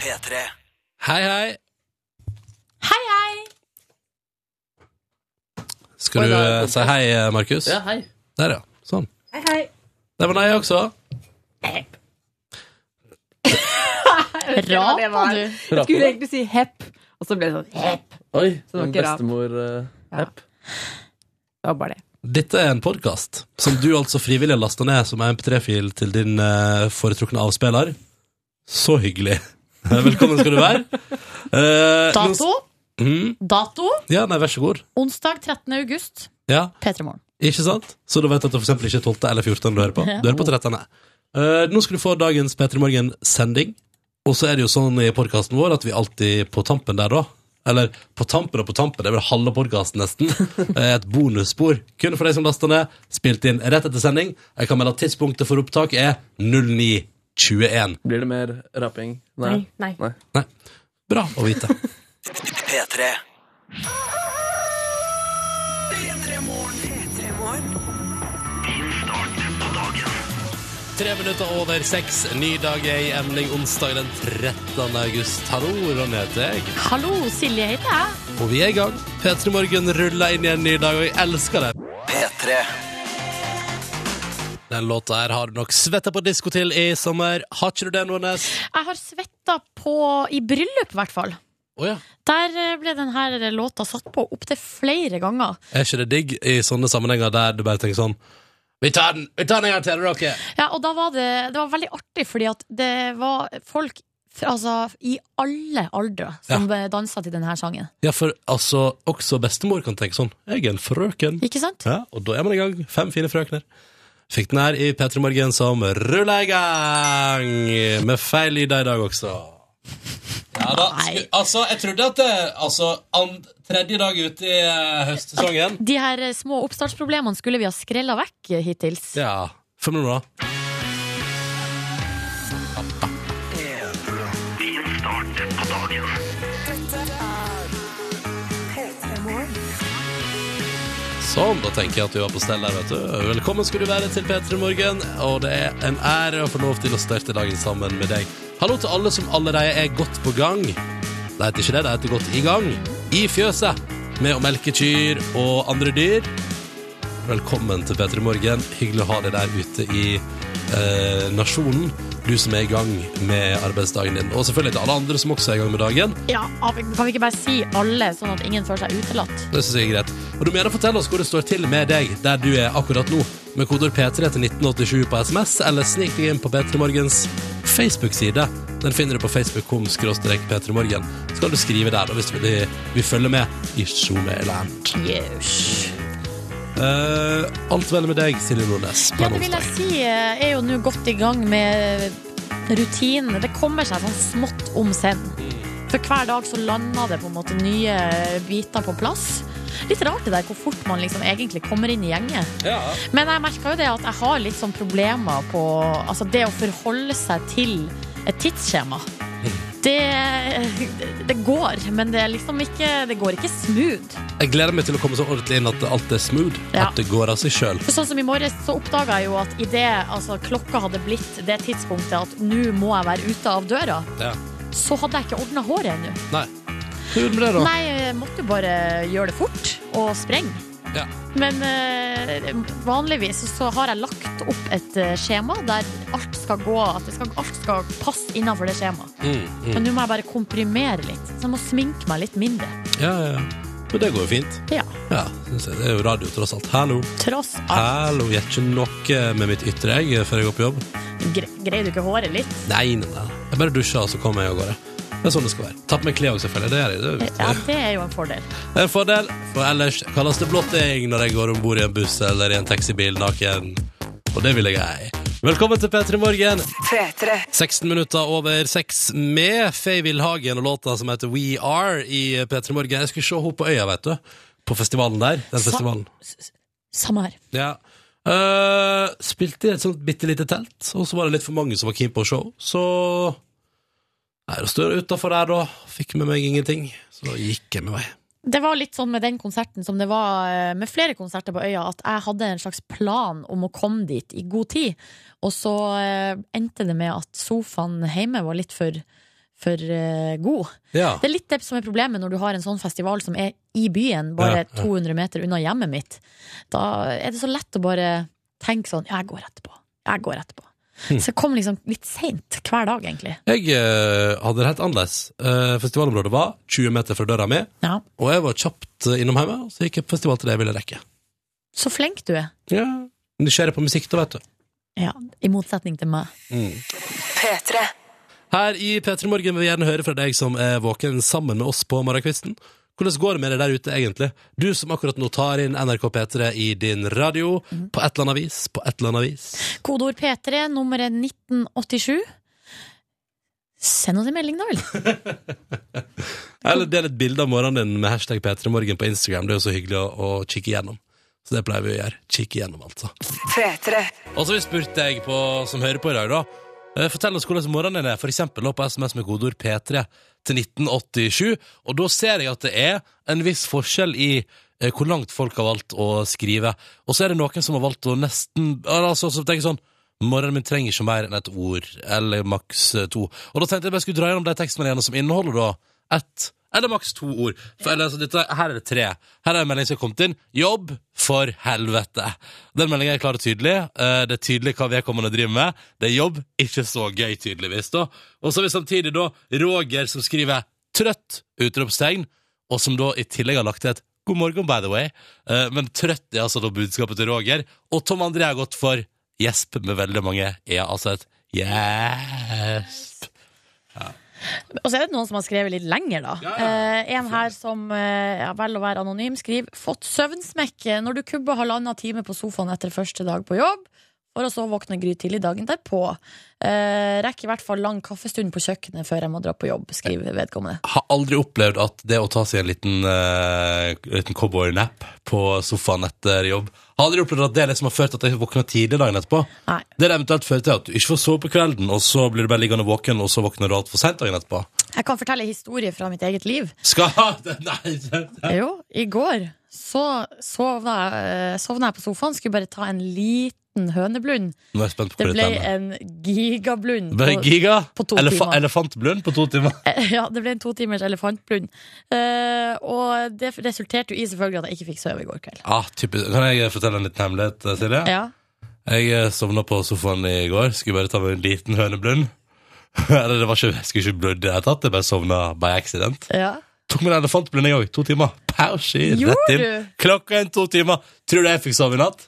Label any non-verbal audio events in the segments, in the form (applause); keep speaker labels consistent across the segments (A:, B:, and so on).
A: P3.
B: Hei, hei.
C: Hei, hei!
B: Skal du eh, si hei, eh, Markus?
D: Ja, hei.
B: Der, ja. Sånn.
C: Hei, hei.
B: Det var nei også.
C: Rapa,
E: var.
C: du.
D: Rapa.
E: Jeg skulle egentlig si hepp, og så ble det sånn hepp.
D: Oi, eh, en
E: Så det var ikke Ja.
D: bestemor-app.
E: Det var bare det.
B: Dette er en podkast som du altså frivillig har lasta ned som MP3-fil til din eh, foretrukne avspiller. Så hyggelig. (laughs) Velkommen skal du være. Eh,
C: Dato?
B: nå- Mm,
C: Dato?
B: ja, nei, vær så god.
C: Onsdag 13. august.
B: Ja,
C: P3 Morgen.
B: ikke sant? Så da vet du at det for eksempel ikke er 12. eller 14. du hører på. Du hører på 13. Eh, nå skal du få dagens P3 Morgen-sending. Og så er det jo sånn i podkasten vår at vi alltid på tampen der, da Eller på tampen og på tampen, det er vel halve podkasten nesten. eh, Et bonusspor kun for de som laster ned. Spilt inn rett etter sending. Jeg kan melde at tidspunktet for opptak er 09.21.
D: Blir det mer rapping?
E: Nei, nei.
B: Nei. Bra å vite.
A: P3.
B: Tre minutter over seks. Ny dag er i emning onsdag den 13. august. Hallo, Ronny heter jeg.
C: Hallo, Silje heter jeg.
B: Og vi er i gang. P3 Morgen ruller inn i en ny dag, og jeg elsker det.
A: P3.
B: Den låta her har du nok svetta på disko til i sommer. Har ikke du det, Nordnes?
C: Jeg har svetta på I bryllup, i hvert fall.
B: Å ja.
C: Der eh, ble denne låta satt på opptil flere ganger.
B: Er ikke det digg i sånne sammenhenger der du bare tenker sånn Vi tar den vi tar den en gang til, dere!
C: Ja, og da var det, det var veldig artig, fordi at det var folk fra- altså, i alle aldre som dansa til denne sangen.
B: Ja, for altså, også bestemor kan tenke sånn. Jeg er en frøken.
C: Ikke sant?
B: Ja, og da er man i gang. Fem fine frøkner. Fikk den her i P3 Morgen som ruller i gang! Med feil lyder i dag også. Ja da.
C: Nei.
B: sku- Altså, jeg trodde at det Altså, and, tredje dag ute i eh, høstsesongen
C: De her eh, små oppstartsproblemene skulle vi ha skrella vekk eh, hittils.
B: Ja. Følg med nå, da. Sånn, da tenker jeg at du var på stell der, vet du. Velkommen skal du være til P3 Morgen, og det er en ære å få lov til å starte dagen sammen med deg. Hallo til alle som allerede er godt på gang. Det heter ikke det, det heter godt i gang. I fjøset, med å melke kyr og andre dyr. Velkommen til P3 Morgen. Hyggelig å ha deg der ute i eh, nasjonen. Du som er i gang med arbeidsdagen din. Og selvfølgelig til alle andre som også er i gang med dagen.
C: Ja, av- Kan vi ikke bare si alle, sånn at ingen føler seg utelatt?
B: Det synes jeg er greit. Og du må gjerne fortelle oss hvor det står til med deg der du er akkurat nå. Med kodord P3 til 1987 på SMS, eller snik deg inn på P3 Morgens Facebook-side. Den finner du på facebook.com skråstrek p3morgen. Så kan du skrive der, og hvis du vil, vil følge med i Zoom-land. Eh,
C: Yes.
B: alt vel med deg, Silje Nordnes, på
C: Ja,
B: en
C: det vil jeg
B: onsdag.
C: si eh, er jo nå godt i gang med rutinene. Det kommer seg sånn smått om senn. For hver dag så lander det på en måte nye biter på plass. Litt rart det der hvor fort man liksom egentlig kommer inn i gjengen. Men jeg merka jo det at jeg har litt sånn problemer på Altså det å forholde seg til et tidsskjema. Det, det går, men det er liksom ikke Det går ikke smooth.
B: Jeg gleder meg til å komme så ordentlig inn at alt er smooth.
C: Ja.
B: At det går av seg sjøl.
C: For sånn som i morges så oppdaga jeg jo at i det altså, klokka hadde blitt det tidspunktet at nå må jeg være ute av døra,
B: Ja.
C: så hadde jeg ikke ordna håret ennå.
B: Nei. Hva gjorde du med det, da?
C: Nei, jeg måtte jo bare gjøre det fort og sprenge.
B: Ja.
C: Men eh, vanligvis så har jeg lagt opp et eh, skjema der alt skal gå at det skal, Alt skal passe innafor det skjemaet.
B: Mm, mm.
C: Men nå må jeg bare komprimere litt. Så jeg må sminke meg litt mindre.
B: Ja, ja, ja. Men det går jo fint.
C: Ja,
B: Ja, synes jeg. Det er jo radio, tross alt. Hallo.
C: Tross alt.
B: Hallo. Gjør ikke noe med mitt ytre jeg før jeg går på jobb.
C: Gre greier du ikke håret litt?
B: Nei, nei, nei. Jeg bare dusjer, og så kommer jeg av gårde. Det er sånn det skal være. Ta på meg klær òg, selvfølgelig. Det gjør jeg. Det er viktig.
C: Ja, det er jo en fordel.
B: Det er en fordel, for ellers kalles det blotting når jeg går om bord i en buss eller i en taxibil naken. Og det vil jeg ei. Velkommen til P3 Morgen. 16 minutter over 6 med Faye Wilhagen og låta som heter We Are i P3 Morgen. Jeg skulle se henne på øya, vet du. På festivalen der. Den
C: Sa-
B: festivalen.
C: Samme her.
B: Ja. Eh, spilte i et sånt bitte lite telt, og så var det litt for mange som var keen på show, så Nei, da står jeg utafor der, da. Fikk med meg ingenting. Så da gikk jeg med meg.
C: Det var litt sånn med den konserten som det var eh, med flere konserter på øya, at jeg hadde en slags plan om å komme dit i god tid. Og så eh, endte det med at sofaen hjemme var litt for for eh, god.
B: Ja.
C: Det er litt det som er problemet når du har en sånn festival som er i byen, bare
B: Ja, ja.
C: 200 meter unna hjemmet mitt. Da er det så lett å bare tenke sånn Ja, jeg går etterpå. Jeg går etterpå.
B: Hm.
C: Så jeg kom liksom litt seint hver dag, egentlig.
B: Jeg eh, hadde det helt annerledes. Eh, festivalområdet var 20 meter fra døra mi,
C: Ja.
B: og jeg var kjapt eh, innom hjemme, og så gikk jeg på festival til det jeg ville rekke.
C: Så flink du er.
B: Ja. Nysgjerrig på musikk, da, vet du.
C: Ja, I motsetning til meg.
B: Her i P3 Morgen vil vi gjerne høre fra deg som er våken sammen med oss på morgenkvisten. Hvordan går det med deg der ute, egentlig? Du som akkurat nå tar inn NRK P3 i din radio, på et eller annet vis, på et eller annet vis.
C: Kodeord P3, nummeret 1987. Send oss en melding, da vel.
B: Eller del et bilde av morgenen din med hashtag P3morgen på Instagram. Det er jo så hyggelig å, å kikke igjennom. Så det pleier vi å gjøre. Kikke igjennom, altså. Og så har vi spurt deg på, som hører på i dag, da. eh, Fortell oss hvordan morgenen din er, for eksempel da, på SMS med kodeord P3 til 1987. Og da ser jeg at det er en viss forskjell i eh, hvor langt folk har valgt å skrive. Og så er det noen som har valgt å nesten Altså, som tenker sånn Morgenen min trenger ikke mer enn et ord, eller maks eh, to. Og da tenkte jeg bare skulle dra gjennom de tekstmeldingene som inneholder da ett eller maks to ord. For, eller, altså, dette, her er det tre. Her er en melding som har kommet inn. Jobb for helvete. Den meldingen er klar og tydelig. Eh, Det er tydelig hva vedkommende driver med. Det er jobb, ikke så gøy, tydeligvis. da. Og så har vi samtidig da Roger som skriver 'trøtt', utropstegn, og som da i tillegg har lagt til et 'god morgen, by the way'. Eh, Men trøtt er altså da budskapet til Roger. Og Tom André har gått for gjesp med veldig mange er altså et gjesp.
C: Og så er det noen som har skrevet litt lenger, da.
B: Ja,
C: Eh, en her som eh, ja, vel å være anonym, skriver Fått søvnsmekke når du kubber halvannen time på sofaen etter første dag på jobb, for å så våkne grytidlig dagen derpå. Eh, rekker i hvert fall lang kaffestund på kjøkkenet før jeg må dra på jobb, skriver vedkommende.
B: har aldri opplevd at det å ta seg en liten, uh, liten cowboynap på sofaen etter jobb Har aldri opplevd at det liksom har ført til at jeg våkner tidlig dagen etterpå.
C: Nei.
B: Det det eventuelt fører til, er at du ikke får sove på kvelden, og så blir du bare liggende våken, og så våkner du altfor seint dagen etterpå.
C: Jeg kan fortelle en historie fra mitt eget liv.
B: Skal Nei!
C: (laughs) Jo, i går så sovna jeg, eh, sovna jeg på sofaen, skulle bare ta en liten høneblund.
B: Nå er jeg spent på
C: Det
B: hvor
C: ble
B: dette ender.
C: en gigablund.
B: Det ble
C: på-
B: giga.
C: på to
B: Elef
C: timer.
B: Elefantblund på to timer.
C: (laughs) Ja, det ble en to timers elefantblund. Eh, og det resulterte jo i selvfølgelig at jeg ikke fikk sove i går kveld.
B: Ah, typisk. Kan
C: eh,
B: jeg fortelle en liten hemmelighet, Silje?
C: Ja.
B: Jeg eh, sovna på sofaen i går. Skulle bare ta meg en liten høneblund. (laughs) Eller det var ikke, jeg skulle ikke blødd i det hele tatt. Jeg bare sovna by accident.
C: ja.
B: Tok med en elefantblund, jeg òg. To timer. Pausi, rett
C: Gjorde
B: inn.
C: du?
B: Klokka er to timer. Tror du jeg fikk sove i natt?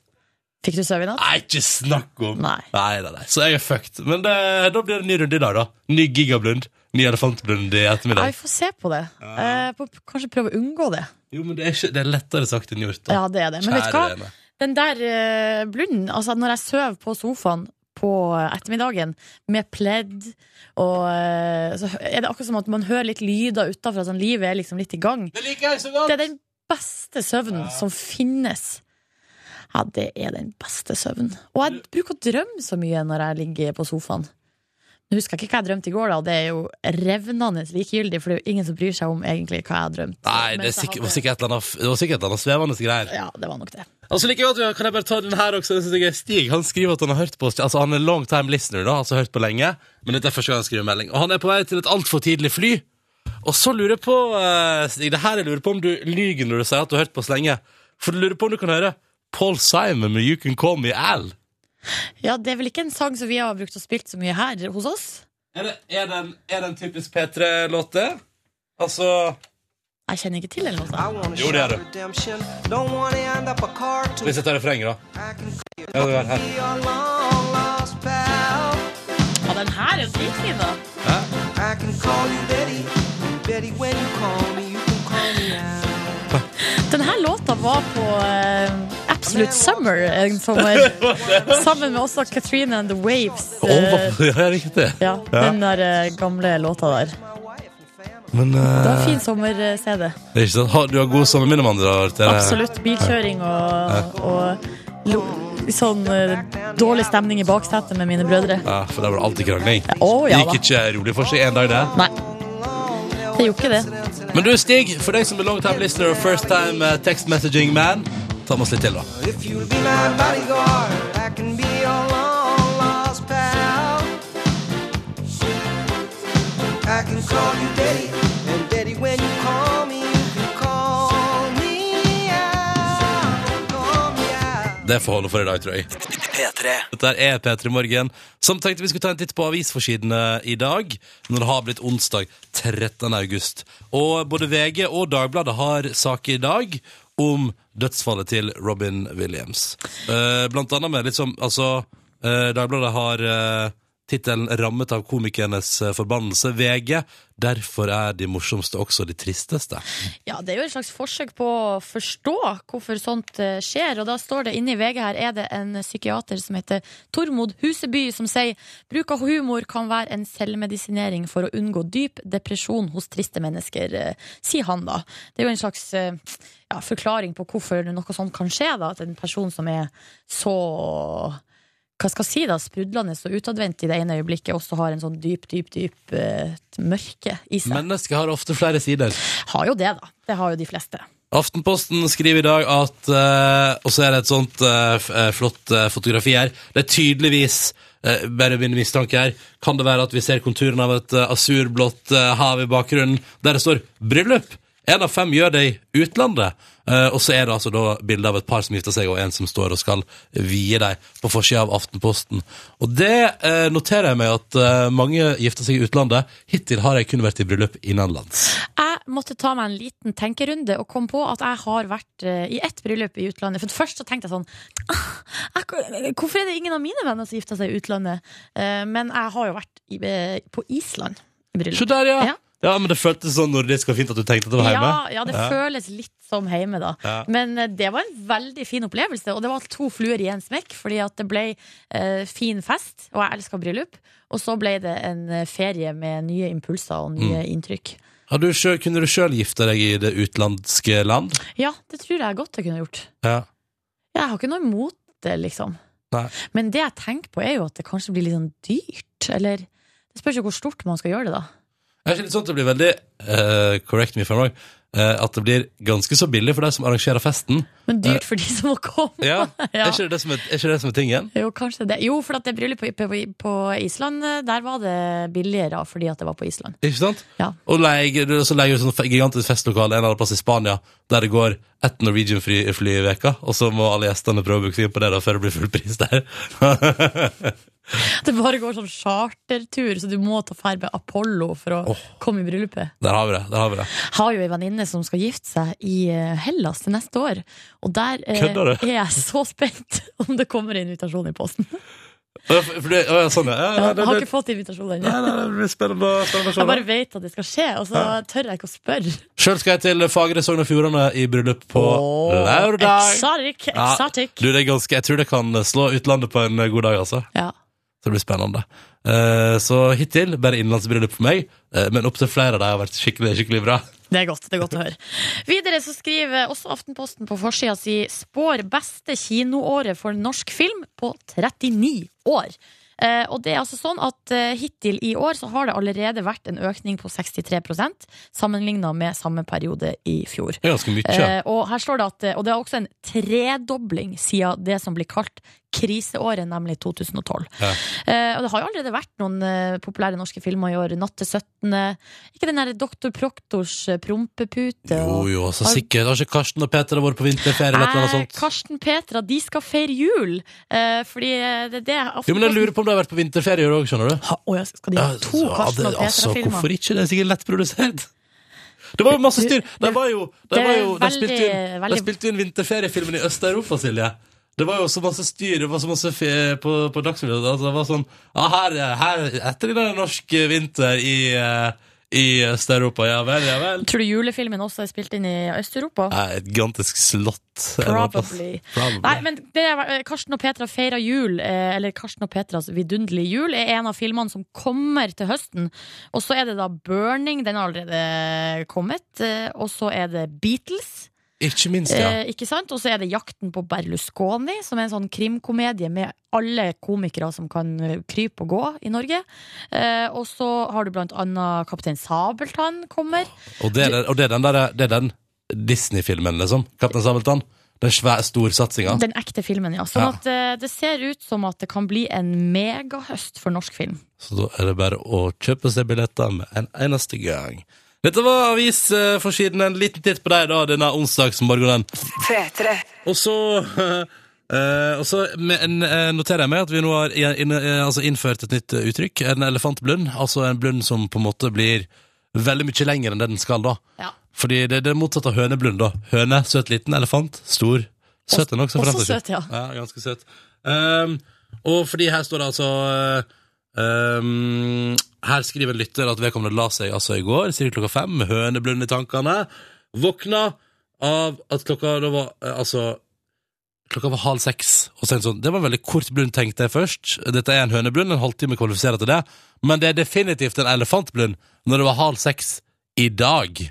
C: Fikk du sove i natt?
B: Nei, ikke snakk om!
C: Nei.
B: nei, nei, nei. Så jeg er fucked. Men det, da blir det en ny runde i dag, da. Ny gigablund. Ny elefantblund i
C: Ja,
B: ettermiddag.
C: vi får se på det. Eh, på, kanskje prøve å unngå det.
B: Jo, men det er, ikke, det er lettere sagt enn gjort. Da.
C: Ja, det er det. Men vet du
B: Kjære
C: hva?
B: vene.
C: Den der eh, blunden, altså når jeg sover på sofaen på ettermiddagen med pledd og eh, Så er det akkurat som at man hører litt lyder utafra, sånn livet er liksom litt i gang.
B: Det liker jeg så godt!
C: Det er den beste søvnen som finnes. Ja, det er den beste søvnen. Og jeg bruker å drømme så mye når jeg ligger på sofaen. Nå husker jeg ikke hva jeg drømte i går, da, og det er jo revnende likegyldig, for det er jo ingen som bryr seg om egentlig hva jeg har drømt.
B: Nei, det, er
C: Mens jeg
B: sikkert,
C: hadde-
B: var sikkert et eller annet, det var sikkert et eller annet svevende greier.
C: Ja, det var nok det.
B: Altså, like godt, kan jeg bare ta den her også? Den synes jeg er Stig han skriver at han har hørt på oss. Altså, han er long time listener, da, altså hørt på lenge. Men dette er første gang han skriver melding. Og han er på vei til et altfor tidlig fly. Og så lurer jeg på, eh, Stig, det her jeg lurer på om du lyger når du sier at du har hørt på oss lenge. For du lurer på om du kan høre Paul Simon med You Can Call Me Al.
C: Ja, det er vel ikke en sang som vi har brukt og spilt så mye her hos oss?
B: Er det, er det, en, er det en typisk P3-låt, det? Altså
C: Jeg kjenner ikke til den låta.
A: I wanna
B: Jo, det er
A: shout
B: det.
A: redemption. Don't wanna end up a cartoon.
B: Hvis jeg tar refrenget, da.
A: I can
B: Ja, det var her.
A: be your long lost pal.
C: Ja, den her er jo dritfin, da.
A: I can call you Betty. Betty, when you call me, you can call me out.
C: Den her låta var på eh, Absolute Summer en (laughs) sommer. Sammen med også Katrine and The Waves.
B: Å,
C: eh,
B: hva- ja, riktig.
C: ja, den der eh, gamle låta der.
A: My wife and family.
B: Men eh,
C: Det var fin sommer-CD.
B: det er ikke sant? Har- Du har god sommerminne med andre ord? eller?
C: Absolutt. Bilkjøring og, og lo, sånn eh, dårlig stemning i baksetet med mine brødre.
B: Ja, for der var det alltid krangling.
C: å, ja
B: det gikk
C: da.
B: ikke rolig for seg en dag, det.
C: Nei, det gjorde ikke det.
B: Men du, Stig, for deg som er long time listener og first time eh, text messaging man, ta med oss litt til, da.
A: If you'll be my bodyguard, I can be your long lost pal. I I can call you daddy, and daddy when you call me, you can call me out, call me out.
B: Det får holde for i dag, tror jeg. Dette er P3 Morgen, som tenkte vi skulle ta en titt på avisforsidene i dag, når det har blitt onsdag 13. august. Og både VG og Dagbladet har sak i dag om dødsfallet til Robin Williams. Eh, Blant annet med liksom, altså, eh, Dagbladet har eh, tittelen rammet av komikernes eh, forbannelse, VG. Derfor er de morsomste også de tristeste.
C: Ja, det er jo et slags forsøk på å forstå hvorfor sånt eh, skjer. Og da står det inne i VG her er det en psykiater som heter Tormod Huseby, som sier bruk av humor kan være en selvmedisinering for å unngå dyp depresjon hos triste mennesker, eh, sier han da. Det er jo en slags eh, ja, forklaring på hvorfor noe sånt kan skje, da. At en person som er så hva skal jeg si da, sprudlende og utadvendt i det ene øyeblikket, også har en sånn dyp, dyp, dyp eh, mørke i seg.
B: Mennesket har ofte flere sider.
C: Har jo det, da. Det har jo de fleste.
B: Aftenposten skriver i dag at eh, Og så er det et sånt eh, f- eh, flott eh, fotografi her. Det er tydeligvis eh, bare min mistanke her. Kan det være at vi ser konturen av et eh, asurblått eh, hav i bakgrunnen, der det står 'bryllup'? En av fem gjør det i utlandet. Eh, og så er det altså da bilde av et par som gifter seg, og en som står og skal vie dem, på forsida av Aftenposten. Og det eh, noterer jeg meg at eh, mange gifter seg i utlandet. Hittil har jeg kun vært i bryllup innenlands.
C: Jeg måtte ta meg en liten tenkerunde og kom på at jeg har vært eh, i ett bryllup i utlandet. For først så tenkte jeg sånn «Ah, jeg- Hvorfor er det ingen av mine venner som gifter seg i utlandet? Eh, Men jeg har jo vært i, eh, på Island i bryllup.
B: Se der, ja. ja!
C: Ja.
B: men det føltes sånn nordisk og fint at du tenkte at det var hjemme.
C: Ja, ja, det føles litt som hjemme, da.
B: Ja.
C: Men eh, det var en veldig fin opplevelse, og det var to fluer i en smekk, fordi at det ble eh, fin fest, og jeg elsker bryllup. Og så ble det en eh, ferie med nye impulser og nye inntrykk.
B: Har du selv, kunne du sjøl gifte deg i det utenlandske land?
C: Ja, det tror jeg godt jeg kunne gjort.
B: Ja.
C: Jeg har ikke noe imot det, liksom.
B: Nei.
C: Men det jeg tenker på, er jo at det kanskje blir litt sånn dyrt. Eller det spørs jo hvor stort man skal gjøre det, da.
B: Jeg synes sånn at det blir veldig eh, Correct me if I'm wrong. eh, at det blir ganske så billig for de som arrangerer festen.
C: Men dyrt for de som må komme.
B: Eh, Ja, (laughs)
C: (laughs)
B: Er,
C: Ja.
B: ikke det det som er, er ikke det som er tingen?
C: Jo, kanskje det. Jo, for at det bryllupet på, på, på Island, eh, der var det billigere fordi at det var på Island. (laughs)
B: Ikke sant?
C: Ja.
B: Og leie, du- så leier du sånn fe- gigantisk festlokale en eller annen plass i Spania der det går ett Norwegian-fly fly i veka, og så må alle gjestene prøve å booke seg inn på det da før det blir full pris der. (laughs)
C: Det bare går sånn chartertur, så du må ta ferd med Apollo for å komme i bryllupet.
B: Der har vi det. der har vi det
C: har jo ei venninne som skal gifte seg i eh, Hellas til neste år. Og der eh,
B: Kødder du?
C: er jeg så spent (laughs) om det kommer en invitasjon i posten.
B: Å, for, for det, å, ja, sånn, ja. ja, ja
C: Jeg
B: det,
C: har
B: det,
C: ikke fått invitasjon ennå.
B: Nei, nei, det blir spennende, spennende å se.
C: Jeg bare vet at det skal skje, og så tør jeg ikke å spørre.
B: Sjøl skal jeg til Fagre Sogn og Fjordane i bryllup på lørdag.
C: Exotic,
B: Ja,
C: exotic.
B: du, det er ganske, jeg tror det kan slå utlandet på en god dag, altså.
C: Ja.
B: Så det blir spennende. Eh, så hittil bare innenlandsbryllup for meg, eh, men opptil flere av dem har vært skikkelig skikkelig bra.
C: Det er godt, det er godt å høre. Videre så skriver også Aftenposten på forsida si spår beste kinoåret for norsk film på 39 år. Eh, og det er altså sånn at eh, Hittil i år så har det allerede vært en økning på 63 sammenligna med samme periode i fjor.
B: Det er ganske mye.
C: Eh, og her står det at eh, Og det er også en tredobling siden det som blir kalt kriseåret, nemlig 2012.
B: Ja.
C: Eh, og det har jo allerede vært noen eh, populære norske filmer i år. 'Natt til 17.' Ikke den derre Doktor Proktors eh, prompepute.
B: Jo,
C: og-
B: jo, så sikkert har ikke Karsten og Peter vært på vinterferie eller et eller annet
C: Eh,
B: sånt?
C: Karsten Petra, de skal feire jul! Eh, fordi eh, det er det
B: Jo, men jeg lurer på om de har vært på vinterferie i år òg, skjønner du?
C: Ha, å, ja, skal de ha to
B: Ja,
C: Karsten
B: det-
C: og
B: altså,
C: Petra-filmer?
B: Hvorfor ikke? Det er sikkert lett produsert. Det var jo masse styr! Det var jo, det
C: det
B: var
C: er
B: jo, de,
C: veldig-
B: spilte jo inn, de
C: veldig-
B: spilte jo inn vinterferiefilmen i Øst-Europa, Silje. Det var jo så masse styr det var så masse fe på, på Dagsrevyen. Altså, det var sånn ja, her, her etter den norske vinter i, eh, i Øst-Europa. Ja vel, ja vel.
C: Tror du julefilmen også er spilt inn i Øst-Europa?
B: Nei, Et gigantisk slott. en eller annen plass.
C: Probably.
B: Probably.
C: Nei, men det er, eh, Karsten og Petra feirer jul, eh, eller Karsten og Petras vidunderlige jul, er en av filmene som kommer til høsten. Og så er det da Burning, den har allerede kommet. eh, Og så er det Beatles,
B: Ikke minst, ja.
C: eh, ikke sant? Og så er det Jakten på Berlusconi, som er en sånn krimkomedie med alle komikere som kan eh, krype og gå i Norge. Eh, Og så har du blant annet Kaptein Sabeltann kommer.
B: Og det er den, og det er den, der- det er den Disney-filmen, liksom. Kaptein Sabeltann. Den svære storsatsinga.
C: Den ekte filmen, ja. Sånn
B: Ja.
C: at eh, det ser ut som at det kan bli en megahøst for norsk film.
B: Så da er det bare å kjøpe seg billetter med en eneste gang. Dette var avisforsiden. En liten titt på deg da, denne onsdagsmorgenen. Og så (laughs) eh, og så med, en, eh, noterer jeg meg at vi nå har i- inn- eh, altså innført et nytt eh, uttrykk. En elefantblund. Altså en blund som på en måte blir veldig mye lenger enn det den skal, da.
C: Ja.
B: Fordi det er det motsatte av høneblund, da. Høne, søt liten. Elefant, stor. Søt den også, for den
C: Også
B: saks skyld.
C: søt, ja.
B: Ja, ganske søt. Ehm, og fordi her står det altså ehm, Her skriver en lytter at vedkommende la seg altså i går, cirka klokka fem, med høneblund i tankene. Våkna av at klokka da var eh, Altså Klokka var halv seks, og så tenkte jeg sånn, det var en veldig kort blund, tenkte jeg først. Dette er en høneblund, en halvtime kvalifiserer til det. Men det er definitivt en elefantblund når det var halv seks i dag.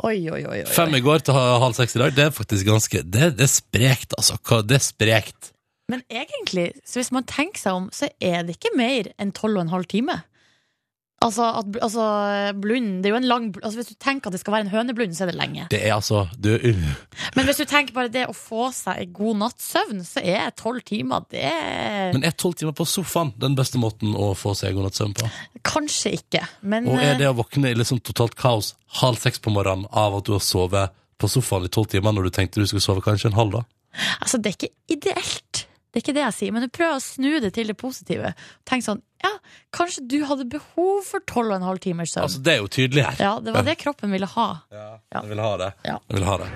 C: Oi, oi, oi. oi.
B: Fem i går til ha- halv seks i dag, det er faktisk ganske Det, det er sprekt, altså. Hva- Det er sprekt.
C: Men egentlig, så hvis man tenker seg om, så er det ikke mer enn tolv og en halv time. Altså, at, altså blund Det er jo en lang bl- altså, Hvis du tenker at det skal være en høneblund, så er det lenge.
B: Det er altså du,
C: Men hvis du tenker bare det å få seg en god natts søvn, så er tolv timer det er
B: Men er tolv timer på sofaen den beste måten å få seg god natts søvn på?
C: Kanskje ikke, men
B: Og er det å våkne i liksom totalt kaos halv seks på morgenen av at du har sovet på sofaen i tolv timer når du tenkte du skulle sove kanskje en halv, da?
C: eh, altså, det er ikke ideelt. Det er ikke det jeg sier, men jeg prøver å snu det til det positive. Tenk sånn, ja, kanskje du hadde behov for tolv og en halv timers søvn.
B: Altså, det er jo tydelig her.
C: ja, det var det kroppen ville ha.
B: Jeg vil ha det.
C: Ja.
B: Jeg vil ha det.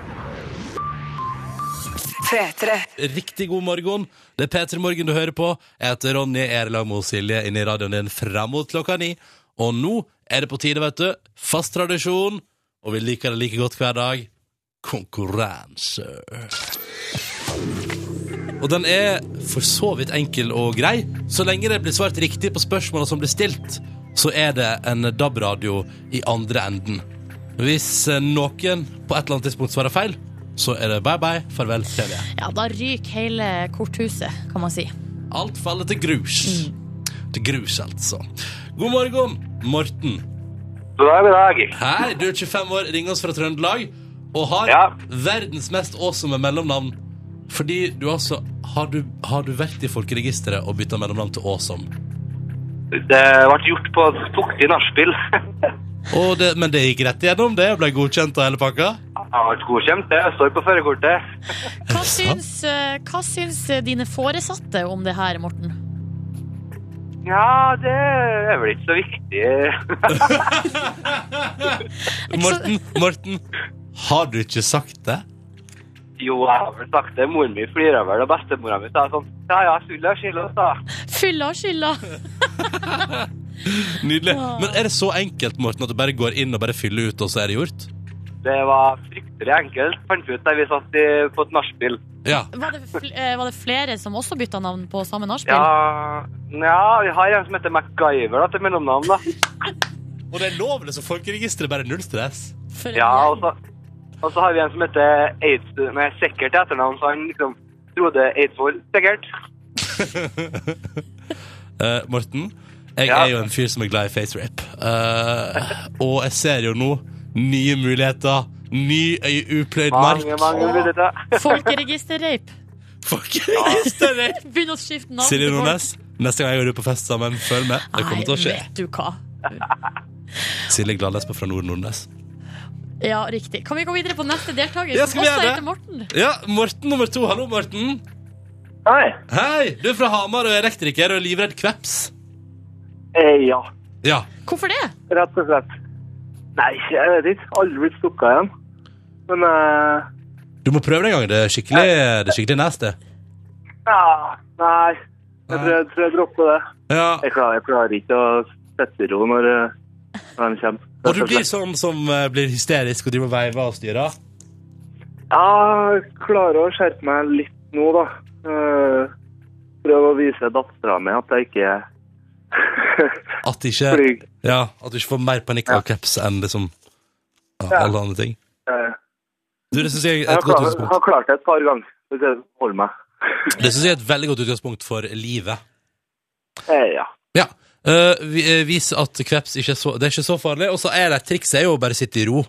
B: Riktig god morgen. Det er P3 Morgen du hører på. Jeg heter Ronny, er i lag med Silje inne i radioen din fram mot klokka ni. Og nå er det på tide, vet du. Fast tradisjon, og vi liker det like godt hver dag. Konkurranse. Og den er for så vidt enkel og grei. Så lenge det blir svart riktig på spørsmålene som blir stilt, så er det en DAB-radio i andre enden. Hvis eh, noen på et eller annet tidspunkt svarer feil, så er det bye bye, farvel, TV.
C: Ja, da ryker hele korthuset, kan man si.
B: Alt faller til grus. Til grus, altså. God morgen, Morten.
D: God dag, god dag.
B: Hei, du er 25 år, ringer oss fra Trøndelag og har
D: Ja.
B: verdens mest awesome mellomnavn. Fordi du altså Har du, har du vært i folkeregisteret og bytta mellomnavn til Awesome?
D: Det ble gjort på et fuktig nachspiel. (laughs) Jeg
B: Og det, men det gikk rett igjennom, det? Ble godkjent av hele pakka?
D: har vært godkjent, det. Jeg står på førerkortet.
C: Hva
B: det sant?
C: syns, eh, hva syns dine foresatte om det her, Morten?
D: Ja, det er vel ikke så viktig. (laughs)
C: Ikke så-
B: Morten, Morten, har du ikke sagt det?
D: Jo, jeg har vel sagt det. Moren min flirer vel, og bestemora mi sa sånn Ja ja, full av skylda, sa hun.
C: Fylla og skylda!
B: Nydelig. Men er det så enkelt, Morten, at du bare går inn og bare fyller ut, og så er det gjort?
D: Det var fryktelig enkelt, fant vi ut da vi satt i, på et nachspiel.
B: Ja.
C: Var det, fl eh, var det flere som også bytta navn på samme nachspiel?
D: Ja, ja, vi har en som heter MacGyver da, til mellomnavn, da.
B: Og det er lov, det, så folkeregisteret bare er null stress.
C: For en
D: Ja,
C: gjeng.
D: og så, og så har vi en som heter Eids... Nei, Sikkert til etternavn, så han liksom Frode Eidsvoll, sikkert.
B: Eh, Morten, jeg
D: Ja.
B: er jo en fyr som er glad i facerap. Eh, og jeg ser jo nå nye muligheter. Ny øy, upløyd mark.
D: Mange, mange muligheter.
C: Folkeregisterrape.
B: Folkeregisteret!
C: Begynn å skifte navn.
B: Silje
C: til folk.
B: Nordnes, neste gang jeg er du på fest sammen, følg med. Det kommer til å skje.
C: Nei, vet du hva.
B: Silje Gladnes på Fra Nord Nordnes.
C: Ja, riktig. Kan vi gå videre på neste deltaker,
B: Ja,
C: som
B: skal vi gjøre
C: også
B: det?
C: heter Morten?
B: Ja, Morten nummer to. Hallo, Morten.
D: Hei.
B: Hei! Du er fra Hamar og er elektriker og er livredd kveps.
D: Eh, ja,
B: Ja.
C: Hvorfor det?
D: rett og slett. Nei, jeg vet ikke. Aldri blitt stukket igjen. Men eh,
B: Du må prøve det en gang. Det er skikkelig, det er skikkelig nasty.
D: ja, nei. Jeg tror, jeg tror jeg dropper det.
B: Ja.
D: Jeg klarer, jeg klarer ikke å sette ro når, eh, når han kommer.
B: Og du blir sånn som eh, blir hysterisk og driver og veiver og styrer?
D: Ja, jeg klarer å skjerpe meg litt nå, da. Eh, Prøve å vise dattera mi at jeg (laughs) ikke
B: At det ikke
D: flyr.
B: Ja, at du ikke får mer panikk av kreps enn liksom ja,
D: Ja.
B: alle andre ting.
D: Eh,
B: Du, det syns jeg
D: Jeg
B: er
D: har
B: et godt
D: klart, har
B: utgangspunkt.
D: klart det et par ganger. Hvis jeg holder meg.
B: Det synes jeg er et veldig godt utgangspunkt for livet.
D: Eh, ja.
B: Ja. Eh, vi, eh, vis at kreps ikke er så, det er ikke så farlig, og så er det trikset er jo å bare sitte i ro,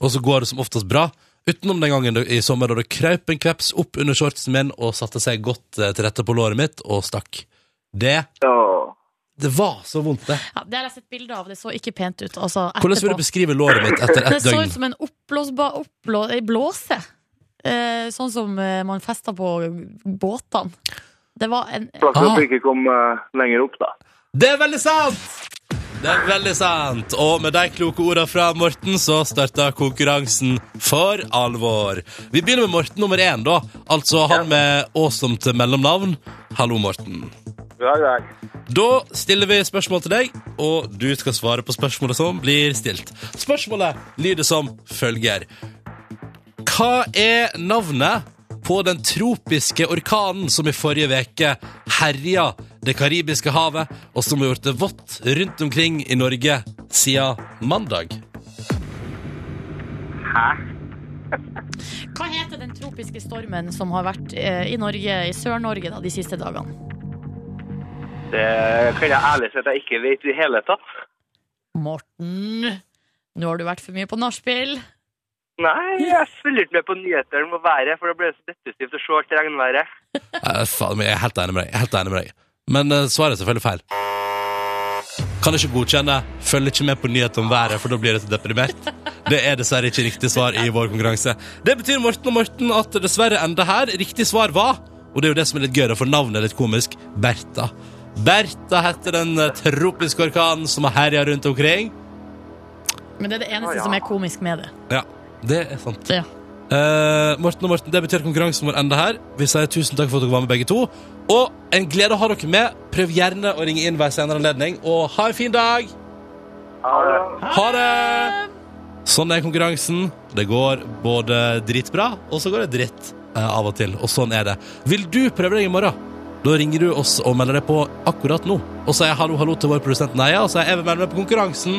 B: og så går det som oftest bra. Utenom den gangen du- i sommer da det krøp en kreps opp under shortsen min og satte seg godt eh, til rette på låret mitt og stakk. Det,
D: Ja.
B: det var så vondt, det.
C: Ja, det har jeg sett bilder av. Det så ikke pent ut. Altså,
B: Hvordan vil du
C: etterpå.
B: beskrive låret mitt
C: (laughs)
B: etter
C: Det
B: ett
C: så ut
B: døgn?
C: som en oppblåsbar oppblå, ei blåse. Eh, sånn som eh, man fester på båtene. Det var en
D: Flaks at
B: Ah.
D: vi ikke kom eh, lenger opp, da.
B: Det er veldig sant! Det er veldig sant. Og med de kloke ordene fra Morten, så starter konkurransen for alvor. Vi begynner med Morten nummer én, da. Altså han med awesome mellomnavn. Hallo, Morten.
D: God dag.
B: Da stiller vi spørsmål til deg, og du skal svare på spørsmålet som blir stilt. Spørsmålet lyder som følger. Hva er navnet på den tropiske orkanen som i forrige veke herja det karibiske havet, og som har gjort det vått rundt omkring i Norge siden mandag?
C: Hva heter den tropiske stormen som har vært eh, i Norge, i Sør-Norge, da, de siste dagene?
D: Det kan jeg ærlig si at jeg ikke vet i det hele tatt.
C: Morten, nå har du vært for mye på nachspiel.
D: Nei, jeg følger ikke med på nyhetene om været, for det blir så depressivt å se alt regnværet.
B: Eh, faen, men jeg er helt enig med deg. jeg er Helt enig med deg. Men eh, svaret er selvfølgelig feil. Kan ikke godkjenne. Følger ikke med på nyhet om været, for da blir jeg så deprimert. Det er dessverre ikke riktig svar i vår konkurranse. Det betyr Morten og Morten at det dessverre ender her. Riktig svar var, og det er jo det som er litt gøy, da, for navnet er litt komisk, Bertha. Bertha heter den eh, tropiske orkanen som har herja rundt omkring.
C: Men det er det eneste
D: Å, ja.
C: som er komisk med det.
B: Ja, det er sant.
C: Ja.
B: Eh, Morten og Morten, det betyr at konkurransen vår ender her. Vi sier tusen takk for at dere var med, begge to. Og en glede å ha dere med. Prøv gjerne å ringe inn hver senere anledning. Og ha en fin dag!
D: Ha det.
B: Ha det! Sånn er konkurransen. Det går både dritbra, og så går det dritt eh, av og til. Og sånn er det. Vil du prøve deg i morgen? Da ringer du oss og melder deg på akkurat nå. Og sier hallo, hallo til vår produsent Neia, og sier jeg vil melde meg på konkurransen.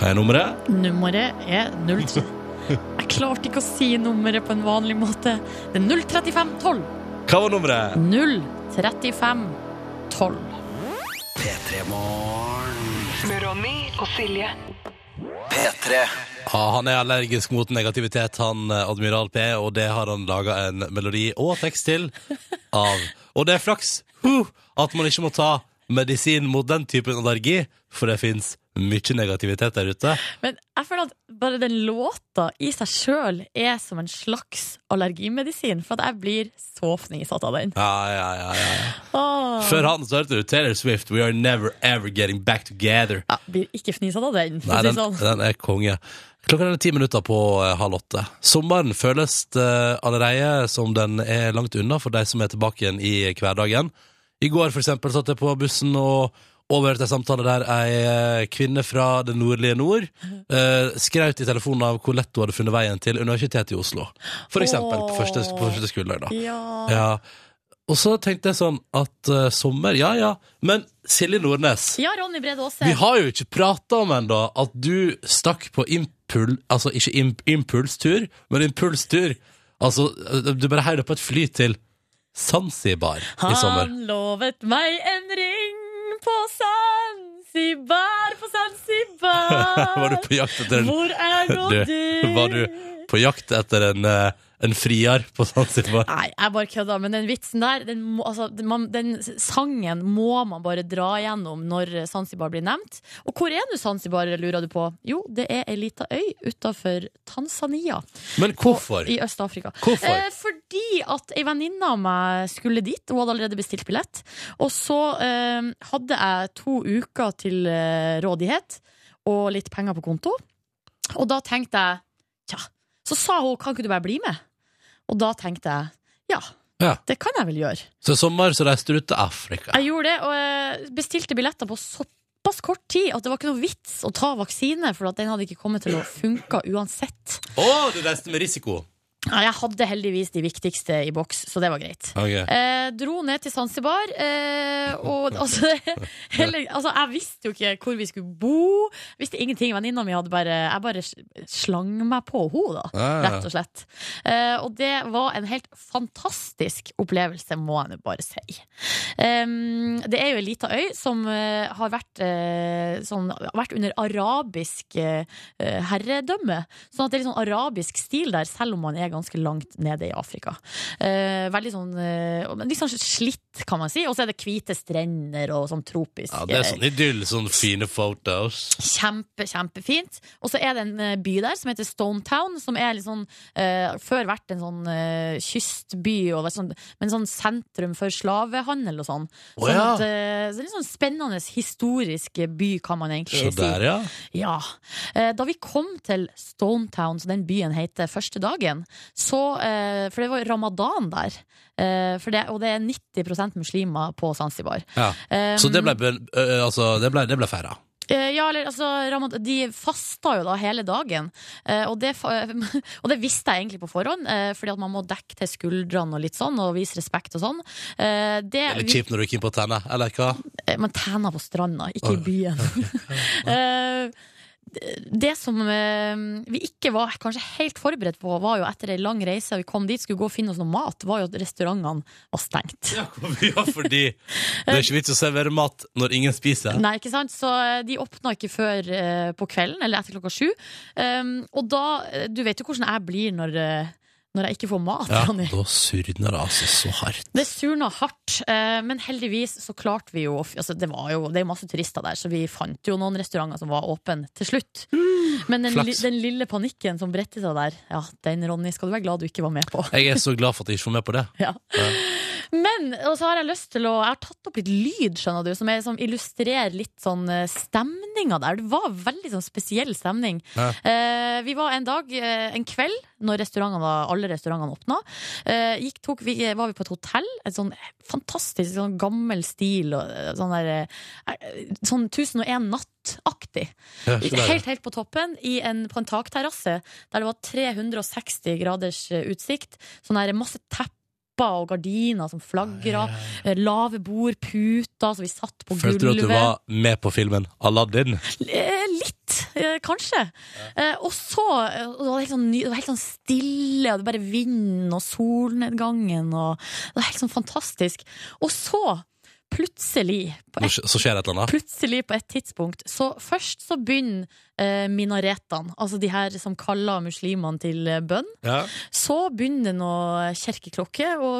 B: Hva er nummeret?
C: Nummeret er 03. Jeg klarte ikke å si nummeret på en vanlig måte. Det er 03512.
B: Hva var nummeret?
C: 03512.
F: Med Ronny og Silje.
B: Ja, han er allergisk mot negativitet, han eh, Admiral P, og det har han laga en melodi og tekst til av. Og det er flaks huh, at man ikke må ta medisin mot den typen allergi, for det fins mye negativitet der ute.
C: Men jeg føler at bare den låta i seg sjøl er som en slags allergimedisin, for at jeg blir så fnisatt av den.
B: Ja, ja, ja, ja.
C: Åh.
B: Før han så hørte du Taylor Swift, 'We are never ever getting back together'.
C: Jeg blir ikke fnisatt av den. for
B: Nei,
C: å si
B: den,
C: sånn.
B: den er konge. Klokka er ti minutter på eh, halv åtte. Sommeren føles eh, allerede som den er langt unna for de som er tilbake igjen i hverdagen. I går for eksempel satt jeg på bussen og overhørte en samtale der ei eh, kvinne fra det nordlige nord uh, skraut i telefonen av hvor lett hun hadde funnet veien til Universitetet i Oslo. For eksempel på første, på første skoledag. da.
C: Ja.
B: Ja. Og så tenkte jeg sånn at eh, sommer, ja ja, men Silje Nordnes
C: ja, Ronny Brede Aase.
B: vi har jo ikke prata om ennå at du stakk på impul... Altså ikke imp impulstur, men impulstur. Altså, du bare heiv deg på et fly til Zanzibar i sommer. (laughs)
C: Han lovet meg en ring på Zanzibar, på
B: (laughs)
C: Zanzibar.
B: Var du på jakt etter en,
C: Hvor er nå
B: (laughs) Du,
C: du?
B: var du på, jakt etter en, eh, en friar på Zanzibar?
C: Nei, jeg bare kødda, men den vitsen der, den, må, altså, den, man, den sangen må man bare dra gjennom når Zanzibar blir nevnt. Og hvor er nå Zanzibar, lurer du på? Jo, det er ei lita øy utafor Tanzania.
B: Men hvorfor?
C: I Øst-Afrika.
B: Hvorfor?
C: Eh, fordi at ei venninne av meg skulle dit. Hun hadde allerede bestilt billett. Og så eh, hadde jeg to uker til eh, rådighet og litt penger på konto. Og da tenkte jeg Tja. Så sa hun kan ikke du bare bli med? Og da tenkte jeg ja,
B: Ja.
C: det kan jeg vel gjøre.
B: Så i sommer så reiste du til Afrika.
C: Jeg gjorde det, og eh, bestilte billetter på såpass kort tid at det var ikke noe vits å ta vaksine, for at den hadde ikke kommet til å funke uansett.
B: Å, du reiste med risiko!
C: Nei, Jeg hadde heldigvis de viktigste i boks, så det var greit.
B: Ok.
C: Eh, dro ned til Zanzibar, eh, og altså, (laughs) heller, altså Jeg visste jo ikke hvor vi skulle bo. Jeg visste ingenting. Venninna mi hadde bare Jeg bare s- slang meg på henne,
B: Ja,
C: da.
B: ja, ja.
C: Rett og slett. Eh, og det var en helt fantastisk opplevelse, må jeg nå bare si. Em, det er jo ei lita øy som eh, har vært, eh, sånn, har vært under arabisk eh, eh, herredømme. Sånn at det er litt sånn arabisk stil der, selv om man er ganske langt nede i Afrika. Eh, veldig sånn eh, men Litt sånn slitt, kan man si. Og så er det hvite strender og sånn tropisk.
B: Ja, det er
C: eh,
B: sånn idyll, sånn fine photos.
C: Kjempe, kjempefint. Og så er det en eh, by der som heter Stonetown, som er litt sånn eh, Før vært en sånn eh, kystby, og vært sånn, men sånn sentrum for slavehandel og sånn.
B: Å,
C: sånn
B: ja.
C: at, eh, så det er litt sånn spennende historisk by, kan man egentlig
B: Se
C: si.
B: der, ja.
C: Ja. Eh, Da vi kom til Stonetown, som den byen heter, første dagen, så eh, For det var ramadan der, eh, for det, og det er 90 muslimer på Zanzibar.
B: ja.
C: Eh,
B: Så det ble, be- ø, ø, altså, det ble, det ble feira.
C: Eh, Ja, eller altså Ramad- De fasta jo da hele dagen. Eh, og, det, fa- (laughs) og det visste jeg egentlig på forhånd, eh, fordi at man må dekke til skuldrene og litt sånn, og vise respekt og sånn. Eh, det,
B: Det er litt kjipt når du ikke er på tenna, eller hva? (laughs)
C: Eh, Man tæner på stranda, ikke i byen. (laughs) Eh, det som eh, vi ikke var kanskje helt forberedt på, var jo etter ei lang reise, og vi kom dit, skulle gå og finne oss noe mat, var jo at restaurantene var stengt.
B: Ja, fordi det er ikke vits å servere mat når ingen spiser.
C: Nei, ikke sant? Så eh, de åpna ikke før eh, på kvelden, eller etter klokka sju. Um, og da eh, Du vet jo hvordan jeg blir når, eh, når jeg ikke får mat.
B: Ja,
C: Ronny.
B: da surner det altså så hardt.
C: Det surna hardt, eh, men heldigvis så klarte vi jo å f- altså Det var jo det er jo masse turister der, så vi fant jo noen restauranter som var åpne til slutt. Men den, li,
B: Mm. flaks.
C: den lille panikken som bredte seg der, ja, den, Ronny, skal du være glad du ikke var med på.
B: Jeg er så glad for at jeg ikke får med på det.
C: Ja. Men og så har jeg lyst til å Jeg har tatt opp litt lyd, skjønner du, som, er, som illustrerer litt sånn eh, stemninga der. Det var veldig sånn spesiell stemning.
B: Ja.
C: Eh, vi var en dag, eh, en kveld, når restaurantene var, alle restaurantene åpna, eh, gikk, tok, vi, var vi på et hotell. Et sånn fantastisk sånn gammel stil og eh, sånn der eh, eh, Sånn 1001 natt-aktig.
B: Ja, så der, ja.
C: Helt, helt på toppen, i en, på en takterrasse der det var 360 graders eh, utsikt. Sånn her masse tepper og gardiner som flagra. eh, Lave bord, puter, så vi satt på
B: Følte du at
C: gulvet.
B: du var med på filmen Aladdin?
C: Eh, Litt, eh, kanskje. Eh, Og så eh, og det var det helt sånn, ny- det var helt sånn stille, og det bare vinden og solnedgangen og Det var helt sånn fantastisk. Og så, plutselig, på
B: Nå sk- Så skjer det et eller annet.
C: plutselig på et tidspunkt Så først så begynner eh, minaretene, altså de her som kaller muslimene til eh, bønn.
B: Ja.
C: Så begynner det noe kirkeklokke å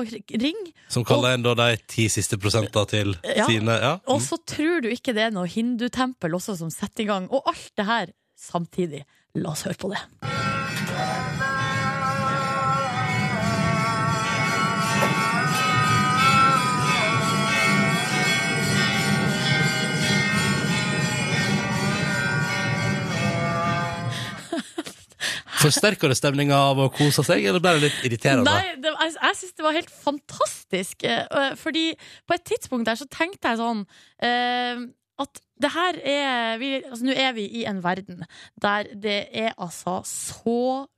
C: ringe,
B: Som kaller en da de ti siste prosentene til
C: Ja.
B: sine ja. Mm.
C: og så tror du ikke det er noe hindutempel også som setter i gang. Og alt det her samtidig. La oss høre på det.
B: Forsterker det stemninga av å kose seg, eller ble det litt irriterende?
C: Nei, det, jeg, jeg syns det var helt fantastisk. eh, øh, Fordi på et tidspunkt der så tenkte jeg sånn eh, at det her er vi, altså, Nå er vi i en verden der det er altså så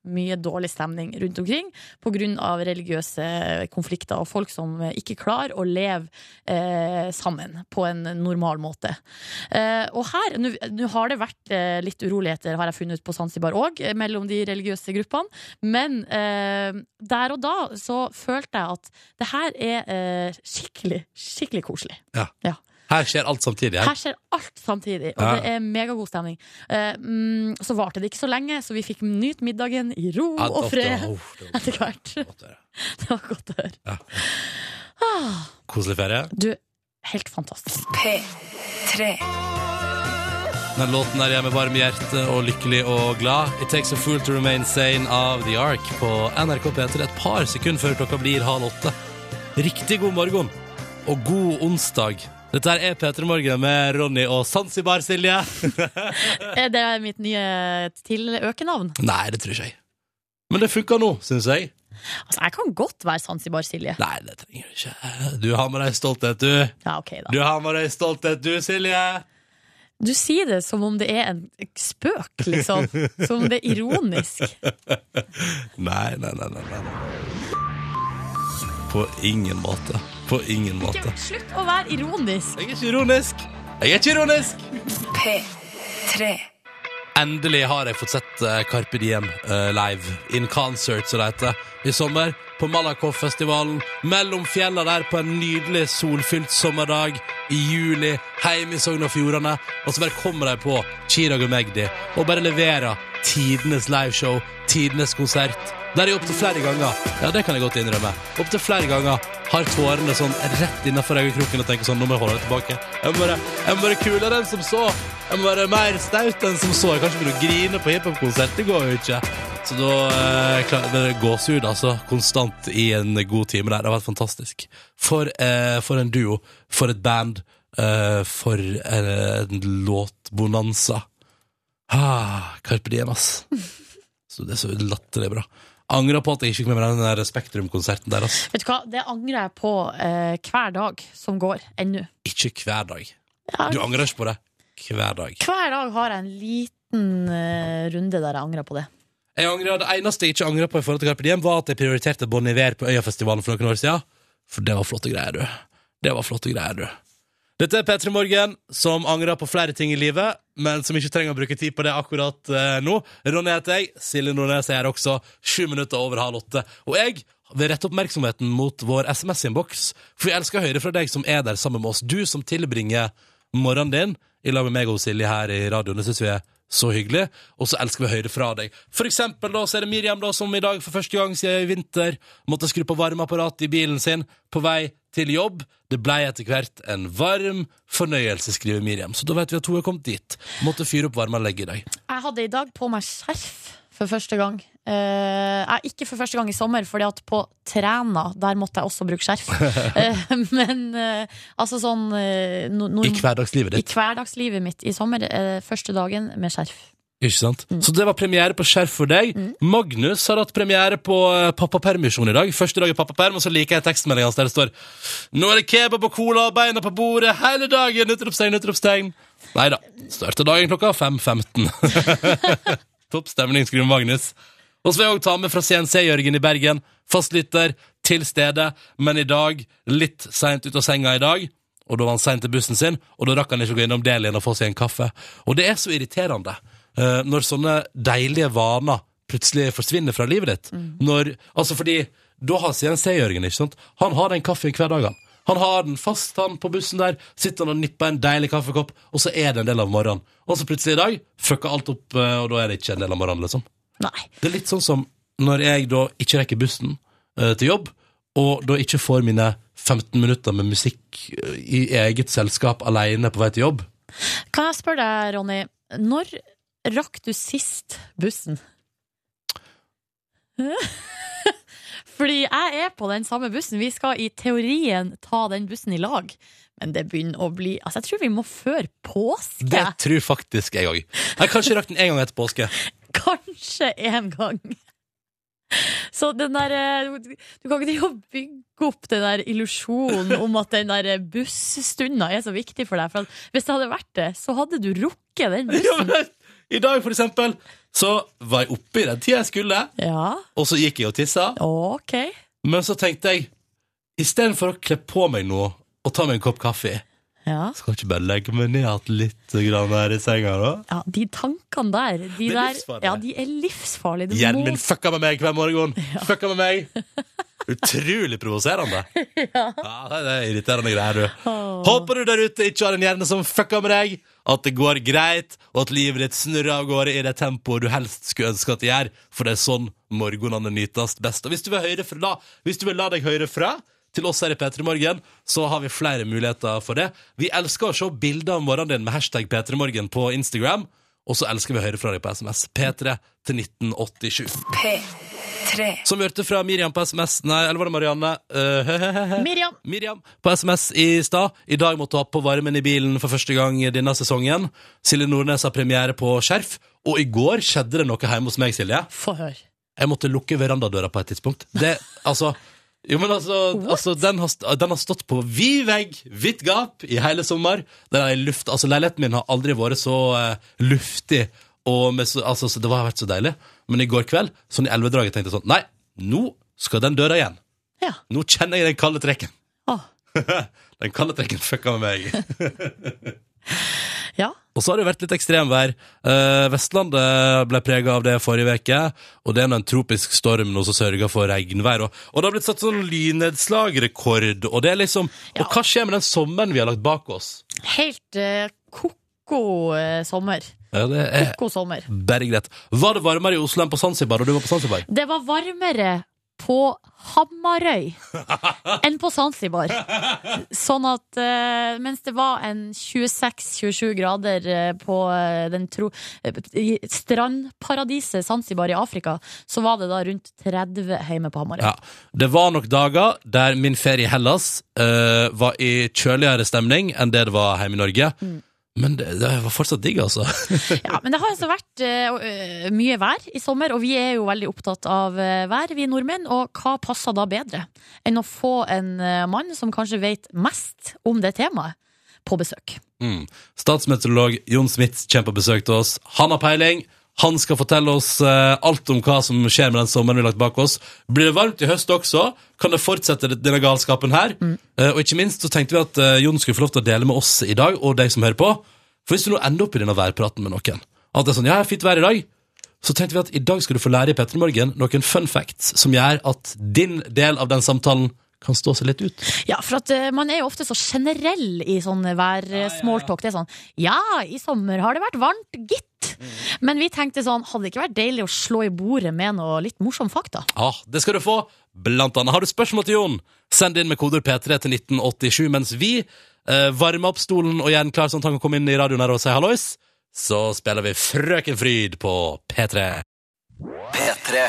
C: mye dårlig stemning rundt omkring pga. religiøse konflikter og folk som eh, ikke klarer å leve eh, sammen på en normal måte. Eh, og her, Nå nå har det vært eh, litt uroligheter, har jeg funnet ut på Zanzibar òg, mellom de religiøse gruppene. Men eh, der og da så følte jeg at det her er eh, skikkelig, skikkelig koselig.
B: Her skjer alt samtidig. Her.
C: Her skjer alt samtidig, og
B: Ja.
C: det er megagod stemning. Eh, mm, så varte det ikke så lenge, så vi fikk nyte middagen i ro
B: Ja,
C: og
B: da-
C: fred
B: da- uff, det var
C: (laughs) etter hvert.
B: godt å høre.
C: Det var godt å høre.
B: Ja.
C: Ah,
B: Koselig ferie.
C: du, helt fantastisk.
F: P3
B: Den låten der hjemme varm i hjertet og lykkelig og glad. It Takes a Fool to Remain Sane av The Ark på NRK P3 et par sekunder før klokka blir halv åtte. Riktig god morgen og god onsdag. Dette her er P3 Morgen med Ronny og Zanzibar, Silje.
C: Eh, Det er mitt nye til-økenavn.
B: Nei, det tror ikke jeg. Men det funka nå, syns jeg.
C: Altså, jeg kan godt være Zanzibar-Silje.
B: Nei, det trenger du ikke. Du har med deg stolthet, du.
C: Ja, ok da.
B: Du har med deg stolthet, du, Silje.
C: Du sier det som om det er en spøk,
B: (laughs)
C: liksom. Som om det er ironisk.
B: Nei, nei, nei, nei, nei. På ingen måte. På ingen måte.
C: Slutt å være ironisk!
B: Jeg er ikke ironisk. Jeg er ikke ironisk.
F: P3.
B: Endelig har jeg fått sett eh, Carpe Diem eh, live. In concert, som det heter. I sommer på Malakoff-festivalen. Mellom fjella der på en nydelig solfylt sommerdag i juli. Heim i Sogn og Fjordane. Og så bare kommer de på Chirag og Magdi og bare leverer tidenes liveshow, tidenes konsert. Der jeg opptil flere ganger Ja, det kan jeg godt innrømme. Opptil flere ganger har tårene sånn rett innafor øyekroken og tenker sånn Nå må jeg holde det tilbake. Jeg må være, jeg må være kulere enn som så. Jeg må være mer staut enn som så. Jeg kan ikke begynne å grine på hiphop-konsert. Det går jo ikke. Så da eh, klar, det er gåsehud, altså. Konstant i en god time der. Det har vært fantastisk. For, eh, for en duo. For et band. Eh, for eh, en låtbonanza. Ah, Carpe diem, ass. Så det er så latterlig bra. Angrer på at jeg ikke kom med den der Spektrum-konserten der. ass.
C: Vet du hva, det angrer jeg på eh, hver dag som går, ennå.
B: Ikke hver dag.
C: Ja,
B: Du angrer ikke på det hver dag.
C: Hver dag har jeg en liten eh, runde der jeg angrer på det.
B: Jeg angrer, Det eneste jeg ikke angrer på, i forhold til Carpe Diem var at jeg prioriterte Bon Iver på Øyafestivalen for noen år siden. For det var flotte greier, du. Det var flotte greier, du. Dette er P3 Morgen, som angrer på flere ting i livet, men som ikke trenger å bruke tid på det akkurat eh, nå. Ronny heter jeg. Silje Nordnes er her også. Sju minutter over halv åtte. Og jeg vil rette oppmerksomheten mot vår SMS-innboks, for jeg elsker å høre fra deg som er der sammen med oss. Du som tilbringer morgenen din i lag med meg og Silje her i radioen. Det syns vi er så hyggelig. Og så elsker vi å høre fra deg. For eksempel da, så er det Miriam da, som i dag for første gang siden i vinter måtte skru på varmeapparatet i bilen sin på vei til jobb. Det blei etter hvert en varm fornøyelse, skriver Miriam. Så da vet vi at hun er kommet dit. Måtte fyre opp varmeanlegget i dag.
C: Jeg hadde i dag på meg skjerf for første gang. Eh, eh, ikke for første gang i sommer, Fordi at på Træna der måtte jeg også bruke skjerf. Eh, men eh, altså sånn eh, no, no,
B: I hverdagslivet
C: i
B: ditt.
C: hverdagslivet mitt i sommer, eh, første dagen med skjerf.
B: Ikke sant? Så det var premiere på Skjerf for deg. Magnus har hatt premiere på eh, pappapermisjon i dag. Første dag i pappaperm, og så liker jeg tekstmeldinga hans der det står Nå er det kebab og cola og beina på bordet hele dagen! Utropstegn, utropstegn. Nei da. Starter dagen klokka (laughs) 5.15. Topp stemning, skriver Magnus. Og så vil jeg også ta med fra CNC-Jørgen i Bergen. Fastlytter, til stede, men i dag litt seint ut av senga i dag. Og da var han seint til bussen sin, og da rakk han ikke å gå innom Delien og få seg en kaffe. Og det er så irriterende eh, når sånne deilige vaner plutselig forsvinner fra livet ditt. Når, altså fordi da har CNC-Jørgen, ikke sant? Han har den kaffen hver dag, han. Han har den fast han på bussen der, sitter han og nipper en deilig kaffekopp, og så er det en del av morgenen. Og så plutselig i dag fucker alt opp, eh, og da er det ikke en del av morgenen, liksom.
C: Nei.
B: Det er litt sånn som når jeg da ikke rekker bussen eh, til jobb, og da ikke får mine 15 minutter med musikk eh, i eget selskap alene på vei til jobb.
C: Kan jeg spørre deg, Ronny, når rakk du sist bussen? (laughs) Fordi jeg er på den samme bussen. Vi skal i teorien ta den bussen i lag. Men det begynner å bli Altså, jeg tror vi må før
B: Det
C: påske.
B: tror faktisk jeg òg. Jeg kanskje rakk den en gang etter påske.
C: Kanskje en gang. (laughs) Så den der eh, Du kan ikke drive og bygge opp den der illusjonen om at den der busstunda er så viktig for deg. For at hvis det hadde vært det, så hadde du rukket
B: (laughs)
C: den
B: (laughs) Ja,
C: bussen.
B: men I dag, for eksempel, så var jeg oppe i den tida jeg skulle,
C: Ja,
B: og så gikk jeg og tissa,
C: ok.
B: men så tenkte jeg istedenfor å kle på meg noe og ta meg en kopp kaffe,
C: Ja.
B: skal jeg ikke bare legge meg ned igjen litt grann her i senga, da?
C: ja, de tankene der,
B: Det
C: de
B: er
C: der
B: livsfarlig.
C: ja, de er livsfarlige. Du
B: Hjernen
C: må-
B: min fucka med meg hver morgen. Fucka med meg. Utrolig provoserende. (laughs) ja. det er irriterende greier, du. Håper du der ute ikke har en hjerne som fucka med deg, at det går greit, og at livet ditt snurrer av gårde i det tempoet du helst skulle ønske at det gjør, for det er sånn morgenene nytes best. Og hvis du vil høre fra, la, hvis du vil la deg høre fra, til oss her i P3 Morgen, så har vi flere muligheter for det. Vi elsker å se bilder av morgenen din med hashtag P3 Morgen på Instagram, og så elsker vi å høre fra deg på SMS. P3 til 1987.
F: P3.
B: Som vi hørte fra Miriam på SMS Nei, eller var det Marianne? Eh,
C: Miriam,
B: Miriam på SMS i stad. I dag måtte hun ha på varmen i bilen for første gang i denne sesongen. Silje Nordnes har premiere på Skjerf. Og i går skjedde det noe hjemme hos meg, Silje.
C: få høre.
B: Jeg måtte lukke verandadøra på et tidspunkt. Det, altså, Jo, men altså, altså den, har, st- den har stått på vid vegg, hvitt gap, i hele sommer. Den er i luft, altså Leiligheten min har aldri vært så eh, luftig. Og med så, altså, så det har vært så deilig. Men i går kveld, sånn i elvedraget, tenkte jeg sånn Nei, nå skal den døra igjen.
C: Ja.
B: Nå kjenner jeg den kalde trekken.
C: Åh.
B: (laughs) den kalde trekken fucka med meg.
C: Ja.
B: (laughs) Og så har det jo vært litt ekstremvær. Eh, Vestlandet ble prega av det forrige uke. Og det er nå en tropisk storm nå som sørger for regnvær. Og, og det har blitt satt sånn lynnedslagrekord. Og det er liksom
C: Ja.
B: Og hva skjer med den sommeren vi har lagt bak oss?
C: Helt eh, koko eh, sommer.
B: Ja, det er
C: Koko sommer.
B: bare greit. Var det varmere i Oslo enn på Zanzibar da du var på Zanzibar?
C: Det var varmere på Hamarøy
B: (laughs)
C: enn på Zanzibar. Sånn at eh, mens det var en 26-27 grader eh, på eh, den tro, eh, i strandparadiset Zanzibar i Afrika, så var det da rundt 30 hjemme på Hamarøy.
B: Ja. Det var nok dager der min ferie i Hellas eh, var i kjøligere stemning enn det det var hjemme i Norge. Men det, det var fortsatt digg, altså.
C: Ja, men det har altså vært eh, og, eh, mye vær i sommer, og vi er jo veldig opptatt av eh, vær, vi nordmenn. Og hva passer da bedre enn å få en eh, mann som kanskje vet mest om det temaet, på besøk?
B: Mm. Statsmeteorolog Jon Smits kommer på besøk til oss. Han har peiling. Han skal fortelle oss eh, alt om hva som skjer med den sommeren vi har lagt bak oss. Blir det varmt i høst også, kan det fortsette denne galskapen her. Eh, og ikke minst så tenkte vi at eh, Jon skulle få lov til å dele med oss i dag, og de som hører på. For hvis du nå ender opp i denne værpraten med noen, at det er sånn, ja, fint vær i dag, så tenkte vi at i dag skal du få lære i Petremorgen noen fun facts som gjør at din del av den samtalen kan stå seg litt ut.
C: Ja, for at eh, man er jo ofte så generell i sånn hver eh, smalltalk. Det er sånn Ja, i sommer har det vært varmt, gitt. Men vi tenkte sånn, hadde det ikke vært deilig å slå i bordet med noe litt morsom fakta?
B: Ja, Ah, det skal du få. Blant annet har du spørsmål til Jon. Send inn med koder P3 til 1987 mens vi eh, varmer opp stolen og gjør den klar sånn at han kan komme inn i radioen her og si hallois. Så spiller vi Frøken Fryd på P3.
A: P3.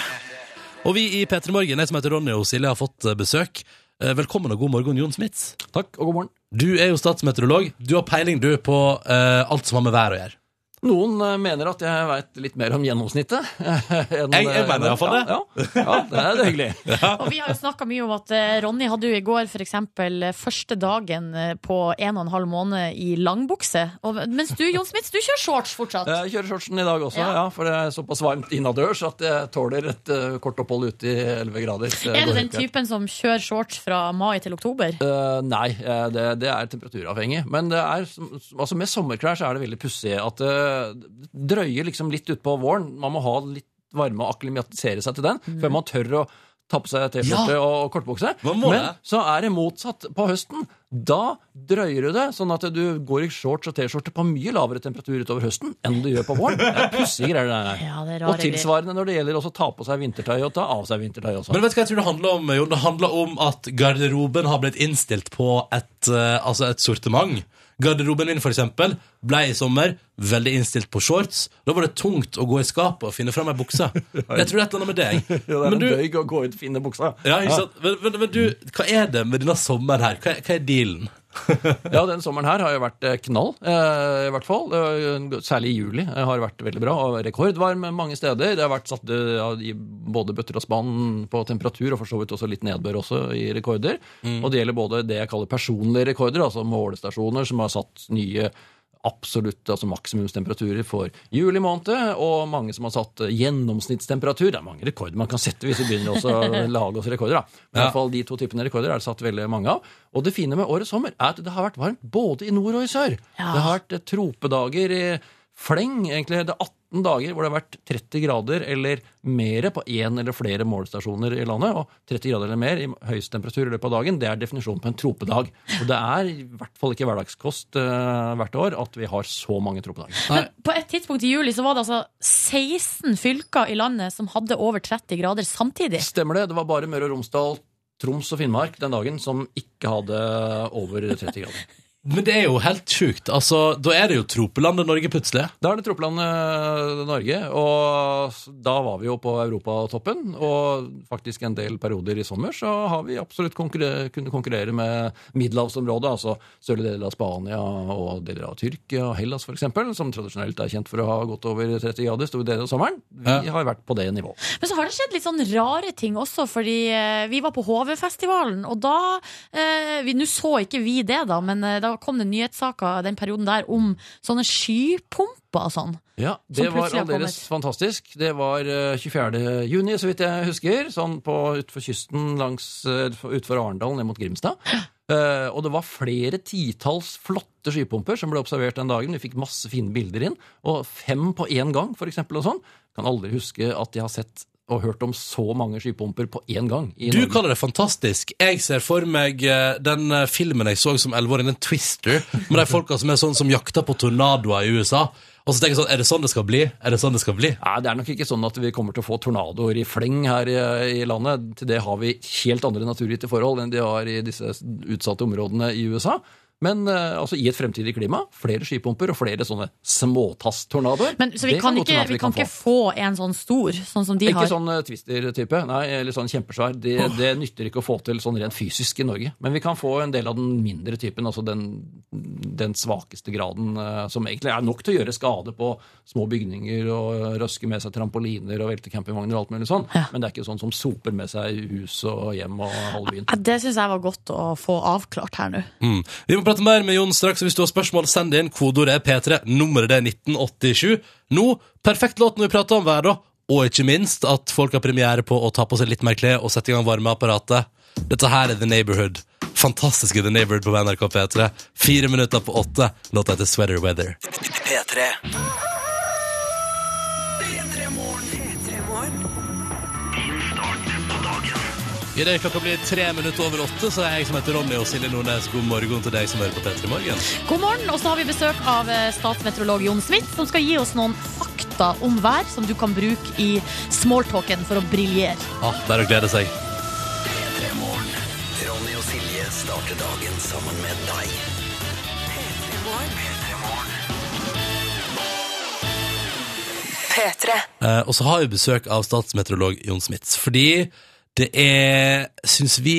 B: Og vi i P3 Morgen, jeg som heter Ronny og Silje, har fått eh, besøk. Eh, Velkommen og god morgen, Jon Smits.
G: Takk, og god morgen.
B: Du er jo statsmeteorolog. Du har peiling, du, på eh, alt som har med vær å gjøre.
G: Noen eh, mener at jeg veit litt mer om gjennomsnittet. (laughs) enn
B: Jeg- jeg
G: det-
B: mener i hvert fall det.
G: Ja, ja. ja, det er det hyggelig.
C: Og vi har jo snakka mye om at eh, Ronny hadde jo i går for eksempel eh, første dagen eh, på en og en halv måned i langbukse. Og, mens du, Jon Smits, du kjører shorts fortsatt.
G: Eh, Jeg kjører shortsen i dag også,
C: Ja.
G: ja. for det er såpass varmt innadørs at jeg tåler et eh, kort opphold ute i 11 grader. Det
C: Er
G: går
C: du den
G: helt greit.
C: typen som kjører shorts fra mai til oktober?
G: Eh, nei, eh, det, det er temperaturavhengig. Men det er, som- som- altså med sommerklær så er det veldig pussig at eh, det drøyer liksom litt utpå våren. Man må ha litt varme og akklimatisere seg til den før man tør å ta på seg T-skjorte
B: Mm. Ja.
G: og kortbukse.
B: Man må
G: Men
B: det.
G: så er det motsatt på høsten. Da drøyer du det, sånn at du går i shorts og T-skjorte på mye lavere temperatur utover høsten enn du gjør på våren. Det er pussige greier,
B: (laughs)
G: det der.
C: Ja, det er
G: Og
C: rare greier.
G: tilsvarende når det gjelder også å ta på seg vintertøy og ta av seg vintertøy også.
B: Men vet du hva jeg tror det handler om, Jon? Det handler om at garderoben har blitt innstilt på et, eh, altså et sortiment. Garderoben min for eksempel, ble i sommer veldig innstilt på shorts. Da var det tungt å gå i skapet og finne fram ei bukse. Jeg tror det er et eller annet med deg.
G: (laughs) Ja, det er
B: Men
G: en
B: du,
G: bøyg å gå ut og finne buksa.
B: ja, ikke sant? Men, men, men du, hva er det med denne sommeren her? Hva er, hva er dealen?
G: Ja, den sommeren her har jo vært eh, knall, eh, i hvert fall. Eh, Særlig i juli eh, har det vært veldig bra. og Rekordvarm mange steder. Det har vært satt eh, ja, i både bøtter og spann på temperatur, og for så vidt også litt nedbør også i rekorder. Og det gjelder både det jeg kaller personlige rekorder, altså målestasjoner som har satt nye absolutt altså maksimumstemperaturer for juli måned, og mange som har satt eh, gjennomsnittstemperatur. Det er mange rekorder man kan sette hvis vi begynner også å lage oss rekorder. da. Men i hvert fall de to typene rekorder er det satt veldig mange av. Og det fine med årets sommer er at det har vært varmt både i nord og i sør.
C: Ja.
G: Det har vært eh, tropedager i fleng, egentlig. Det er 18 dager hvor det har vært 30 grader eller mer på én eller flere målestasjoner i landet. Og 30 grader eller mer i høyest temperatur i løpet av dagen, det er definisjonen på en tropedag. Og det er i hvert fall ikke hverdagskost eh, hvert år at vi har så mange tropedager.
C: Men på et tidspunkt i juli så var det altså 16 fylker i landet som hadde over 30 grader samtidig.
G: Stemmer det? Det var bare Møre og Romsdal, Troms og Finnmark den dagen som ikke hadde over 30 grader.
B: Men det er jo helt sjukt. Altså, da er det jo tropelandet Norge plutselig.
G: Da er det Tropland eh, Norge, og s- da var vi jo på europatoppen. Og faktisk en del perioder i sommer så har vi absolutt konkurre kunne konkurrere med middelhavsområdet, altså større deler av Spania og deler av Tyrkia og Hellas f.eks., som tradisjonelt er kjent for å ha gått over 30 grader store deler av sommeren. Vi
B: Ja.
G: har vært på det nivået.
C: Men så har det skjedd litt sånn rare ting også, fordi eh, vi var på HV-festivalen, og da eh, vi- Nå så ikke vi det, da, men eh, da kom det nyhetssaker den perioden der om sånne skypumper og sånn.
G: Ja,
C: Som
G: Det var
C: plutselig har
G: aldeles fantastisk. Det var eh, 24. juni, så vidt jeg husker. Sånn på utfor kysten langs eh, utfor Arendal ned mot
C: (gasps)
G: Grimstad. Eh, og det var flere titalls flotte skypumper som ble observert den dagen. Vi fikk masse fine bilder inn. Og fem på én gang, for eksempel. Og sånn. Kan aldri huske at jeg har sett og hørt om så mange skypumper på én gang. I
B: Du
G: Norge.
B: kaller det fantastisk. Jeg ser for meg eh, den eh, filmen jeg så som 11-åring, den Twister, med de folka som er sånn som jakter på tornadoer i USA. Og så tenker jeg sånn, er det sånn det skal bli? Er det sånn det skal bli?
G: Nei, Det er nok ikke sånn at vi kommer til å få tornadoer i fleng her i, i landet. Til det har vi helt andre naturgitte forhold enn de har i disse utsatte områdene i USA. Men eh, altså, i et fremtidig klima, flere skipumper og flere sånne småtass-tornadoer.
C: Men, så vi
G: det
C: kan,
G: godt
C: ikke,
G: hende at
C: vi kan ikke få en sånn stor, sånn som de
G: Ikke
C: har.
G: sånn eh, Twister-type, nei, eller sånn kjempesvær. Det, det nytter ikke å få til sånn rent fysisk i Norge. Men vi kan få en del av den mindre typen, altså den, den svakeste graden, eh, som egentlig er nok til å gjøre skade på små bygninger og eh, røske med seg trampoliner og velte campingvogner og alt mulig sånn. Men det er ikke sånn som soper med seg hus og hjem og halve byen.
C: Ja, Det syns jeg var godt å få avklart her nå.
B: Mm. Vi må prate mer med Jon straks. og Hvis du har spørsmål, send det inn. Kodeordet er P3. Nummeret det er 1987. Nå, perfekt låt når vi prater om vær, da. Og ikke minst at folk har premiere på å ta på seg litt mer klær og sette i gang varmeapparatet. Dette her er The Neighborhood. Fantastiske The Neighborhood på NRK P3. Fire minutter på åtte. Låta heter Sweater Weather.
A: P3.
B: Idet klokka blir tre minutter over åtte, så er jeg som heter Ronny og Silje Nordnes, god morgen til deg som hører på P3 Morgen.
C: God morgen, og så har vi besøk av eh, statsmeteorolog Jon Smith, som skal gi oss noen fakta om vær som du kan bruke i smalltalken for å briljere.
B: Ah, det er å glede seg.
A: Ronny og Silje starter dagen sammen med deg.
F: P3.
B: Eh, og så har vi besøk av statsmeteorolog Jon Smits, fordi det er, syns vi,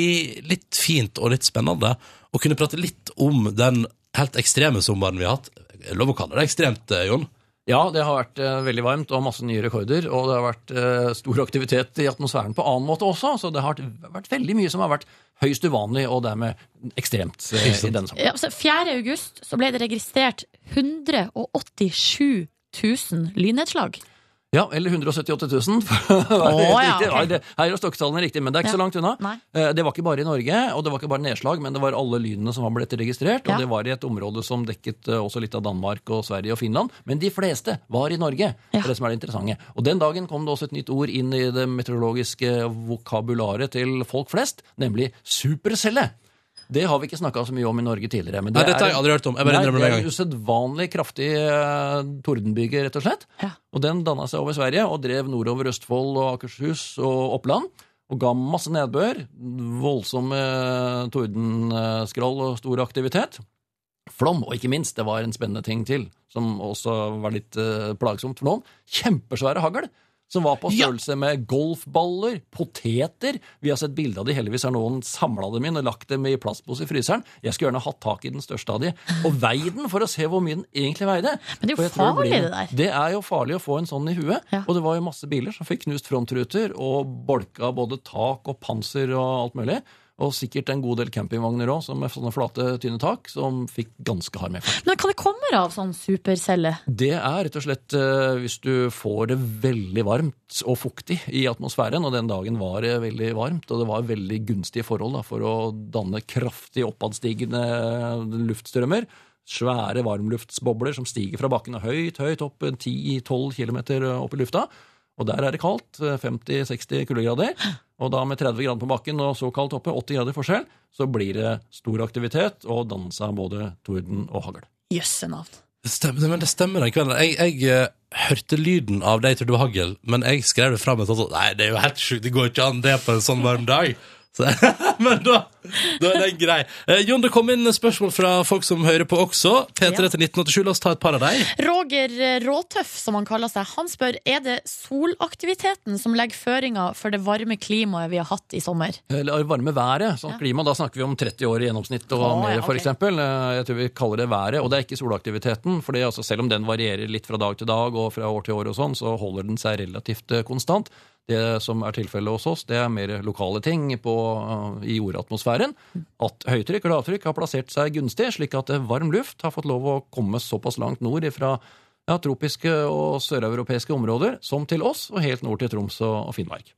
B: litt fint og litt spennende å kunne prate litt om den helt ekstreme sommeren vi har hatt. Det er Lov å kalle det ekstremt, eh, Jon.
G: Ja, det har vært eh, veldig varmt og masse nye rekorder. Og det har vært eh, stor aktivitet i atmosfæren på annen måte også. Så det har vært veldig mye som har vært høyst uvanlig, og dermed ekstremt eh, i denne sammenheng.
C: Ja, altså, 4. august så ble det registrert 187 000 lynnedslag.
G: Ja, eller 178 (laughs) 000. for å være
C: Å,
G: helt
C: ja,
G: riktig.
C: ok.
G: Nei, det- Her er stokktallene riktig, men det er ikke
C: Ja.
G: så langt unna.
C: Nei.
G: Eh, Det var ikke bare i Norge, og det var ikke bare nedslag, men det var alle lynene som var blitt registrert.
C: Ja.
G: Og det var i et område som dekket eh, også litt av Danmark og Sverige og Finland. Men de fleste var i Norge. Det
C: Ja.
G: er det som er det interessante. Og den dagen kom det også et nytt ord inn i det meteorologiske vokabularet til folk flest, nemlig supercelle. Det har vi ikke snakka så mye om i Norge tidligere. Men det
B: Nei, dette har jeg
G: er-
B: aldri hørt om. Jeg bare
G: Nei,
B: innrømmer
G: det
B: det
G: er
B: med en
G: en
B: gang.
G: usedvanlig kraftig eh, tordenbyge, rett og slett.
C: Ja.
G: Og den danna seg over Sverige og drev nordover Østfold og Akershus og Oppland. Og ga masse nedbør. Voldsomme eh, tordenskrall og stor aktivitet. Flom, og ikke minst, det var en spennende ting til, som også var litt eh, plagsomt for noen. Kjempesvære hagl. Som var på
B: Ja.
G: størrelse med golfballer, poteter Vi har sett bilde av de, heldigvis har noen samla dem inn og lagt dem i plastpose i fryseren. Jeg skulle gjerne hatt tak i den største av de, og veid den for å se hvor mye den egentlig veide.
C: Men det er jo
G: For jeg tror
C: farlig,
G: blir-
C: det der.
G: det er jo farlig å få en sånn i huet.
C: Ja.
G: Og det var jo masse biler som fikk knust frontruter og bolka både tak og panser og alt mulig. Og sikkert en god del campingvogner òg, med sånne flate, tynne tak, som fikk ganske hard medfart.
C: Men hva det kommer av sånn supercelle?
G: Det er rett og slett eh, hvis du får det veldig varmt og fuktig i atmosfæren, og den dagen var det veldig varmt, og det var veldig gunstige forhold da, for å danne kraftig oppadstigende luftstrømmer. Svære varmluftsbobler som stiger fra bakken og høyt, høyt opp, eh, en 10-12 km eh, opp i lufta. Og der er det kaldt, eh, 50-60 kuldegrader. Og da med 30 grader på bakken og så kaldt oppe, 80 grader forskjell, så blir det stor aktivitet og dannelse av både torden og hagl.
C: Jøsse navn.
B: Det stemmer, men det stemmer den kvelden. Jeg, jeg eh, hørte lyden av det jeg trodde var hagl, men jeg skrev det fram og tenkte sånn, nei, det er jo helt sjukt, det går ikke an det på en sånn varm dag. Så, (laughs) men da, da er den grei. Eh, Jon, det kom inn spørsmål fra folk som hører på også. P3 til 1987, la oss ta et par av deg.
C: Roger Råtøff, som han kaller seg, han spør er det solaktiviteten som legger føringer for det varme klimaet vi har hatt i sommer.
G: Eller varme været. Sånn
C: Ja.
G: klima, da snakker vi om 30 år i gjennomsnitt og
C: Å,
G: mer,
C: ja,
G: for
C: ok.
G: eksempel. Eh, Jeg tror vi kaller det været, og det er ikke solaktiviteten. fordi altså, selv om den varierer litt fra dag til dag og fra år til år, og sånn, så holder den seg relativt eh, konstant. Det som er tilfellet hos oss, det er mer lokale ting på, eh, i jordatmosfæren. At høytrykk og lavtrykk har plassert seg gunstig, slik at eh, varm luft har fått lov å komme såpass langt nord fra ja, tropiske og søreuropeiske områder som til oss, og helt nord til Troms og og Finnmark.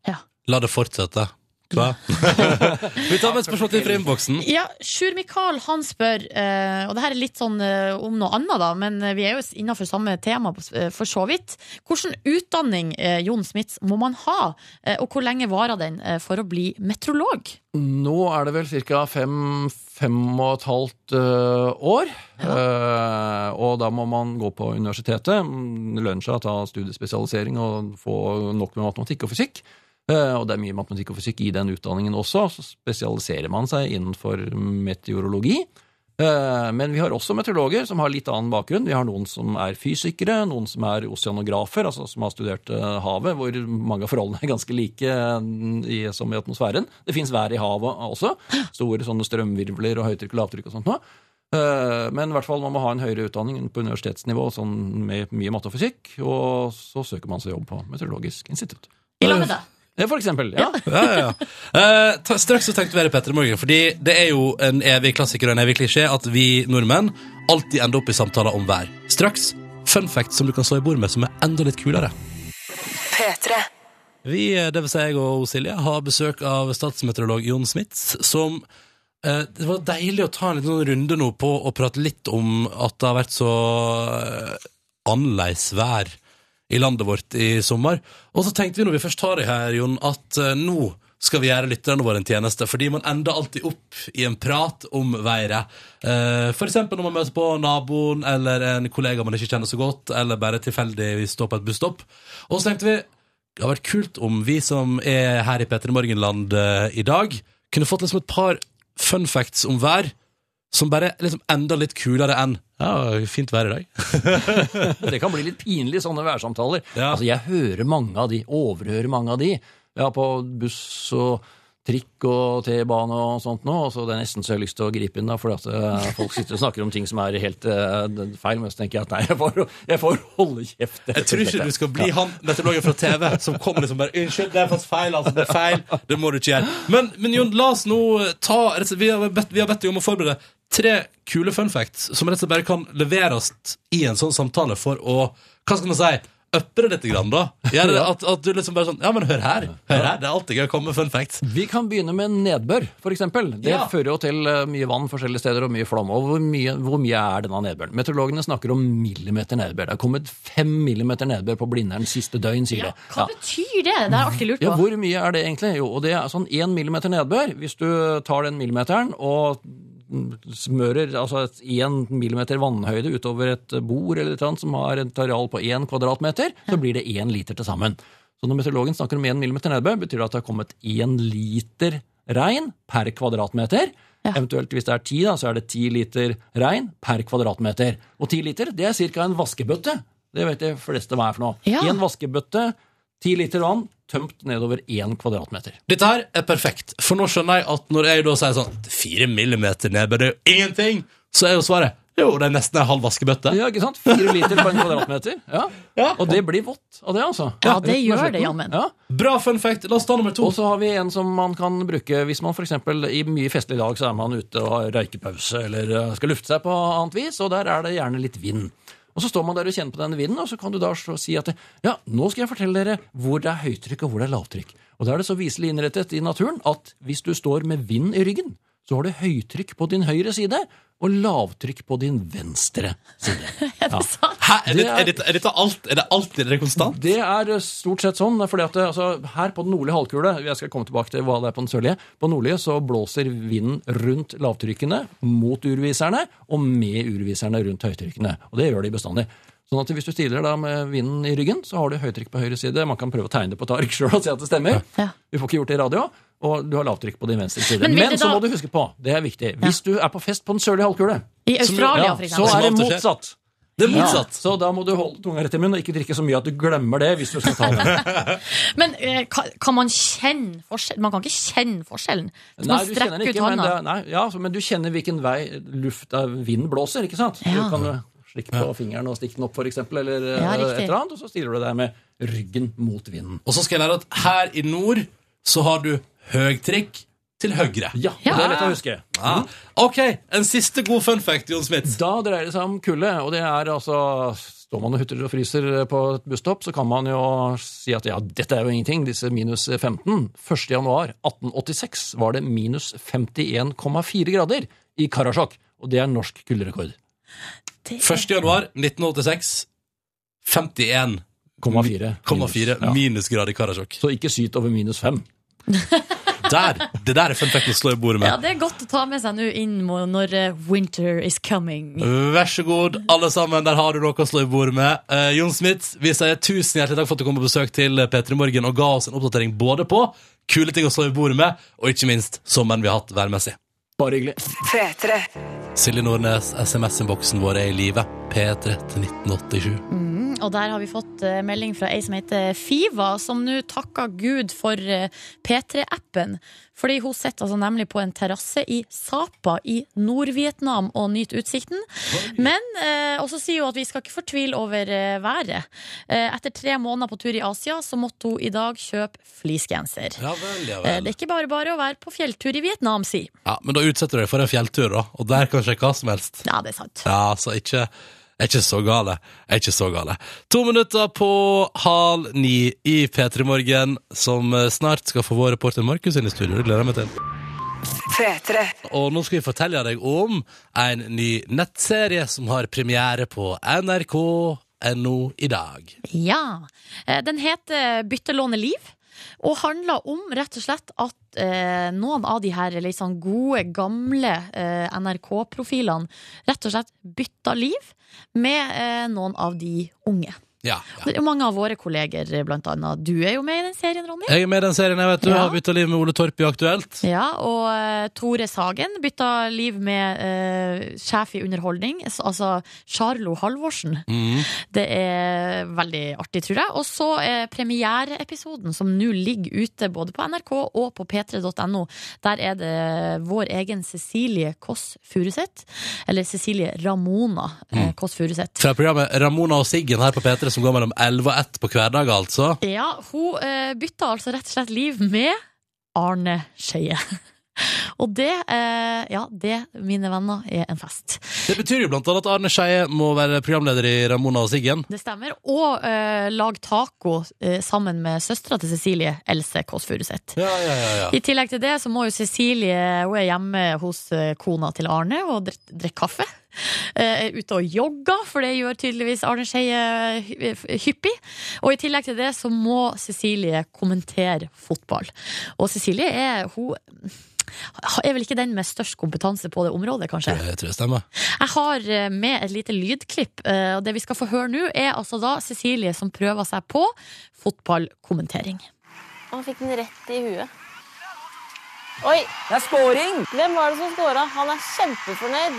B: La det fortsette. Hva? Vi tar med et spørsmål til fra innboksen.
C: Ja, Sjur Mikael han spør, eh, og det her er litt sånn eh, om noe annet, da, men eh, vi er jo innafor samme tema på s- eh, for så vidt. Hvilken utdanning eh, Jon Smits, må man ha, eh, og hvor lenge varer den eh, for å bli meteorolog?
G: Nå er det vel ca. fem, fem og et halvt eh, år. Eh, og da må man gå på universitetet, mm, lønne seg, ta studiespesialisering og få nok med matematikk og fysikk. Eh, og det er mye matematikk og fysikk i den utdanningen også. Så spesialiserer man seg innenfor meteorologi. Eh, Men vi har også meteorologer som har litt annen bakgrunn. Vi har noen som er fysikere, noen som er oseanografer, altså som har studert eh, havet, hvor mange av forholdene er ganske like eh, i, som i atmosfæren. Det fins vær i havet også. Store sånne strømvirvler og høytrykk og lavtrykk og sånt noe. Eh, Men i hvert fall man må ha en høyere utdanning på universitetsnivå sånn med mye matte og fysikk, og så søker man seg jobb på Meteorologisk institutt.
C: I lag med deg.
G: Eh, For eksempel.
B: (laughs)
G: Ja.
B: Ja, ja, ja. Eh, ta, straks så tenkte vi her i Petter i morgen, fordi det er jo en evig klassiker og en evig klisjé at vi nordmenn alltid ender opp i samtaler om vær. Straks fun fact som du kan slå i bord med, som er enda litt kulere.
F: P3.
B: Vi, eh, det vil si jeg og Silje, har besøk av statsmeteorolog Jon Smits, som eh, Det var deilig å ta en liten sånn runde nå på å prate litt om at det har vært så eh, annerledes vær i landet vårt i sommer. Og så tenkte vi når vi først tar det her, Jon, at eh, nå skal vi gjøre lytterne våre en tjeneste, fordi man ender alltid opp i en prat om været. Eh, For eksempel når man møter på naboen eller en kollega man ikke kjenner så godt, eller bare tilfeldigvis står på et busstopp. Og så tenkte vi det hadde vært kult om vi som er her i Petter i Morgenland eh, i dag, kunne fått liksom et par fun facts om vær, som bare er liksom enda litt kulere enn Ja, fint vær i dag.
G: Det kan bli litt pinlig, sånne værsamtaler.
B: Ja.
G: Altså, jeg hører mange av de, overhører mange av de. Ja, på buss og trikk og T-bane og sånt nå, så det er nesten så jeg har lyst til å gripe inn da, fordi at eh, folk sitter og snakker om ting som er helt eh, feil, men så tenker jeg at nei, jeg får, jeg får holde kjeft.
B: Jeg tror ikke du skal bli han meteorologen fra TV som kommer liksom bare 'Unnskyld, det er faktisk feil.' altså, det er feil, det må du ikke gjøre. Men, men Jon, la oss nå ta Vi har bedt, vi har bedt deg om å forberede tre kule fun facts som rett og slett bare kan leveres i en sånn samtale for å Hva skal man si? Uppe det litt, grann, da. Gjøre det at, at du liksom bare sånn Ja, men hør her. hør her, Det er alltid gøy å komme med fun facts.
G: Vi kan begynne med nedbør, for eksempel. Det
B: Ja.
G: fører jo til eh, mye vann forskjellige steder og mye flom. Og hvor mye, hvor mye er denne nedbøren? Meteorologene snakker om millimeter nedbør. Det er kommet fem millimeter nedbør på Blindern siste døgn, sier
C: Ja,
G: de.
C: hva betyr det? Det har jeg alltid lurt
G: Ja,
C: på.
G: hvor mye er det egentlig? Jo, og det er sånn én millimeter nedbør. Hvis du tar den millimeteren og smører altså et én millimeter vannhøyde utover et bord eller et eller annet som har et areal på én kvadratmeter, så blir det én liter til sammen. Så når meteorologen snakker om én millimeter nedbør, betyr det at det har kommet én liter regn per kvadratmeter. Eventuelt hvis det er ti, da, så er det ti liter regn per kvadratmeter. Og ti liter, det er ca. en vaskebøtte. Det vet de fleste hva er for noe.
C: Ja.
G: En vaskebøtte, ti liter vann, tømt nedover én kvadratmeter.
B: Dette her er perfekt, for nå skjønner jeg at når jeg da sier sånn Fire millimeter nedbør, det er jo ingenting! Så er jo svaret Jo, det er nesten ei halv vaskebøtte.
G: Ja, ikke sant? Fire liter på en kvadratmeter. Ja. Og det blir vått av det, altså.
C: Ja, det
G: Rett og slett.
C: gjør det, jammen.
G: Ja.
B: Bra fun fact. La oss ta nummer to.
G: Og så har vi en som man kan bruke hvis man f.eks. i mye festlig dag så er man ute og har røykepause eller eh, skal lufte seg på annet vis, og der er det gjerne litt vind. Og så står man der og kjenner på denne vinden, og så kan du da så si at ja, nå skal jeg fortelle dere hvor det er høytrykk og hvor det er lavtrykk. Og da er det så viselig innrettet i naturen at hvis du står med vind i ryggen, så har du høytrykk på din høyre side og lavtrykk på din venstre side.
C: (laughs)
G: Ja.
B: Hæ? Er,
G: Det
B: det,
G: er-
B: er, dette- er, dette alt, er det alltid er det konstant?
G: Det er stort sett sånn. fordi at altså, Her på den nordlige halvkule jeg skal komme tilbake til hva det er på den sørlige, på den nordlige så blåser vinden rundt lavtrykkene mot urviserne og med urviserne rundt høytrykkene. Og det gjør de bestandig. Sånn at Hvis du stiller da med vinden i ryggen, så har du høytrykk på høyre side. Man kan prøve å tegne det på et ark sjøl og se at det stemmer.
C: Ja.
G: Vi får ikke gjort det i radio. og du har lavtrykk på din venstre side.
C: Men
G: Men,
C: vil det
G: så
C: da-
G: må du huske på, det er viktig, hvis du er på fest på den sørlige halvkule,
C: I Australia,
G: ja,
C: for
G: så
C: eksempel.
G: er
B: Som
G: det
B: ofte skjer.
G: motsatt.
B: Det er motsatt.
G: Ja, så da må du holde tunga rett i munnen og ikke drikke så mye at du glemmer det hvis du skal ta
C: (laughs)
G: den.
C: Men eh, kan, kan man kjenne forskjellen? Man kan ikke kjenne forskjellen. Så man
G: Nei, du kjenner
C: strekker
G: den
C: ut
G: ikke, men,
C: hånda.
G: det, er- nei, ja, så- men du kjenner hvilken vei luft av vind blåser, ikke sant?
C: Ja.
G: Du kan jo slikke på fingeren og stikke den opp, for eksempel, eller eh,
C: Ja, riktig.
G: et eller annet, og så stiller du deg med ryggen mot vinden.
B: Og så skal jeg lære at her i nord så har du høgtrikk til høyre.
G: Ja,
C: Ja.
G: det er lett å huske.
B: Ja. Ok, en siste god fun fact, Jon Smith.
G: Da dreier det seg om kulde, og det er altså Står man og hutrer og fryser på et busstopp, så kan man jo si at ja, dette er jo ingenting, disse minus 15. 1. januar 1886 var det minus 51,4 grader i Karasjok, og det er norsk kulderekord.
B: 1. januar 1986. 51,4
G: 0,4. Ja.
B: minusgrad i Karasjok.
G: Så ikke syt over minus 5.
B: Der, Det der er fun facten å slå i bordet med.
C: Ja, det er godt å ta med seg nå inn mo- når eh, winter is coming.
B: Vær så god, alle sammen. Der har du noe å slå i bordet med. Eh, Jon Smith, vi sier tusen hjertelig takk for at du kom på besøk til P3 Morgen og ga oss en oppdatering både på kule ting å slå i bordet med, og ikke minst sommeren vi har hatt værmessig.
G: Bare hyggelig.
F: P3.
B: Silje Nordnes, SMS-innboksen vår er i live. P3 til 1987.
C: Og der har vi fått eh, melding fra ei som heter Fiva, som nå takker Gud for eh, P3-appen. Fordi hun sitter altså nemlig på en terrasse i Sapa i Nord-Vietnam og nyter utsikten. Men eh, også sier hun at vi skal ikke fortvile over eh, været. Eh, etter tre måneder på tur i Asia så måtte hun i dag kjøpe fleecegenser.
B: Ja vel, ja
C: Eh, det er ikke bare bare å være på fjelltur i Vietnam, si.
B: Ja, men da utsetter du deg for en fjelltur, da. Og der kan skje hva som helst.
C: Ja, det er sant.
B: Ja, så ikke er ikke så gale. Er ikke så gale. To minutter på halv ni i P3 Morgen, som eh, snart skal få vår reporter Markus inn i studio. Det gleder jeg meg til.
F: P3.
B: Og nå skal vi fortelle deg om en ny nettserie som har premiere på nrk.no i dag.
C: Ja. Eh, Den heter Byttelåne liv. Og handler om rett og slett at eh, noen av de her litt sånn gode, gamle eh, NRK-profilene rett og slett bytta liv med eh, noen av de unge.
B: Ja, ja.
C: Det er jo mange av våre kolleger, blant annet. Du er jo med i den serien, Ronny.
B: Jeg er med i den serien, jeg vet du.
C: Ja.
B: Har bytta liv med Ole Torp i Aktuelt.
C: Ja, Og eh, Tore Sagen bytta liv med eh, sjef i underholdning, altså Charlo Halvorsen.
B: Mm.
C: Det er veldig artig, tror jeg. Og så eh, premiereepisoden som nå ligger ute både på NRK og på p3.no. Der er det vår egen Cecilie Kåss Furuseth, eller Cecilie Ramona eh, Kåss Furuseth.
B: Fra programmet Ramona og Siggen her på P3, som går mellom 11 og 1 på hverdag, altså.
C: Ja, hun eh, bytta altså rett og slett liv med Arne Skeie. (laughs) Og det, eh, ja, det, mine venner, er en fest.
B: Det betyr jo blant annet at Arne Skeie må være programleder i Ramona og Siggen.
C: Det stemmer. Og eh, lag taco eh, sammen med søstera til Cecilie, Else Kåss Furuseth.
B: Ja, ja, ja, ja.
C: I tillegg til det så må jo Cecilie Hun er hjemme hos eh, kona til Arne og drik- drikker kaffe. Eh, Er ute og jogger, for det gjør tydeligvis Arne Skeie hy- hyppig. Og i tillegg til det så må Cecilie kommentere fotball. Og Cecilie er hun er vel ikke den med størst kompetanse på det området, kanskje?
B: Jeg tror det stemmer.
C: Jeg har eh, med et lite lydklipp, eh, og det vi skal få høre nå, er altså da Cecilie som prøver seg på fotballkommentering.
H: Han fikk den rett i huet. Oi! Det er scoring! Hvem var det som scora? Han er kjempefornøyd.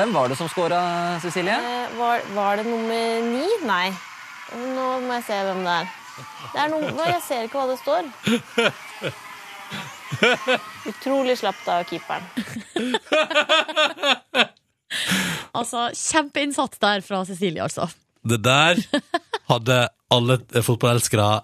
I: hvem var det som scora, Cecilie?
H: Eh, var, var det nummer ni? Nei. Nå må jeg se hvem det er. Det er noe, Jeg ser ikke hva det står. Utrolig slapt av keeperen.
C: Altså, kjempeinnsats der fra Cecilie, altså.
B: Det (laughs) der hadde alle fotballelskere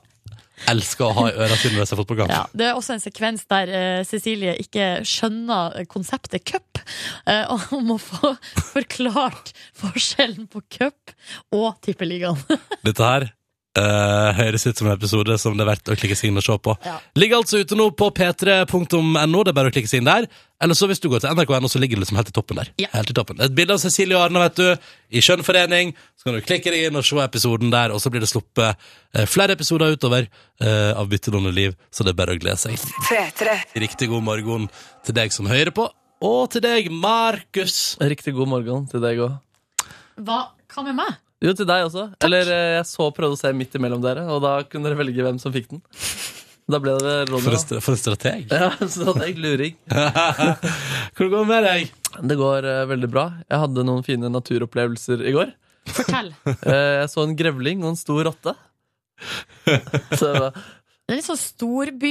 B: elska å ha i øra sine ved seg fotballkamp.
C: Ja, det er også en sekvens der eh, Cecilie ikke skjønner konseptet cup, eh, og hun må få (laughs) forklart forskjellen på cup og tippeligaen. (laughs)
B: Dette her eh, høres ut som en episode som det er verdt å klikke seg inn og se på.
C: Ja.
B: Ligger altså ute nå på p3.no, det er bare å klikke seg inn der. Eller så hvis du går til nrk.no, så ligger det liksom helt i toppen der.
C: Ja.
B: Helt i toppen. Et bilde av Cecilie og Arne, vet du, i skjønnforening. Så kan du klikke deg inn og se episoden der, og så blir det sluppet eh, flere episoder utover eh, av Byttelån og liv, så det er bare å glede seg.
F: P3.
B: Riktig god morgen til deg som hører på, og til deg, Markus.
J: Riktig god morgen til deg òg.
C: Hva, hva med meg?
J: Jo, til deg også. Eller eh, jeg så prøvde å se midt imellom dere, og da kunne dere velge hvem som fikk den. Da ble det Ronny.
B: For en stra- for en (laughs) strateg.
J: (laughs) Ja, strateg luring.
B: Hvordan går det med deg?
J: Det går eh, veldig bra. Jeg hadde noen fine naturopplevelser i går.
C: Fortell.
J: Eh, jeg så en grevling og en stor rotte. (laughs) Så det var,
C: Det er litt sånn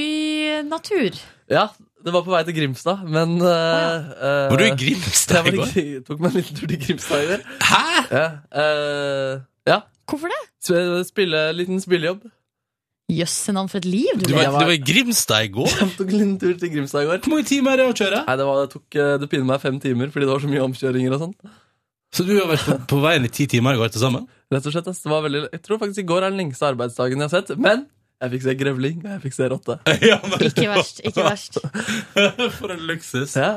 C: storbynatur.
J: ja, det var på vei til Grimstad, men eh, eh,
B: Var du i Grimstad
J: jeg var
B: i går?
J: Gri- tok meg en liten tur til Grimstad i går. Hæ?! Ja, eh, ja.
C: Hvorfor det?
J: Sp- Spille, liten spillejobb. (laughs)
C: Jøsse navn for et liv du
J: Du var-
C: lever.
J: du var-
B: I Grimstad i går?
J: Jeg tok en liten tur til Grimstad i
B: (laughs)
J: går.
B: Hvor mange timer er det å kjøre?
J: Nei, Det, var, det, tok, eh, det piner meg fem timer, fordi det var så mye omkjøringer og sånn.
B: Så du har vært på, på veien i ti timer i går til (laughs) sammen?
J: Rett og slett, ass. Det var veldig, jeg tror faktisk i går er den lengste arbeidsdagen jeg har sett. Men jeg fikk se grevling, og jeg fikk se rotte.
C: Ikke verst. ikke verst
B: (laughs) For en luksus. Ja.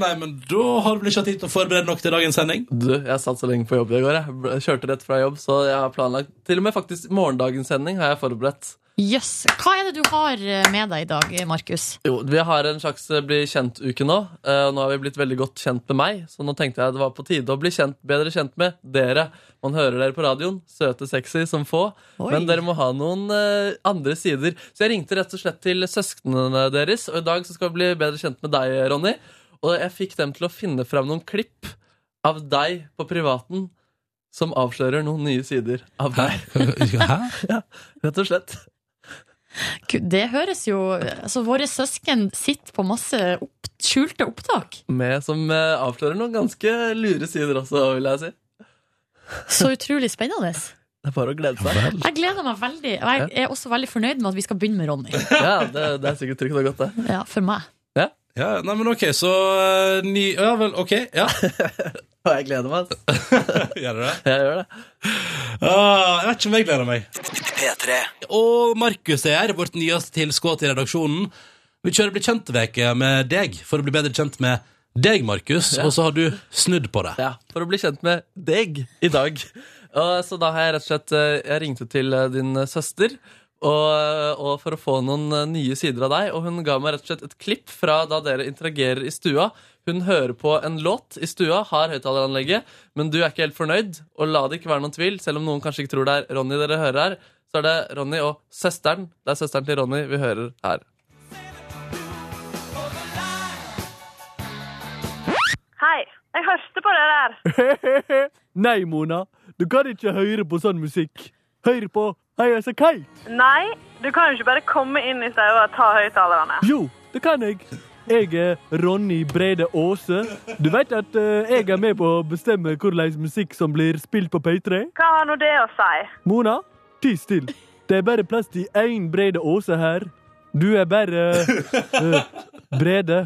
B: nei, men da har du vel ikke hatt tid til å forberede nok til dagens sending?
J: Du, jeg satt så lenge på jobb i går. Jeg Ble- kjørte rett fra jobb, så jeg har planlagt Til og med faktisk morgendagens sending har jeg forberedt.
C: Jøss. Hva er det du har eh, med deg i dag, Markus?
J: Jo, Vi har en slags eh, bli kjent-uke nå. Eh, Nå har vi blitt veldig godt kjent med meg, så nå tenkte jeg det var på tide å bli kjent, bedre kjent med dere. Man hører dere på radioen, søte, sexy som få,
K: Oi.
J: men dere må ha noen eh, andre sider. Så jeg ringte rett og slett til søsknene deres, og i dag så skal vi bli bedre kjent med deg, Ronny. Og jeg fikk dem til å finne fram noen klipp av deg på privaten som avslører noen nye sider av deg.
B: Hæ?
J: ja, rett og slett.
C: Gud, Det høres jo Altså, våre søsken sitter på masse opp, skjulte opptak.
J: Med som eh, avslører noen ganske lure sider også, vil jeg si.
C: Så utrolig spennende.
J: Det er bare å glede seg.
C: Jeg gleder meg veldig. Og jeg er også veldig fornøyd med at vi skal begynne med Ronny.
J: Ja, det, det er sikkert trygt og godt, det.
C: Ja, for meg.
J: Ja.
B: nei, men ok, så eh, ni, Ja vel, ok. Ja.
J: Og jeg gleder meg. altså.
B: (laughs) Gjør du det?
J: Jeg gjør det.
B: Ah, jeg vet ikke om jeg gleder meg. Og Markus er her, vårt nyeste tilskudd til redaksjonen. Vi kjører Bli kjent-veke med deg, for å bli bedre kjent med deg, Markus.
J: Ja.
B: Og så har du snudd på det.
J: Ja, For å bli kjent med deg i dag. Og så da har jeg rett og slett eh, Jeg ringte til eh, din eh, søster. Og, eh, og for å få noen eh, nye sider av deg. Og hun ga meg rett og slett et klipp fra da dere interagerer i stua. Hun hører på en låt i stua, har høyttaleranlegget, men du er ikke helt fornøyd. Og la det ikke være noen tvil, selv om noen kanskje ikke tror det er Ronny dere hører her, så er det Ronny og søsteren. Det er søsteren til Ronny vi hører her.
L: Hei, jeg hørte på det der.
M: (laughs) Nei, Mona. Du kan ikke høre på sånn musikk. Hør på Heia så kaldt.
L: Nei, du kan jo ikke bare komme inn i stedet og ta høyttalerne.
M: Jo, det kan jeg. Jeg er Ronny Brede Aase. Du vet at eh, jeg er med på å bestemme hvordan musikk som blir spilt på P3?
L: Hva har nå det å si?
M: Mona, ty still. Det er bare plass til én Brede Aase her. Du er bare eh, Brede.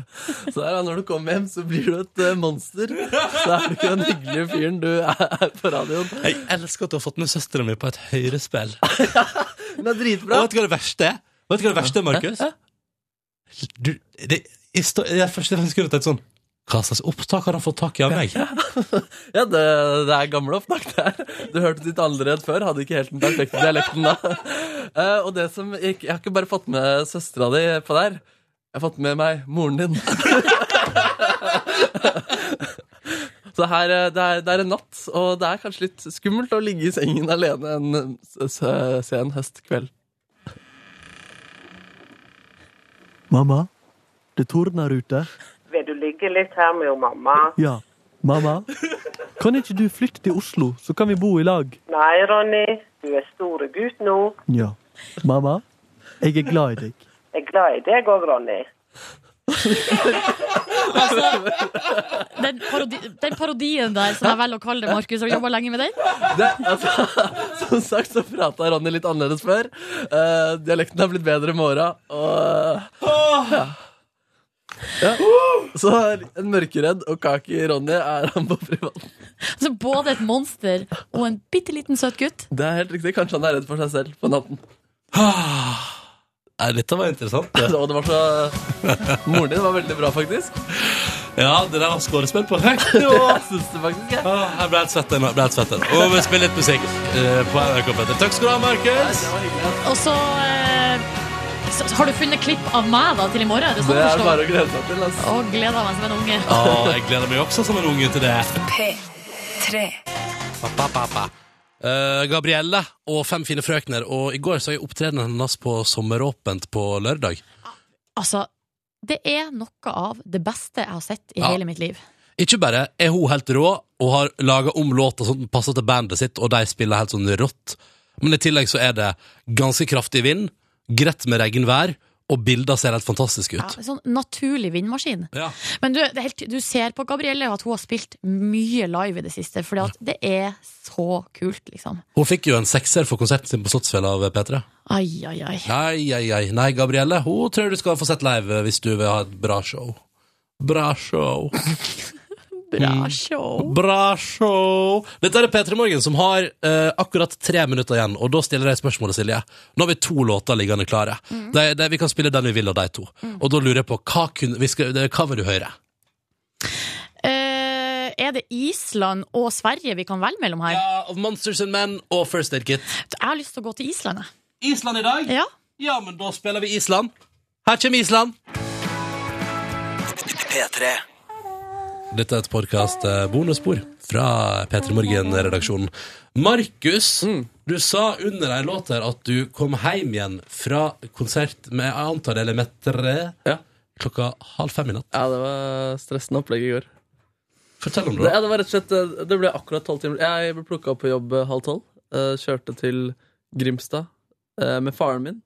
J: Så der, ja, når du kommer hjem, så blir du et eh, monster. Så er du ikke den hyggelige fyren du er på radioen.
B: Jeg elsker at du har fått med søstera mi på et høyrespill.
J: Hun er dritbra.
B: Og vet du hva det verste er? Vet du hva det verste er, Markus? Du, det, jeg, stå, jeg er først og fremst skulle tatt sånn Hva slags opptak har han fått tak i av meg?
J: Ja, (laughs) det, det er gamle opptak, det her. Du hørte ditt allerede før, hadde ikke helt den perfekte dialekten da. (laughs) Eh, og det som jeg, jeg har ikke bare fått med søstera di på der, jeg har fått med meg moren din. (laughs) Så her, eh, det er, det er en natt, og det er kanskje litt skummelt å ligge i sengen alene en s- s- sen høstkveld.
M: Mamma, det tordner ute.
N: Vil du ligge litt her med jo mamma?
M: Ja. Mamma, kan ikke du flytte til Oslo, så kan vi bo i lag?
N: Nei, Ronny. Du er store gutt nå.
M: Ja. Mamma, jeg er glad i deg.
N: Jeg er glad i deg òg, Ronny.
C: Den, parodi, den parodien der, som jeg velger å kalle det, Markus, har du jobba lenge med den?
J: Det, altså, (laughs) som sagt så prata Ronny litt annerledes før. Eh, dialekten har blitt bedre med åra. Og ja. Ja. Så en mørkeredd og kaki Ronny er han på privat.
C: Altså både et monster og en bitte liten søt gutt.
J: Det er helt riktig. Kanskje han er redd for seg selv på natten.
B: Nei, dette var interessant. Det.
J: Og det var så Moren din var veldig bra, faktisk.
B: (laughs) Ja, det der var skårespill på høyt nivå. (laughs)
J: Jeg syns det faktisk er.
B: Åh, Jeg ble helt svett ennå. jeg ble helt svett ennå. Og vi spiller litt musikk eh, på NRK Petter. Takk skal du ha, Markus.
C: Og så, eh, så så har du funnet klipp av meg da til i morgen? Er det sånn
B: Det er
C: å forstå?
B: bare å glede seg til,
C: Å, gleder meg som en unge.
B: Åh, jeg gleder meg også som en unge til det.
F: P3.
B: Pa, pa, pa, pa. Eh, Gabrielle og Fem fine frøkner. Og i går så jeg opptredenen hennes på Sommeråpent på lørdag.
C: Altså, det er noe av det beste jeg har sett i
B: Ja.
C: hele mitt liv.
B: Ikke bare er hun helt rå og har laga om låta sånn at den passer til bandet sitt, og de spiller helt sånn rått, men i tillegg så er det ganske kraftig vind, greit med regnvær, og bilder ser helt fantastiske
C: Ja,
B: ut.
C: sånn naturlig vindmaskin.
B: Ja.
C: Men du, det er helt, du ser på Gabrielle at hun har spilt mye live i det siste, for det er så kult, liksom.
B: Hun fikk jo en sekser for konserten sin på Slottsfjell av P3.
C: Ai, ai, ai.
B: Ai, ai, ai. Nei, Gabrielle, hun tror du skal få sett live eh, hvis du vil ha et bra show. Bra show.
C: Bra show.
B: Bra show. Dette er P3 Morgen som har eh, akkurat tre minutter igjen, og da stiller jeg spørsmålet, Silje. Nå har vi to låter liggende klare. De, de, vi kan spille den vi vil av de to. Og da lurer jeg på, hva, kunne, vi skal, det, hva vil du høre?
C: Eh, er det Island og Sverige vi kan velge mellom her?
B: Ja, Of Monsters and Men og First Aid Kit.
C: Jeg har lyst til å gå til Island, jeg.
B: Island i dag?
C: Ja.
B: Ja, men da spiller vi Island. Her kommer Island.
A: P3.
B: Dette er et podkast bonusspor fra P3 Morgen-redaksjonen. Markus,
J: Mm.
B: du sa under ei låt her at du kom hjem igjen fra konsert med jeg antar det er Lemetre klokka halv fem i natt.
J: Ja, det var stressende opplegg i går.
B: Fortell om det,
J: Det,
B: da.
J: ja, det var rett og slett eh, Det ble akkurat tolv timer. Jeg ble plukka opp på jobb eh, halv tolv. eh, Kjørte til Grimstad eh, med faren min,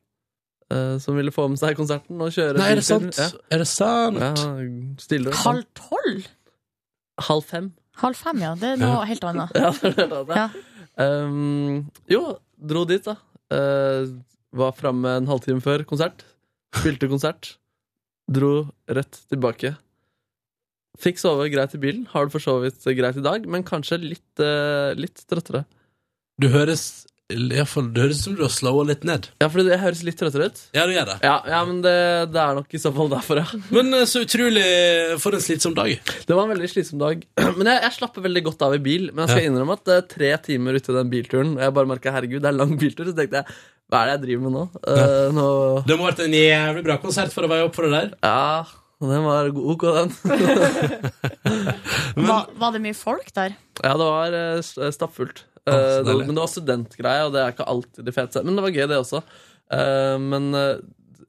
J: eh, som ville få med seg konserten og kjøre
B: Nei, er det
J: biltur.
B: sant? Er det sant?
J: Ja, stille og
C: Halv tolv?
J: Halv fem.
C: Halv fem, ja. Det er noe helt annet.
J: Ja, det er det. Um, jo, dro dit, da. Eh, var framme en halvtime før konsert. Spilte konsert. Dro rett tilbake. Fikk sove greit i bilen. Har det for så vidt greit i dag, men kanskje litt, eh, litt trøttere.
B: Du høres iallfall Det høres ut som du har slåa litt ned.
J: Ja, for jeg høres litt trøttere ut.
B: Ja, du gjør det.
J: Ja, ja men det, det er nok i så fall derfor, ja.
B: Men eh, så utrolig For en slitsom dag.
J: Det var en veldig slitsom dag. (clears throat) Men jeg, jeg slapper veldig godt av i bil. Men jeg skal
B: Ja.
J: innrømme at eh, tre timer ute i den bilturen, og jeg bare merka herregud, det er lang biltur, så tenkte jeg hva er det jeg driver med nå? Eh, nå
B: Det må ha vært en jævlig bra konsert for å veie opp for det der.
J: Ja, den var go- ok, den. (laughs)
C: Var, var det mye folk der?
J: ja, det var eh, s- eh, stappfullt. Eh,
B: så
J: det,
B: deilig.
J: men det var studentgreie, og det er ikke alltid det feteste. Men det var gøy, det også. Eh, men eh,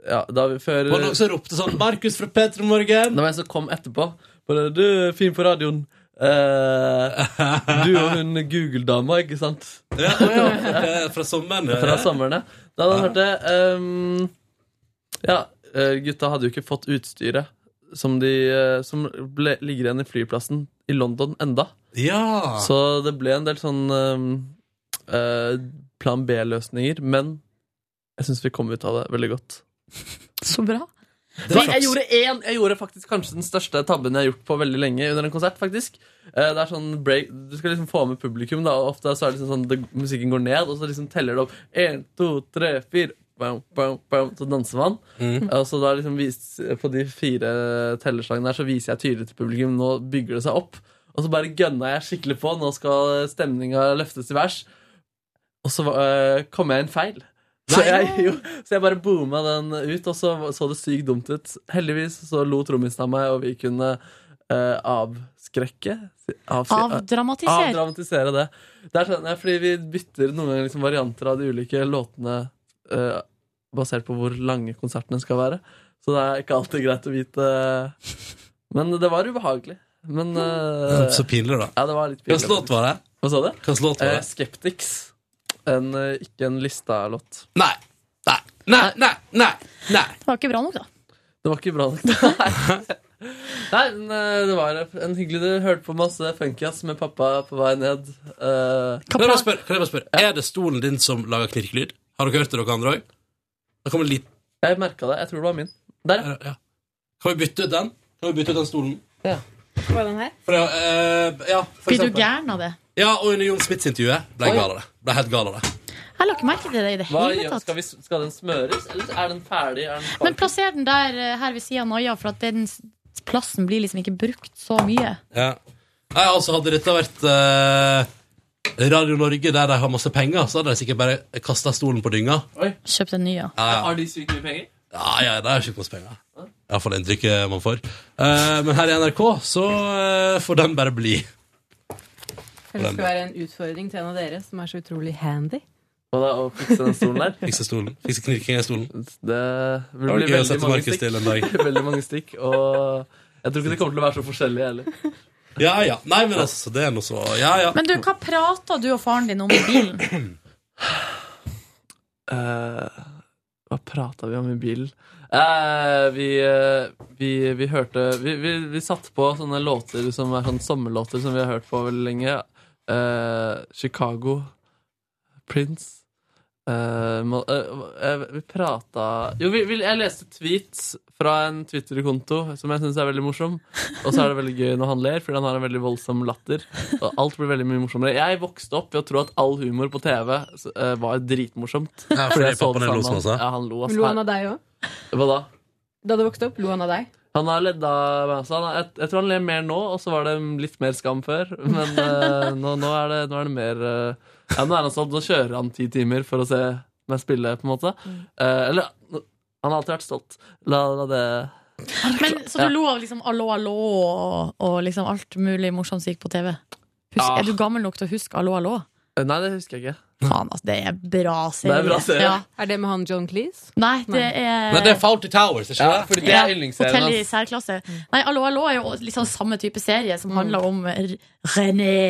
J: ja, da vi før
B: Var det noen som ropte sånn 'Markus fra P3 Morgen'? (laughs)
J: Det var en som kom etterpå. Bare, du, fin på radioen. Eh, du og hun Google-dama, ikke sant?
B: Ja, ja, eh, fra sommeren. ja,
J: Fra
B: ja.
J: sommeren, ja. Da hadde han hørt det. ehm, ja, eh, gutta hadde jo ikke fått utstyret som, de, eh, som ble, ligger igjen i flyplassen i London enda.
B: Ja.
J: Så det ble en del sånn ehm, eh, plan B-løsninger, men jeg syns vi kom ut av det veldig godt.
C: Så bra.
J: Det var- jeg, gjorde en, jeg gjorde faktisk kanskje den største tabben jeg har gjort på veldig lenge under en konsert. faktisk Eh, Det er sånn break Du skal liksom få med publikum, da og ofte så er det liksom sånn det, musikken går ned, og så liksom teller det opp. En, to, tre, fire. Bam, bam, bam, så danser man.
B: Mm.
J: Og så da liksom vis, på de fire tellerslagene der så viser jeg tydelig til publikum nå bygger det seg opp. Og så bare gønna jeg skikkelig på. Nå skal stemninga løftes til værs. Og så eh, kom jeg inn feil. Så jeg, jo, så jeg bare booma den ut, og så så det sykt dumt ut. Heldigvis så lo trommisen av meg, og vi kunne eh, avskrekke avsi-
C: Avdramatisere.
J: avdramatisere det. Det er sånn, ja, fordi vi bytter noen ganger liksom varianter av de ulike låtene eh, basert på hvor lange konsertene skal være. Så det er ikke alltid greit å vite. eh, Men det var ubehagelig. Men eh,
B: Mm. Så pinlig, da.
J: Ja, det var litt
B: Hvilken
J: pinlig.
B: låt var det?
J: Hva sa du?
B: Hvilken låt var
J: Eh,
B: det?
J: Skeptics. En, eh, ikke en lista-låt.
B: Nei. Nei. Nei. Nei. Nei. Nei.
C: Det var ikke bra nok, da.
J: Det var ikke bra
B: (laughs)
J: nok. Nei, Nei men eh, det var en hyggelig Du hørte på masse funkass med pappa på vei ned. Eh,
B: Kan jeg bare spørre, kan jeg bare spørre Er det stolen din som lager knirkelyd? Har dere hørt det, dere andre òg? Det kommer litt
J: Jeg merka det. Jeg tror det var min. Der.
B: Ja. Kan vi bytte ut den? Kan vi bytte ut den stolen?
E: Var den her?
B: For, eh, ja, for
C: Blir du
B: eksempel.
C: gæren av det?
B: Ja, og under Jon Smiths-intervjuet ble jeg
J: Oi.
B: gal av det. Ble helt gal av det.
C: Jeg la ikke merke til det i det
J: Hva,
C: hele
J: gjør-
C: tatt.
J: skal, vi, skal den smøres, eller er den ferdig? Er den
C: Men plasser den der eh, her ved sida av Naja, for at den s- plassen blir liksom ikke brukt så mye.
B: Ja. Nei, altså Hadde dette vært eh, Radio Norge, der de har masse penger, så hadde de sikkert bare kasta stolen på dynga.
C: Kjøpt en ny, ja.
B: Ja, ja.
J: Har de sykt mye penger?
B: Ja, ja, det er sykdomspenger. Iallfall inntrykket man får. Eh, men her i NRK så eh, får den bare bli.
E: For det skal være en utfordring til en av dere som er så utrolig handy.
J: Hva da, å fikse den stolen der?
B: Fikse stolen. Fikse knirkinga i stolen.
J: Det
B: Det var
J: blir
B: gøy å sette
J: veldig mange
B: Markus til en
J: stikk. (laughs)
B: dag.
J: veldig mange stikk. Og jeg tror ikke det kommer til å være så forskjellig heller.
B: Ja ja. Nei, men altså, det er noe så Ja ja.
C: Men du, hva prata du og faren din om i bilen?
J: Eh, hva prata vi om i bilen? Eh, vi, eh, vi, vi hørte vi, vi, vi satte på sånne låter som er sånn sommerlåter som vi har hørt på veldig lenge. Eh, Chicago, Prince eh, må- eh, eh, Vi prata Jo, vi, vi, jeg leste tweets fra en Twitter-konto som jeg syns er veldig morsom. Og så er det veldig gøy når han ler, fordi han har en veldig voldsom latter. Og alt blir veldig mye morsommere. Jeg vokste opp ved å tro at all humor på TV eh, var dritmorsomt.
B: Ja, fordi
J: jeg så
B: pappaen
J: det
B: din lo
J: sammen
B: sånn
J: med
B: også?
J: Ja, han lo. ass.
E: Lo han av deg òg?
J: Hva da?
E: Da du vokste opp, lo han av deg?
J: Han har ledd av meg også. Han er- Jeg, jeg tror han ler mer nå, og så var det litt mer skam før.
E: (laughs)
J: Men eh, nå, nå, er det, nå er det mer eh, ja, nå, er han sånn, nå kjører han ti timer for å se meg spille, på en måte.
E: Mm.
J: Eh, eller Han har alltid vært stolt. La, la det
C: Men, så
J: Ja.
C: du lo av liksom allo, allo og, og liksom alt mulig morsomt som gikk på TV? Husk,
J: Ah.
C: Er du gammel nok til å huske allo, allo?
J: Eh, Nei, det husker jeg ikke.
C: Faen, altså, det er bra
J: Det er bra serie.
C: Ja.
E: Er det med han John Cleese?
C: Nei, det er
B: Nei, det er Fawlty Towers, ikke
J: Ja, fordi det er altså. yndlingsserien
C: Hotell i
J: hans.
C: særklasse. Nei, Allo, allo er jo litt sånn samme type serie som handler om R- René,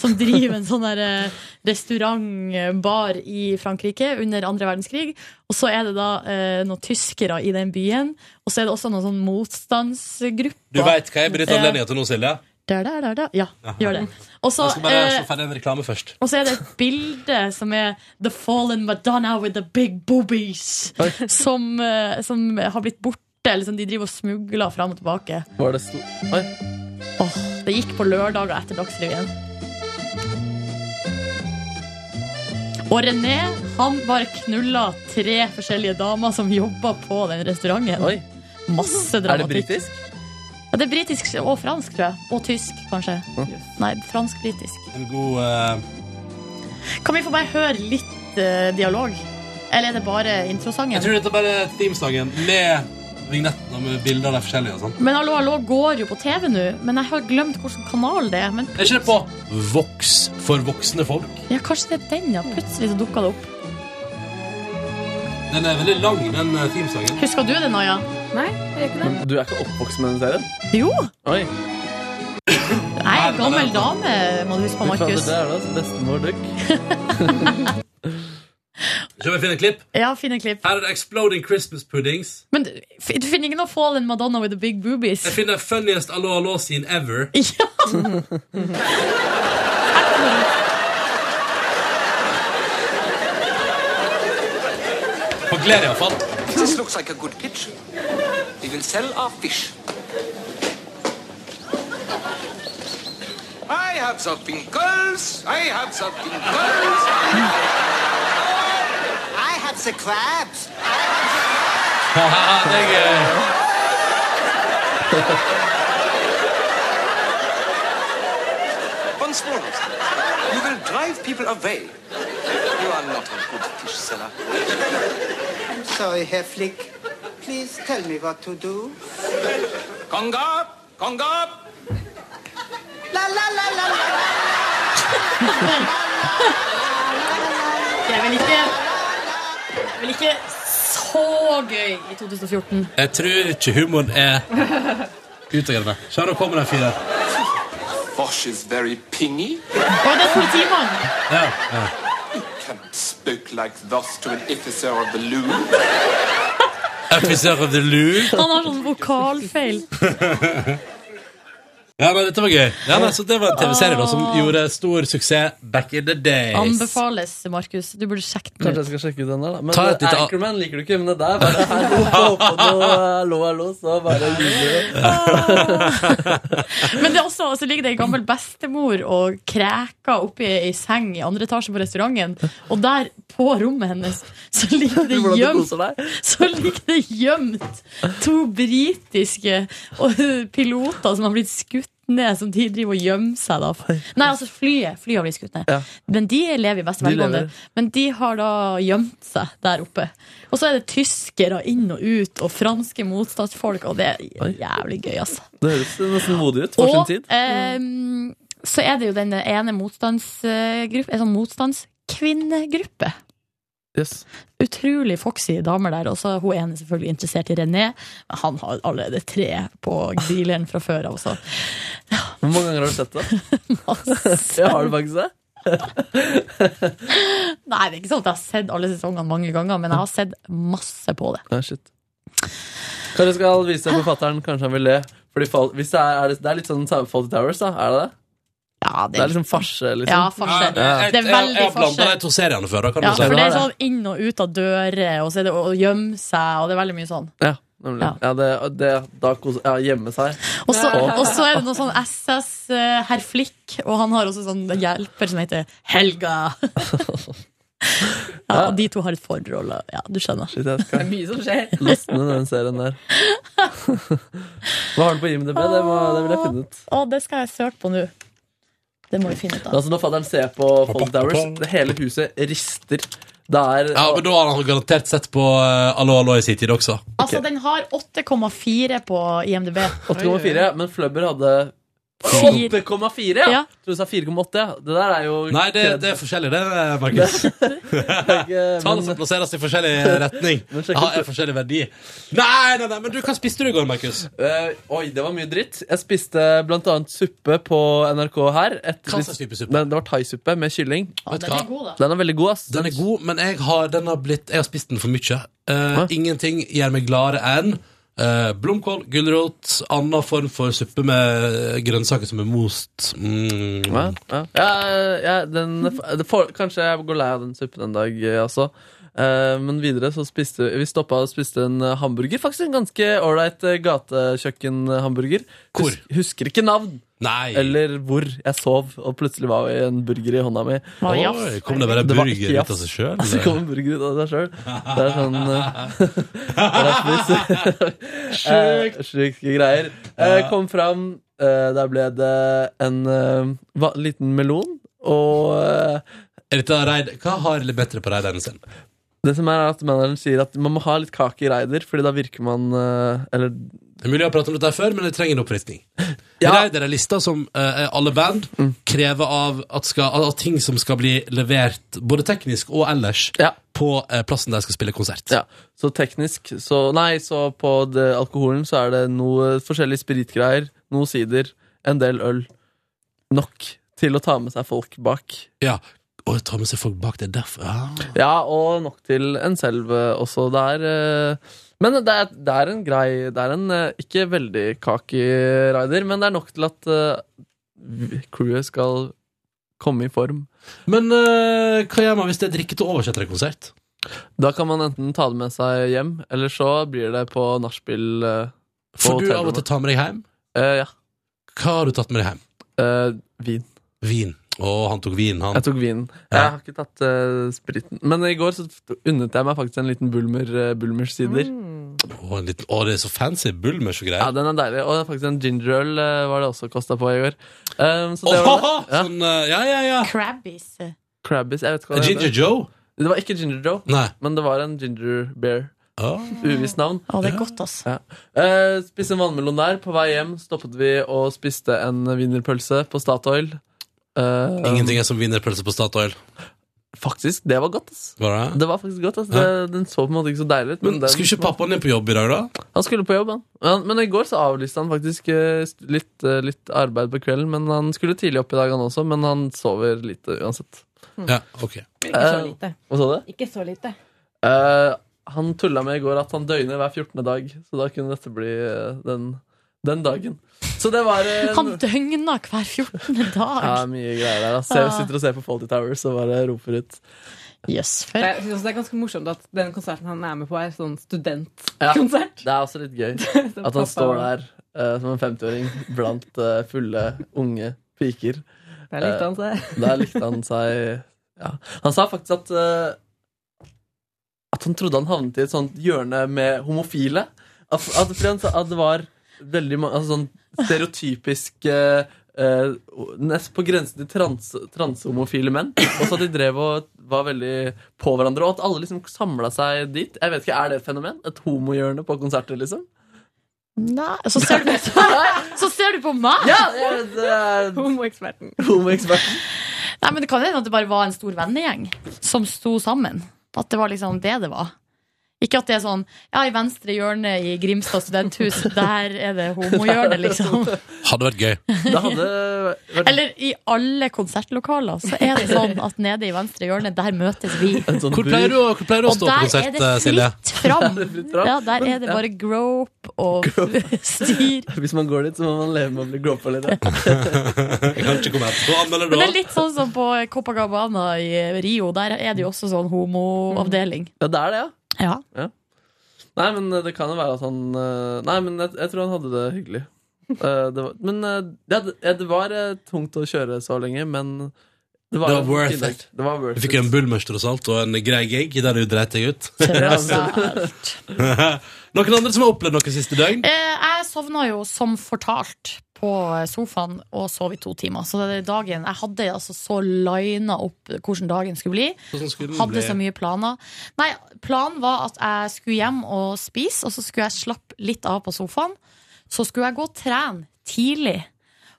C: som driver en sånn der eh, restaurantbar i Frankrike under andre verdenskrig. Og så er det da eh, noen tyskere i den byen, og så er det også noen sånn motstandsgrupper.
B: Du veit hva jeg benytter
C: Ja.
B: anledninga til nå, Silje?
C: Der, der, der, der. Ja, gjør det. Og så
B: Jeg skal bare
C: eh,
B: slå ferdig en reklame først.
C: og så er det et bilde som er The Fallen Madonna with the big boobies. Som, eh, som har blitt borte. Eller som de driver og smugler fram og tilbake.
J: Var det sto... Oi.
C: Det gikk på lørdager etter Dagsrevyen. Og René han bare knulla tre forskjellige damer som jobba på den restauranten.
J: Oi.
C: Masse
J: Er det
C: dramatikk.
J: britisk?
C: Ja, det er britisk og fransk, tror jeg. Og tysk, kanskje. Nei, fransk-britisk.
B: En god eh,
C: Kan vi få bare høre litt eh, dialog? Eller er det bare introsangen?
B: Jeg tror dette er bare teamsangen med vignetten og med bilder av de forskjellige og sånn.
C: Men Hallo, hallo går jo på TV nå, men jeg har glemt hvilken kanal det er. Men
B: Er ikke det på Vox for voksne folk?
C: ja, kanskje det er den, ja. Plutselig så dukka det opp.
B: Den er veldig lang, den eh, teamsangen.
C: Husker du det, Naya?
E: Nei, jeg gjør ikke det.
J: Du er ikke oppvokst med den serien?
C: Jo!
J: Oi.
C: Nei, gammel dame, må du huske på,
J: Fy fader,
C: Markus.
J: Det er da bestemor Duck.
B: Skal vi finne et klipp?
C: Ja, finn en klipp.
B: Her er det Exploding Christmas Puddings.
C: Men du f- du finner ikke noe Fallen Madonna with the big boobies?
B: Jeg
C: (laughs)
B: finner funniest allo allo scene ever.
C: Ja.
B: På glede, iallfall.
A: This looks like a good pitch. We will sell our fish. I have the pinkles. I have the pinkles. I have the crabs.
B: det er gøy.
A: Once more, you will drive people away. You are not a good fish seller.
K: I'm sorry, Herr Flick. Please tell me what to do.
A: Conga, conga.
K: La, la, la, la, la, la.
C: Det er vel ikke det er vel ikke så gøy i 2014.
B: Jeg tror ikke humoren er utagerende. Se, nå kommer de fire.
A: Fosh is very pingy.
C: Å, det er politimannen!
B: Ja, ja.
A: Cannot spoke like thus to an officer of the loo.
B: Officer of the Loo.
C: Han har sånn vokalfeil.
B: Ja, nei, dette var gøy. Ja, nei, så det var en TV-serie da som gjorde stor suksess back in the days.
C: Anbefales, Markus. Du burde sjekke den
J: Kanskje
C: ut.
J: jeg skal sjekke ut den der, da. Men
B: Ta et lite-
J: Anchorman liker du ikke, men det der bare her lå på noe hallo, hallo, så bare lyder
C: Men det er også, så ligger det en gammel bestemor og kreker oppi ei seng i andre etasje på restauranten. Og der, på rommet hennes, så ligger det
J: (laughs) Hvordan du koser
C: gjemt, (laughs) så ligger det gjemt to britiske og- piloter som har blitt skutt ned, som de driver og gjemmer seg da. Nei, altså flyet. Flyet har blitt skutt ned.
J: Ja.
C: Men de lever i beste
J: De
C: velgående.
J: lever.
C: Men de har da gjemt seg der oppe. Og så er det tyskere inn og ut, og franske motstandsfolk, og det er jævlig gøy, altså.
J: Det høres nesten modig ut for sin tid.
C: ehm, så er det jo den ene motstandsgruppe, en sånn motstandskvinnegruppe.
J: Yes.
C: Utrolig foxy damer der. Og så hun ene selvfølgelig interessert i René. Men han har allerede tre på dealeren fra før av. så
J: Hvor mange ganger har du sett det? Jeg har det faktisk det.
C: Nei, det er ikke sånn at jeg har sett alle sesongene mange ganger, men jeg har sett masse på det.
J: Nei, shit. Kanskje jeg skal vise deg forfatteren. Kanskje han vil le. Fordi fall, hvis det, er, er det, det er litt sånn samme Fawlty Towers, da. Er det det?
C: Ja,
J: det, er liksom farse, liksom.
C: Ja, farse. Ja. Det er veldig
B: Jeg har blanda
C: farse.
B: de to seriene før. Da, kan
C: Ja,
B: du si.
C: for det er sånn inn og ut av dører, og så er det å å gjemme seg, og det er veldig mye sånn.
J: Ja, nemlig. Ja. det, det, da kos, ja, gjemme seg.
C: Og så, og så er det noe sånn SS eh, herr Flick, og han har også sånn hjelper som heter Helga. (laughs) Ja, og de to har et forhold, og ja, du skjønner.
J: Shit, jeg skal
E: mye som skjer.
J: laste ned den serien
E: (laughs)
J: der. Hva har du på IMDb? Det, må, det vil jeg finne ut.
C: Å, det skal jeg søke på nå. Det må vi finne ut av.
J: Altså, når fatteren ser på Fawlty Towers, det hele huset rister. Det er
B: Ja, men da har han garantert sett på eh, Allo Allo i sin tid også.
C: Altså, den har 8,4 på IMDb.
J: 8,4, men Flubber hadde 8,4! Ja.
C: Ja.
J: Tror du sa 4,8? Ja. Det der er jo
B: Nei, det, det er forskjellig, det, eh, Markus.
J: eh,
B: Tall som plasseres i forskjellig retning.
J: sjekk
B: Har
J: ut-
B: er forskjellig verdi. Nei, nei, nei, men du, hva spiste du i går, Markus?
J: Eh, oi, det var mye dritt. Jeg spiste blant annet suppe på NRK her. Et
B: Hva slags
J: litt-
B: type suppe?
J: Nei, det var thaisuppe med kylling.
B: Vet du hva?
J: Den er veldig god, ass.
B: Den er god, men jeg har, den har, blitt, jeg har spist den for mye. Eh, ingenting gjør meg gladere enn eh, blomkål, gulrot, annen form for suppe med grønnsaker som er most. Mm.
J: Ja, ja. Ja, ja, den, det får- kanskje jeg går lei av den suppen en dag, eh, altså. Eh, men videre så spiste vi stoppa og spiste en eh, hamburger. Faktisk en ganske ålreit eh, gatekjøkkenhamburger. Hvor? husker ikke navn.
B: Nei.
J: Eller hvor. Jeg sov, og plutselig var det en burger i hånda mi.
B: Var det Oi, jafs? kom det bare
J: var
B: burger
J: ikke
B: ut av
J: jafs.
B: seg selv,
J: Altså,
B: eller?
J: kom en burger ut av seg sjøl. Det er sånn (laughs) eh, det er
B: (laughs) Sjukt.
J: Eh, Sjuke greier. Eh,
B: Ja.
J: Kom fram, eh, der ble det en eh, va liten melon, og eh,
B: Er dette reid, hva har Lebetre på reideren sin?
J: det som er er at manageren sier at man må ha litt kake i Reider, fordi da virker man eh, Eller
B: Det er mulig jeg har pratet om dette her før, men jeg trenger en oppfriskning. Reider er lista som eh, alle band
J: Mm.
B: krever av at, skal, av ting som skal bli levert både teknisk og ellers på eh, plassen der jeg skal spille konsert.
J: Ja, så teknisk så, Nei, så på det, alkoholen så er det noe forskjellige spritgreier, noe sider, en del øl. Nok til å ta med seg folk bak.
B: Ja, og ta med seg folk bak det derfor. Ja.
J: Ja, og nok til en selv eh, også. Det er eh, Men det er, det er en grei Det er en eh, ikke veldig kaki rider, men det er nok til at eh, vi- crewet skal komme i form.
B: Men eh, hva gjør man hvis det er drikke til overs etter en konsert?
J: Da kan man enten ta det med seg hjem, eller så blir det på nachspiel. eh, på
B: Får du av
J: hotellrommet.
B: og til ta med deg hjem?
J: Eh, ja.
B: Hva har du tatt med deg hjem?
J: Eh, vin.
B: Vin. Å, han tok vin, han.
J: Jeg tok vin. Jeg har ikke tatt eh, spriten. Men i går så unnet jeg meg faktisk en liten Bulmer, eh, Bulmers-sider.
B: Å, en liten, å, det er så fancy. Bulmers og
J: Ja,
B: greier.
J: den er deilig. Og faktisk en ginger øl eh, var det også kosta på i går. Um, så det
B: Åh,
J: var det. Ja.
B: Sånn, eh, ja, ja, ja.
C: Crabbies.
J: Krabbies, jeg vet ikke hva det
B: Ginger
J: heter.
B: Joe?
J: Det var ikke Ginger Joe,
B: Nei.
J: men det var en Ginger Bear. Uvisst navn.
C: Å, det er godt, altså. ass.
J: Ja. Eh, spiste en vannmelon der. På vei hjem stoppet vi og spiste en wienerpølse på Statoil. Eh,
B: Ingenting er som wienerpølse på Statoil.
J: Faktisk, det var godt. ass
B: Var det?
J: Det var faktisk godt. ass
B: Ja.
J: det, den så på en måte ikke så deilig ut.
B: Men
J: den
B: skulle ikke
J: smakte-
B: pappaen din på jobb i dag, da?
J: Han skulle på jobb, han. Men, men i går så avlyste han faktisk eh, st- litt, eh, litt arbeid på kvelden. Men han skulle tidlig opp i dag, han også. Men han sover lite uansett.
B: Ja, ok
E: Ikke så
J: Eh,
E: lite.
J: Hva sa du?
E: Ikke så lite.
J: Eh, han tulla med i går at han døgner hver 14. dag, så da kunne dette bli eh, den, den dagen. Så det var eh, en-
C: Han døgna hver 14. dag.
J: ja, mye greier der. Altså. Jeg sitter og ser på Fawlty Towers og bare roper ut.
C: Yes,
E: Det, jeg synes også det er ganske morsomt at den konserten han er med på, er sånn studentkonsert.
J: Det er også
E: (laughs)
J: litt gøy at han står der eh, som en 50-åring blant eh, fulle, unge piker.
E: Der likte han seg.
J: Eh, der likte han seg ja. Han sa faktisk at eh, At han trodde han havnet i et sånt hjørne med homofile. At, at, fordi han sa at det var veldig mange altså sånn stereotypisk eh, eh, Nest på grensen til trans, transhomofile menn. Og så at de drev og var veldig på hverandre, og at alle liksom samla seg dit. Jeg vet ikke, Er det et fenomen? Et homohjørne på konserter, liksom?
C: Nei, så ser du på, (laughs) så ser du på meg!
O: Ja, det er-
C: Homoeksperten.
O: Homoeksperten.
C: Nei, men Det kan hende at det bare var en stor vennegjeng som sto sammen. At det var liksom det det var. Ikke at det er sånn ja, i venstre hjørne i Grimstad studenthus, der er det homohjørne, liksom.
B: Hadde vært (laughs) gøy.
J: Det hadde vært
C: Eller i alle konsertlokaler så er det sånn at nede i venstre hjørne, der møtes vi.
J: sånn
B: Hvor pleier du, å- hvor pleier du å
C: Og
B: stå på
C: der
B: konsert, eh,
C: er det fritt
B: Silje?
C: Fram.
O: Det er fritt fram.
C: Ja, der
O: Men-
C: er det
O: ja.
C: bare grope og (laughs) styr.
O: Hvis man går dit, så må man leve med å bli gråpa litt.
B: Jeg kan ikke komme etterpå. Anmeld
C: Men det
B: det
C: er litt sånn som på Copacabana i Rio. Der er det jo også sånn homoavdeling.
J: Ja, det er det,
C: ja.
J: ja. Nei, men eh, det kan jo være at han eh, Nei, men jeg, jeg tror han hadde det hyggelig. Eh, det var, men eh, det, ja, det var eh, tungt å kjøre så lenge, men det var,
B: Det var worth
J: fint.
B: it.
J: Det var worth
B: Du fikk jo en bullmøster og alt, og en grei gig der du dreit deg ut.
J: Tross
C: Altså,
B: (laughs) Noen andre som har opplevd noe siste døgn?
C: Eh, Jeg sovna jo som fortalt på sofaen og sov i to timer. Så det er dagen, Jeg hadde altså så lina opp hvordan dagen skulle bli.
B: Hvordan skulle den
C: hadde
B: bli?
C: så mye planer. Nei, Planen var at jeg skulle hjem og spise, og så skulle jeg slappe litt av på sofaen. Så skulle jeg gå og trene tidlig.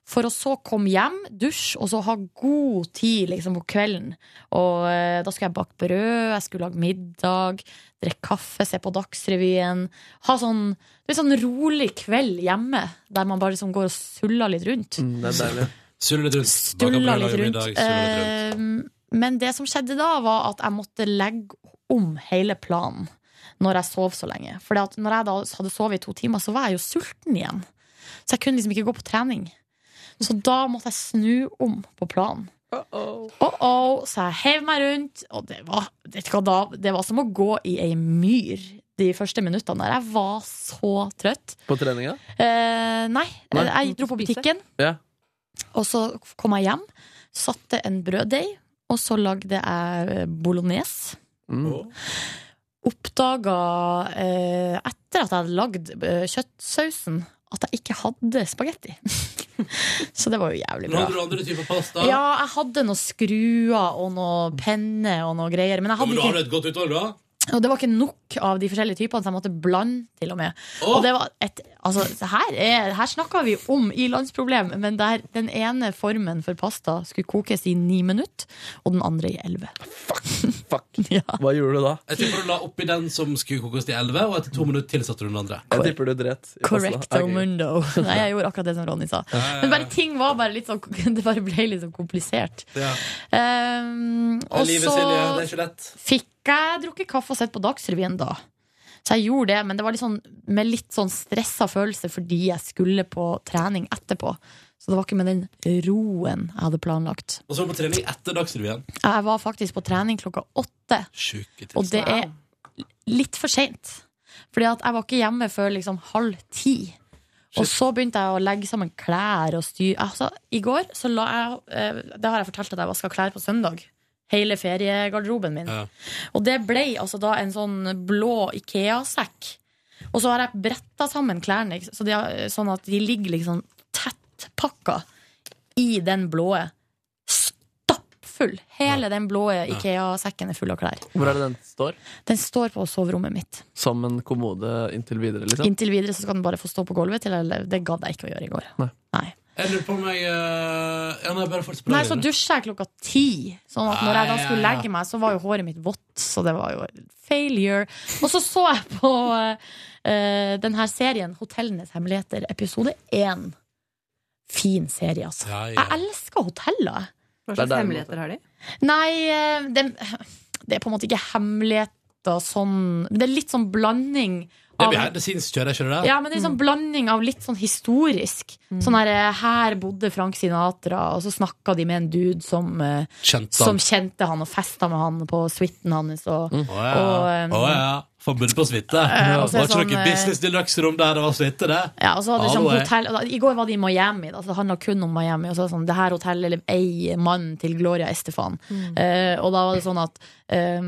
C: For å så komme hjem, dusje og så ha god tid liksom, på kvelden. Og eh, Da skulle jeg bake brød, jeg skulle lage middag, drikke kaffe, se på Dagsrevyen. Ha sånn, litt sånn rolig kveld hjemme, der man bare liksom går og suller litt rundt.
J: det er deilig.
B: Sulle litt rundt.
C: Dulla
B: Baker brød,
C: litt
B: lager
C: rundt.
B: middag, sulle litt rundt.
C: Eh, Men det som skjedde da, var at jeg måtte legge om hele planen når jeg sov så lenge. For når jeg da hadde sovet i to timer, så var jeg jo sulten igjen. Så jeg kunne liksom ikke gå på trening. Så da måtte jeg snu om på planen. Uh-oh, så jeg hev meg rundt, og det var, vet du hva, da, det var som å gå i ei myr de første minuttene der. Jeg var så trøtt.
J: På treninga?
C: Eh, nei,
J: Nei.
C: jeg dro på butikken.
J: Ja.
C: Og så kom jeg hjem, satte en brøddeig, og så lagde jeg eh, bolognese.
J: Mm.
C: Oppdaga eh, etter at jeg hadde lagd eh, kjøttsausen, at jeg ikke hadde spagetti. (laughs) så det var jo jævlig
B: Nå
C: bra.
B: hadde du andre typer pasta.
C: Eh, Ja, jeg hadde noen skruer og noen penner og noen greier. Men jeg
B: men
C: hadde
B: du har
C: ikke
B: et godt utvalg, da?
C: og det var ikke nok av de forskjellige typene, så jeg måtte blande til og med.
B: Åh!
C: Og det var et, altså, det her, er, her snakker vi om ilandsproblem, men der den ene formen for pasta skulle kokes i ni minutter, og den andre i elleve. (laughs)
J: Hva gjorde du da?
B: Jeg tipper du la oppi den som skulle kokes til 11, og etter to minutter tilsatte du den andre.
J: Jeg tipper du dreit. i passen, da.
C: Correcto
B: (laughs)
C: mundo. Nei, jeg gjorde akkurat det som Ronny sa.
B: Ja, ja, ja.
C: Men bare ting var bare litt sånn (laughs) Det bare ble litt sånn komplisert. Um, og
B: livet,
C: så
B: Silje, det er ikke lett.
C: fikk jeg drukket kaffe og sett på Dagsrevyen da. Så jeg gjorde det, men det var litt sånn, med litt sånn stressa følelse fordi jeg skulle på trening etterpå. Så det var ikke med den roen jeg hadde planlagt.
B: Og så var du på trening etter Dagsrevyen.
C: Jeg var faktisk på trening klokka åtte,
B: Sjuke
C: og det er litt for seint. Fordi at jeg var ikke hjemme før liksom halv ti. Og så begynte jeg å legge sammen klær og styr altså, I går så la jeg eh, Det har jeg fortalt at jeg vaska klær på søndag. Hele feriegarderoben min. Og det ble altså da en sånn blå Ikea-sekk. Og så har jeg bretta sammen klærne, ikke sant? så de har, sånn at de ligger liksom tettpakka i den blå. Stappfull. Hele den blå Ikea-sekken er full av klær.
J: Hvor er det den står?
C: Den står på soverommet mitt.
J: Som en kommode inntil videre, liksom?
C: Inntil videre så skal den bare få stå på gulvet. Til, eller, det gadd jeg ikke å gjøre i går.
B: Jeg lurer på om jeg eh, Ja, nei, bare fortsett på
C: Nei,
B: det,
C: så
B: Lene.
C: dusja jeg klokka ti. Sånn at når jeg da
B: Ah, ja,
C: skulle
B: ja, ja.
C: legge meg, så var jo håret mitt vått. Så det var jo failure. Og så så jeg på eh, den her serien, 'Hotellenes hemmeligheter', episode én. Fin serie, altså.
E: Ja, ja.
C: Jeg elsker hoteller. jeg.
E: Hva slags hemmeligheter har de?
C: Nei, eh, det, det er på en måte ikke hemmeligheter sånn Det er litt sånn blanding
B: Det blir behind the scenes-kjøret, skjønner du?
C: Ja, men det er sånn
B: Mm.
C: blanding av litt sånn historisk. Sånn her, eh, her bodde Frank Sinatra, og så snakka de med en dude som, eh,
B: Kjente han. Mm.
C: som kjente han og festa med han på suiten hans. Og,
B: Å ja.
C: og, eh,
B: Å ja. Forbud på suite.
C: Eh, og så er
B: var ikke
C: sånn,
B: noe
C: eh,
B: business deluxe-rom der det var suite, det?
C: ja, og så hadde de sånn
B: Hallo, eh.
C: hotell og da- I går var de i Miami, da, så det handla kun om Miami. Og så var det sånn, det her hotellet eier mannen til Gloria Estefan. Eh, og da var det sånn at eh,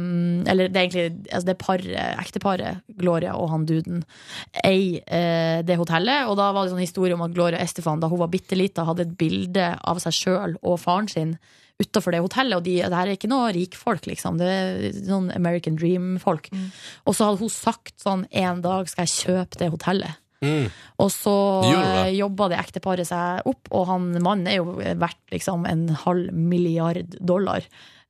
C: Eller det er egentlig altså det paret, ekteparet, Gloria og han duden, eier eh, det hotellet. Og da var det sånn historie om at Gloria Estefan, da hun var bitte lita, hadde et bilde av seg sjøl og faren sin utafor det hotellet. Og de, det her er ikke noe rikfolk, liksom. Det er sånn, noen American Dream-folk. Og så hadde hun sagt sånn En dag skal jeg kjøpe det hotellet. Og så
B: Gjorde
C: eh, jobba det ekteparet seg opp, og han mannen er jo verdt liksom en halv milliard dollar.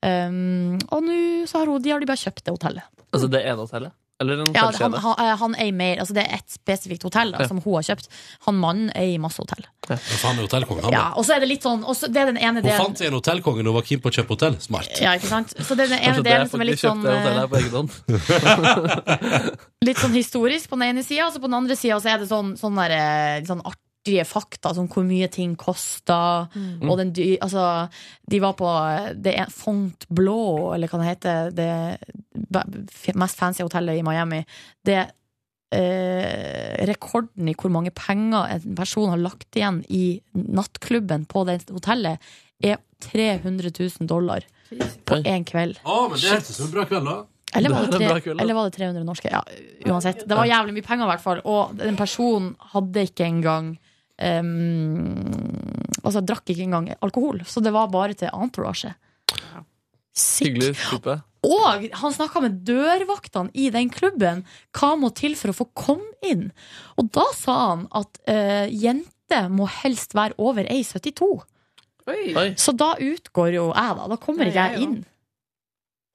C: Um, og nå så har hun, de har de bare kjøpt det hotellet.
J: Altså det ene hotellet? Eller en
C: Ja, han,
J: hotellkjede?
C: han, eh, han eier mer, altså Det er ett spesifikt hotell da,
J: Ja.
C: som hun har kjøpt. Han mannen eier masse hotell.
B: Ja, for han er hotellkongen, han.
C: Ja,
B: da.
C: og så er det litt sånn og så- Det er den ene
B: Hun
C: delen.
B: fant seg en hotellkonge da hun var keen på å kjøpe hotell. Smart.
C: Ja, ikke sant? Så det er den ene
B: Kanskje det er
C: delen som er litt
B: fordi
C: sånn
B: de kjøpte
C: eh,
J: hotellet på egen hånd.
C: (laughs) litt sånn historisk på den ene sida, og så på den andre sida så er det sånn, sånn der, eh, sånn artige fakta, sånn hvor mye ting kosta,
P: Mm.
C: og den dy... Altså, de var på eh, det er Fontainebleau, eller hva det heter, det be- f- mest fancy hotellet i Miami. Det eh, rekorden i hvor mange penger en person har lagt igjen i nattklubben på det hotellet, er 300 000 dollar på én kveld.
B: Å, men det hørtes som en bra kveld, da.
C: Eller var,
B: er
C: det
B: en bra
C: tre,
B: kveld, da.
C: eller var det 300 norske? Ja, uansett. Det var jævlig mye penger, i hvert fall. Og den personen hadde ikke engang ehm, Altså drakk ikke engang alkohol. Så det var bare til entourage.
J: Hyggelig type.
C: Og han snakka med dørvaktene i den klubben. Hva må til for å få komme inn? Og da sa han at uh, jenter må helst være over 1,72.
J: Oi.
C: Så da utgår jo jeg, da. Da kommer ikke jeg inn.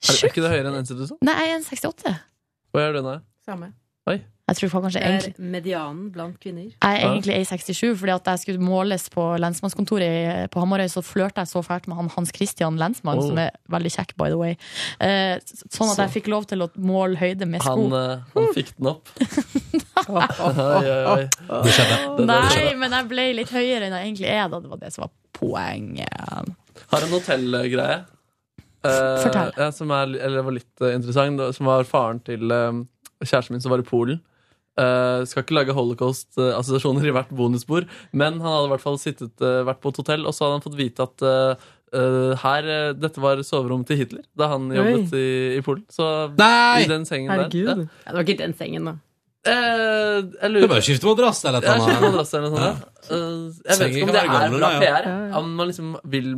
J: Er, er ikke det høyere enn institusjon?
C: Nei, jeg er 1,68.
J: Hva er det nå?
E: Samme.
J: Oi.
C: Jeg tror kanskje
E: Det
C: egentlig
E: er medianen blant kvinner.
C: Jeg er egentlig A67, fordi at jeg skulle måles på lensmannskontoret i- på Hamarøy, så flørte jeg så fælt med han Hans Christian Lensmann,
J: Oh.
C: som er veldig kjekk, by the way. Eh, s- sånn at
J: Så.
C: jeg fikk lov til å måle høyde med sko.
J: Han, eh, han fikk den
C: (laughs)
J: opp. oi, oi, oi. Det skjedde.
C: Nei, men jeg ble litt høyere enn jeg egentlig er, da. Det var det som var poenget.
J: Har en hotellgreie. eh,
C: Fortell.
J: ja, som er, eller var litt eh, interessant. da, Som var faren til eh, kjæresten min som var i Polen. Eh, skal ikke lage holocaust-assosiasjoner i hvert bonusbord, men han hadde i hvert fall sittet, eh, vært på et hotell, og så hadde han fått vite at eh, eh, her, eh, dette var soverommet til Hitler da han
E: Oi.
J: jobbet i, i Polen. Så i den sengen
E: Herregud.
J: der. ja.
E: Ja, det var ikke den sengen, da.
J: lurer-
B: Det er bare å skifte madrass eller et
J: Ja, skifte
B: eller
J: madrass eller noe sånt. ja. Eh, jeg vet
B: Sengen
J: ikke om
B: kan
J: det
B: være
J: er
B: gamlere,
J: bra
B: ja.
J: PR. Om man liksom vil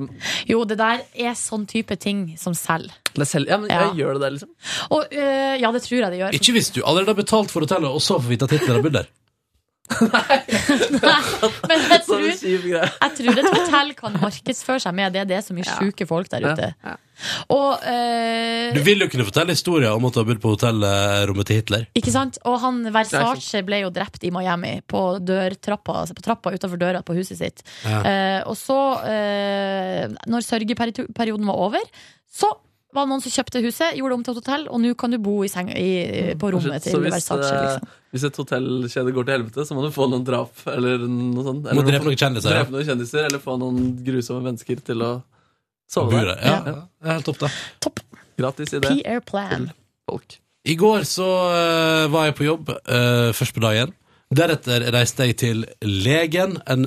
C: Jo, det der er sånn type ting som selger.
J: Det selv, ja, men
C: Ja.
J: jeg gjør det der, liksom.
C: Og eh, ja, det tror jeg det gjør.
B: Ikke hvis du allerede har betalt for hotellet, og så får vite at Hitler har bodd der.
C: (laughs) Men jeg tror,
J: en kjip greie.
C: jeg tror et hotell kan markedsføre seg med det. Det er så mye sjuke folk der ute. Og eh,
B: Du vil jo kunne fortelle historier om at du har bodd på hotellrommet til Hitler.
C: Ikke sant? Og han
B: Nei,
C: Versace ble jo drept i Miami, på dørtrappa, altså på trappa utenfor døra på huset sitt.
B: Ja.
C: Eh, og så, eh, når sørgeperioden var over, så var det noen som kjøpte huset, gjorde det om til et hotell, og nå kan du bo i seng, i, på rommet
J: Mm. Så
C: til
J: hvis,
C: Versace.
J: eh,
C: Liksom.
J: Hvis et hotellkjede går til helvete, så må du få noen drap eller noe sånt.
B: Må
J: Eller
B: drepe noen kjendiser, ja.
J: Drepe noen kjendiser, eller få noen grusomme mennesker til å sove
B: Bo
J: der.
B: der, ja. Helt topp, da.
J: Gratis idé.
C: PR plan.
B: I går så eh, var jeg på jobb, eh, først på dagen. Deretter reiste jeg til legen, en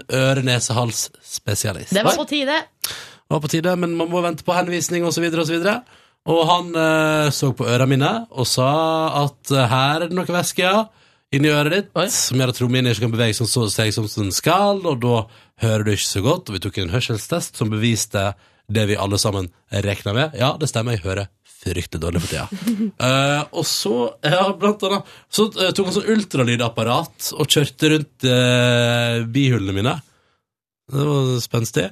B: øre-nese-hals-spesialist.
C: Det var på tide.
B: Det var på tide, men man må vente på henvisning osv. Og, så videre, og, så videre. og han eh, så på øra mine og sa at eh, her er det noe væske ja, inni øret ditt som gjør at trommehinnen ikke kan bevege seg sånn- seg sånn som den skal, og da hører du ikke så godt. Og vi tok en hørselstest som beviste det vi alle sammen regna med. Ja, det stemmer, jeg hører fryktelig dårlig for tida. Eh, og så, ja, blant annet, så eh, tok han sånn ultralydapparat og kjørte rundt eh, bihulene mine. Det var spenstig.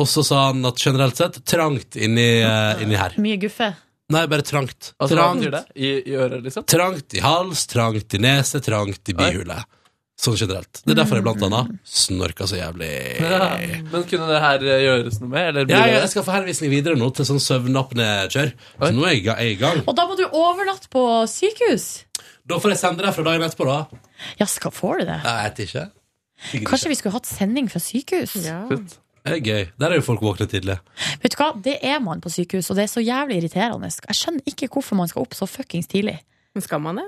B: Og så sa han at generelt sett trangt inni, eh, inni her.
C: Mye guffe.
B: Nei, bare trangt.
J: Altså, hva
B: trangt.
J: betyr det? I, i øret, liksom?
B: trangt i hals, trangt i nese, trangt i bihule. Sånn generelt. Det er derfor jeg blant annet snorka så jævlig.
J: (laughs) Ja. Men kunne det her eh, gjøres noe med? Eller blir
B: Ja,
J: det-
B: jeg skal få henvisning videre nå til sånn søvnapnekjør. Så nå er jeg, ga- jeg er i gang.
C: Og da må du overnatte på sykehus.
B: Da får jeg sende deg fra dagen etterpå, da.
C: Ja, skal får du det?
B: Jeg vet ikke. Sikkert
C: Kanskje vi skulle hatt sending fra sykehus?
B: Shit. Det er gøy. Der er jo folk våkne tidlig.
C: Vet du hva, det er man på sykehus, og det er så jævlig irriterende. Jeg skjønner ikke hvorfor man skal opp så fuckings tidlig.
E: Men skal man det?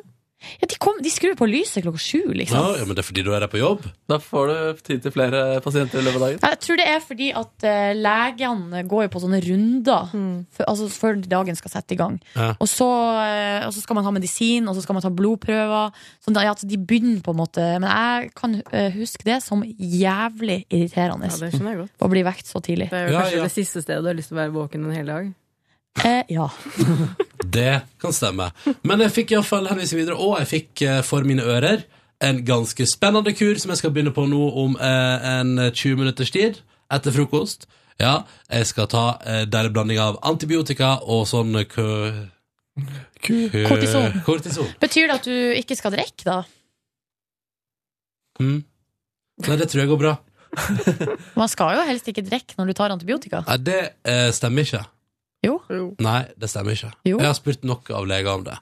C: Ja, de, kom, de skrur på lyset klokka sju,
B: Ja,
C: liksom.
B: ja, men det er fordi du er der på jobb.
J: Da får du tid til flere pasienter i løpet av dagen.
C: Jeg tror det er fordi at eh, legene går jo på sånne runder
E: Mm.
C: før- altså før dagen skal sette i gang.
B: Ja.
C: Og, så, eh, og så skal man ha medisin, og så skal man ta blodprøver. Sånn at de begynner på en måte Men jeg kan eh, huske det som jævlig irriterende
E: Ja, det skjønner jeg godt.
C: å bli vekt så tidlig.
E: Det er jo kanskje det siste stedet du har lyst til å være våken en hel dag.
C: Eh, ja.
B: Det kan stemme. Men jeg fikk iallfall henvisning videre, og jeg fikk eh, for mine ører en ganske spennende kur som jeg skal begynne på nå om eh, en 20 minutters tid, etter frokost. Ja, jeg skal ta eh, der en blanding av antibiotika og sånn kø... kø
C: Kortison.
B: kortison.
C: Betyr det at du ikke skal drikke, da?
B: Mm. Nei, det tror jeg går bra.
C: Man skal jo helst ikke drikke når du tar antibiotika.
B: Nei, det eh, stemmer ikke.
C: Jo.
B: Nei, det stemmer ikke.
C: Jo.
B: Jeg har spurt nok av leger om det.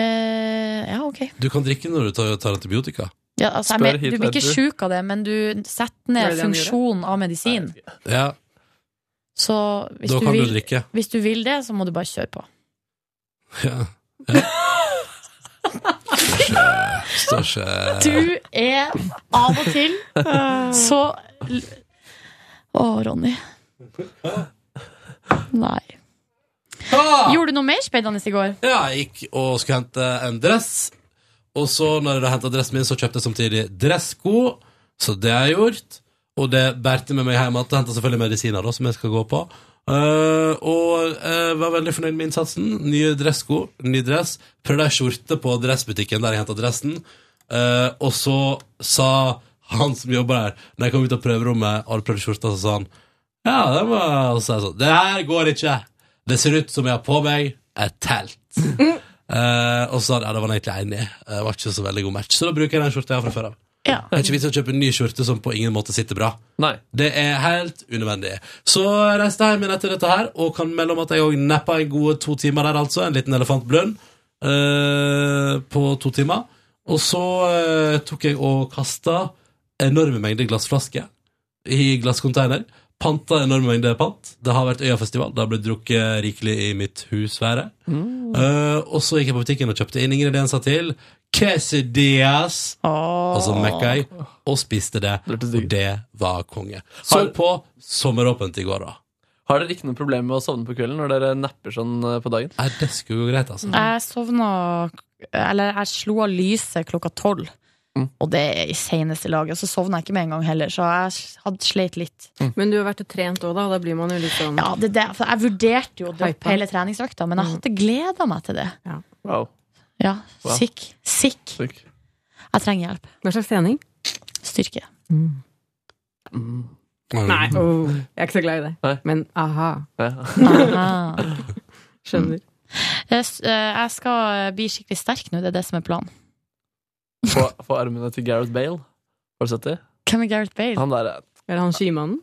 C: Eh, ja, ok.
B: Du kan drikke når du tar, tar antibiotika.
C: Ja, altså, jeg,
B: Spør
C: men- du
B: Hitler,
C: blir ikke
B: du.
C: sjuk av det, men du setter
B: Er det det
C: ned
B: han gjør?
C: funksjonen av medisin.
B: Ja,
C: Så hvis
B: Da
C: du,
B: kan du
C: vil,
B: drikke.
C: hvis du vil det, så må du bare kjøre på.
B: ja. ja. Står ikke Står ikke
C: Du er av og (laughs) til så l- Å, Ronny. Nei. Gjorde du noe mer spennende i går?
B: Ja, jeg gikk og skulle hente en dress. Og så, når jeg henta dressen min, så kjøpte jeg samtidig dressko. Så det har jeg gjort. Og det bærte med meg hjem igjen. Henta selvfølgelig medisiner, da, som jeg skal gå på. Eh, og jeg var veldig fornøyd med innsatsen. Nye dressko, ny dress. Prøvde ei skjorte på dressbutikken der jeg henta dressen. Eh, og så sa han som jobber her, når jeg kom ut av prøverommet og hadde prøvd skjorta, så sa han ja, det var Og så sa jeg sånn Det her går ikke. Det ser ut som jeg har på meg et telt. Eh, og så sa han ja, det var han egentlig enig i. Eh, Det var ikke så veldig god match. Så da bruker jeg den skjorta jeg har fra før av.
C: Ja.
B: Det er ikke vits i å kjøpe en ny skjorte som på ingen måte sitter bra. Det er helt unødvendig. Så reiste jeg hjem igjen etter dette her, og kan melde om at jeg òg nappa en gode to timer der, altså. En liten elefantblund eh, på to timer. Og så eh, tok jeg og kasta enorme mengder glassflasker i glasscontainer. Panta enorme mengder pant. Det har vært Øyafestival. Det har blitt drukket rikelig i mitt hus, været. Eh, og så gikk jeg på butikken og kjøpte inn ingredienser til quesadillas. Og så altså mekka jeg og spiste Ah. det. Og det var konge. Så på sommeråpent i går, da.
J: Har dere ikke noe problem med å sovne på kvelden når dere napper sånn eh, på dagen?
B: Nei, det skulle jo greit, altså.
C: Jeg sovna Eller jeg slo av lyset klokka tolv.
B: Mm.
C: Og det er i seneste laget. Og så sovna jeg ikke med en gang heller, så jeg s- hadde sleit litt.
E: Men du har vært og trent òg, da. Da blir man jo litt sånn
C: Ja, det er det, for jeg vurderte jo å droppe
E: Hypa.
C: hele treningsøkta, men jeg hadde gleda meg til det. Ja,
J: Wow. Wow.
C: Sikk. Sikk. Jeg trenger hjelp.
E: Hva slags trening?
C: Styrke.
J: Mm,
E: Nei,
B: Mm.
E: oh, jeg er ikke så glad i det. Men aha.
J: (laughs)
C: Aha. Mm.
E: Skjønner.
C: Jeg s- eh, jeg skal bli skikkelig sterk nå, det er det som er planen.
J: På, på armene til Gareth Bale. Har du sett det?
C: Hvem er Gareth Bale?
J: Han der er-
E: Er det han skimannen?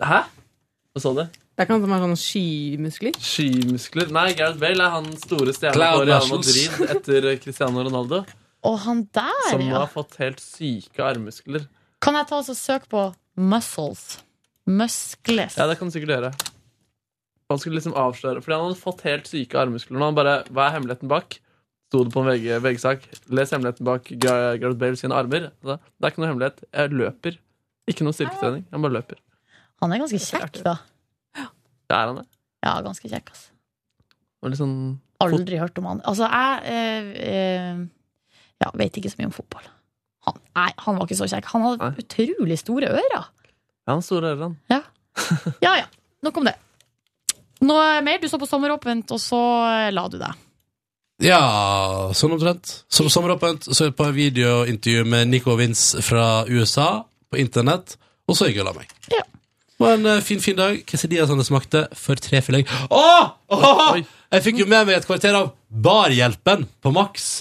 J: Hæ? Hva sa du?
E: Det er ikke han som har sånne skimuskler?
J: Skimuskler Nei, Gareth Bale er han store stjerna på
E: Cloud
J: Real
E: Marshals.
J: Madrid etter Cristiano Ronaldo.
C: Og han der,
J: Som
C: ja.
J: har fått helt syke armmuskler.
C: Kan jeg ta oss og søke på muscles? Muskles.
J: Ja, det kan du sikkert gjøre. Han skulle liksom avsløre Fordi han hadde fått helt syke armmuskler. Og han bare Hva er hemmeligheten bak? Sto det på en VG VG-sak. Les hemmeligheten bak Gar- Gareth Bale sine armer. Det er ikke noe hemmelighet. Jeg løper. Ikke noe styrketrening. Han bare løper.
C: Han er ganske kjekk, da.
J: Det er han, det.
C: Ja, ganske kjekk, altså.
J: Og litt sånn
C: Aldri hørt om han. Altså, jeg eh, eh, ja, vet ikke så mye om fotball. Han, nei, han var ikke så kjekk. Han hadde utrolig store ører.
J: Ja, han store ører, han.
C: Ja ja, nok om det. Noe mer? Du så på Sommeråpent, og så eh, la du deg.
B: Ja, sånn omtrent. Som sommeråpent så er det på en videointervju med Nico Vince fra USA på internett, og så gikk jeg og la meg.
C: Ja.
B: Det var en eh, fin, fin dag. Quesadillasene smakte for tre filet. Åh! Åh! Jeg fikk jo med meg et kvarter av Barhjelpen på Max.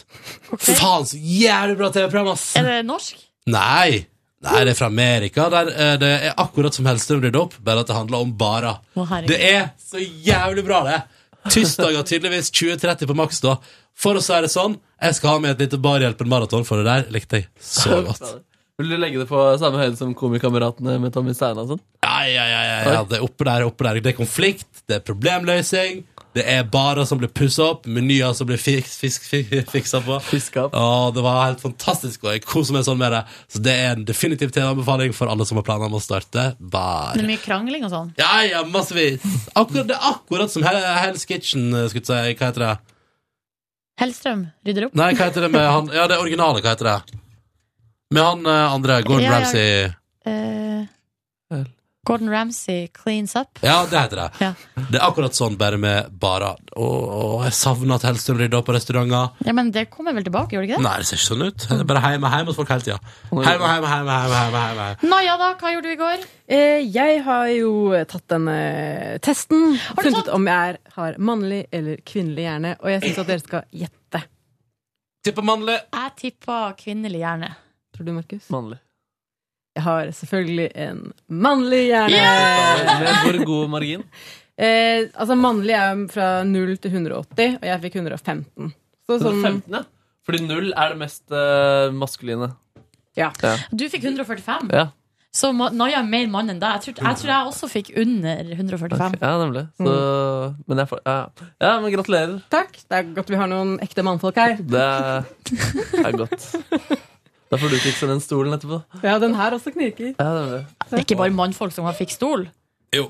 B: Faen, så jævlig bra TV-program, ass!
C: Er det norsk?
B: Nei. Nei, det er fra Amerika. Der, eh, det er akkurat som Hellstrøm rydder opp, bare at det handler om barer.
C: Å, herregud.
B: Det er så jævlig bra, det. Tirsdager tydeligvis 20.30 på maks, da. For å si det sånn, jeg skal ha med et lite Barhjelpen-maraton for det der. Likte jeg så godt.
J: Vil du legge det på samme høyde som Komikameratene med Tommy Steine og sånn?
B: Ja, ja, ja, ja, ja. Det er oppe der, oppe der. Det er konflikt, det er problemløsning. Det er barer som blir pussa opp, menyer som blir fiks, fiks, fi- fiksa på. Å, det var helt fantastisk, og jeg koser meg sånn med det. Så det er en definitiv TV-anbefaling for alle som har planer om å starte bar.
C: Det er mye krangling og sånn.
B: Ja, ja, massevis. Akkurat, det er akkurat som hele, hele sketsjen, eh, skulle jeg si. Hva heter det?
C: Hellstrøm rydder opp.
B: Nei, hva heter det med han Ja, det originale, hva heter det? Med han eh, andre, Gordon
C: Ja, ja.
B: Ramsay.
C: Eh, Gordon Ramsay cleans up.
B: Ja, det heter det.
C: Ja.
B: Det er akkurat sånn, bare med barer. Og, og jeg savner at Hellstrøm rydder opp på restauranter.
C: Ja, Men det kommer vel tilbake, gjør det ikke det?
B: Nei, det ser ikke sånn ut. Det er bare hjemme, hjemme hos folk hele tida. Hjemme, hjemme, hjemme, hjemme, hjemme, hjemme.
C: Naja da, hva gjorde du i går?
E: Eh, jeg har jo tatt denne testen. funnet ut om jeg er, har mannlig eller kvinnelig hjerne. Og jeg syns at dere skal gjette.
B: Tipper mannlig.
C: Jeg tipper kvinnelig hjerne.
E: Tror du, Markus?
J: Mannlig.
E: Jeg har selvfølgelig en mannlig hjerne.
J: Med hvor god margin?
E: Eh, altså Mannlig er jo fra 0 til 180, og jeg fikk 115. Så sånn
J: 15, ja. Fordi null er det mest eh, maskuline.
E: Ja.
C: Du fikk 145.
J: Ja.
C: Så Ma- Naja er mer mann enn deg. Jeg tror, jeg tror jeg også fikk under 145.
J: Ja, nemlig. Så,
E: Mm.
J: men jeg får, ja. ja, men gratulerer.
E: Takk. Det er godt vi har noen ekte mannfolk her.
J: Det er, er godt. Da får du fikse den stolen etterpå.
E: Ja, den her også knirker.
J: Ja, nemlig.
C: Det er ikke bare mannfolk som har fikk stol.
B: Jo.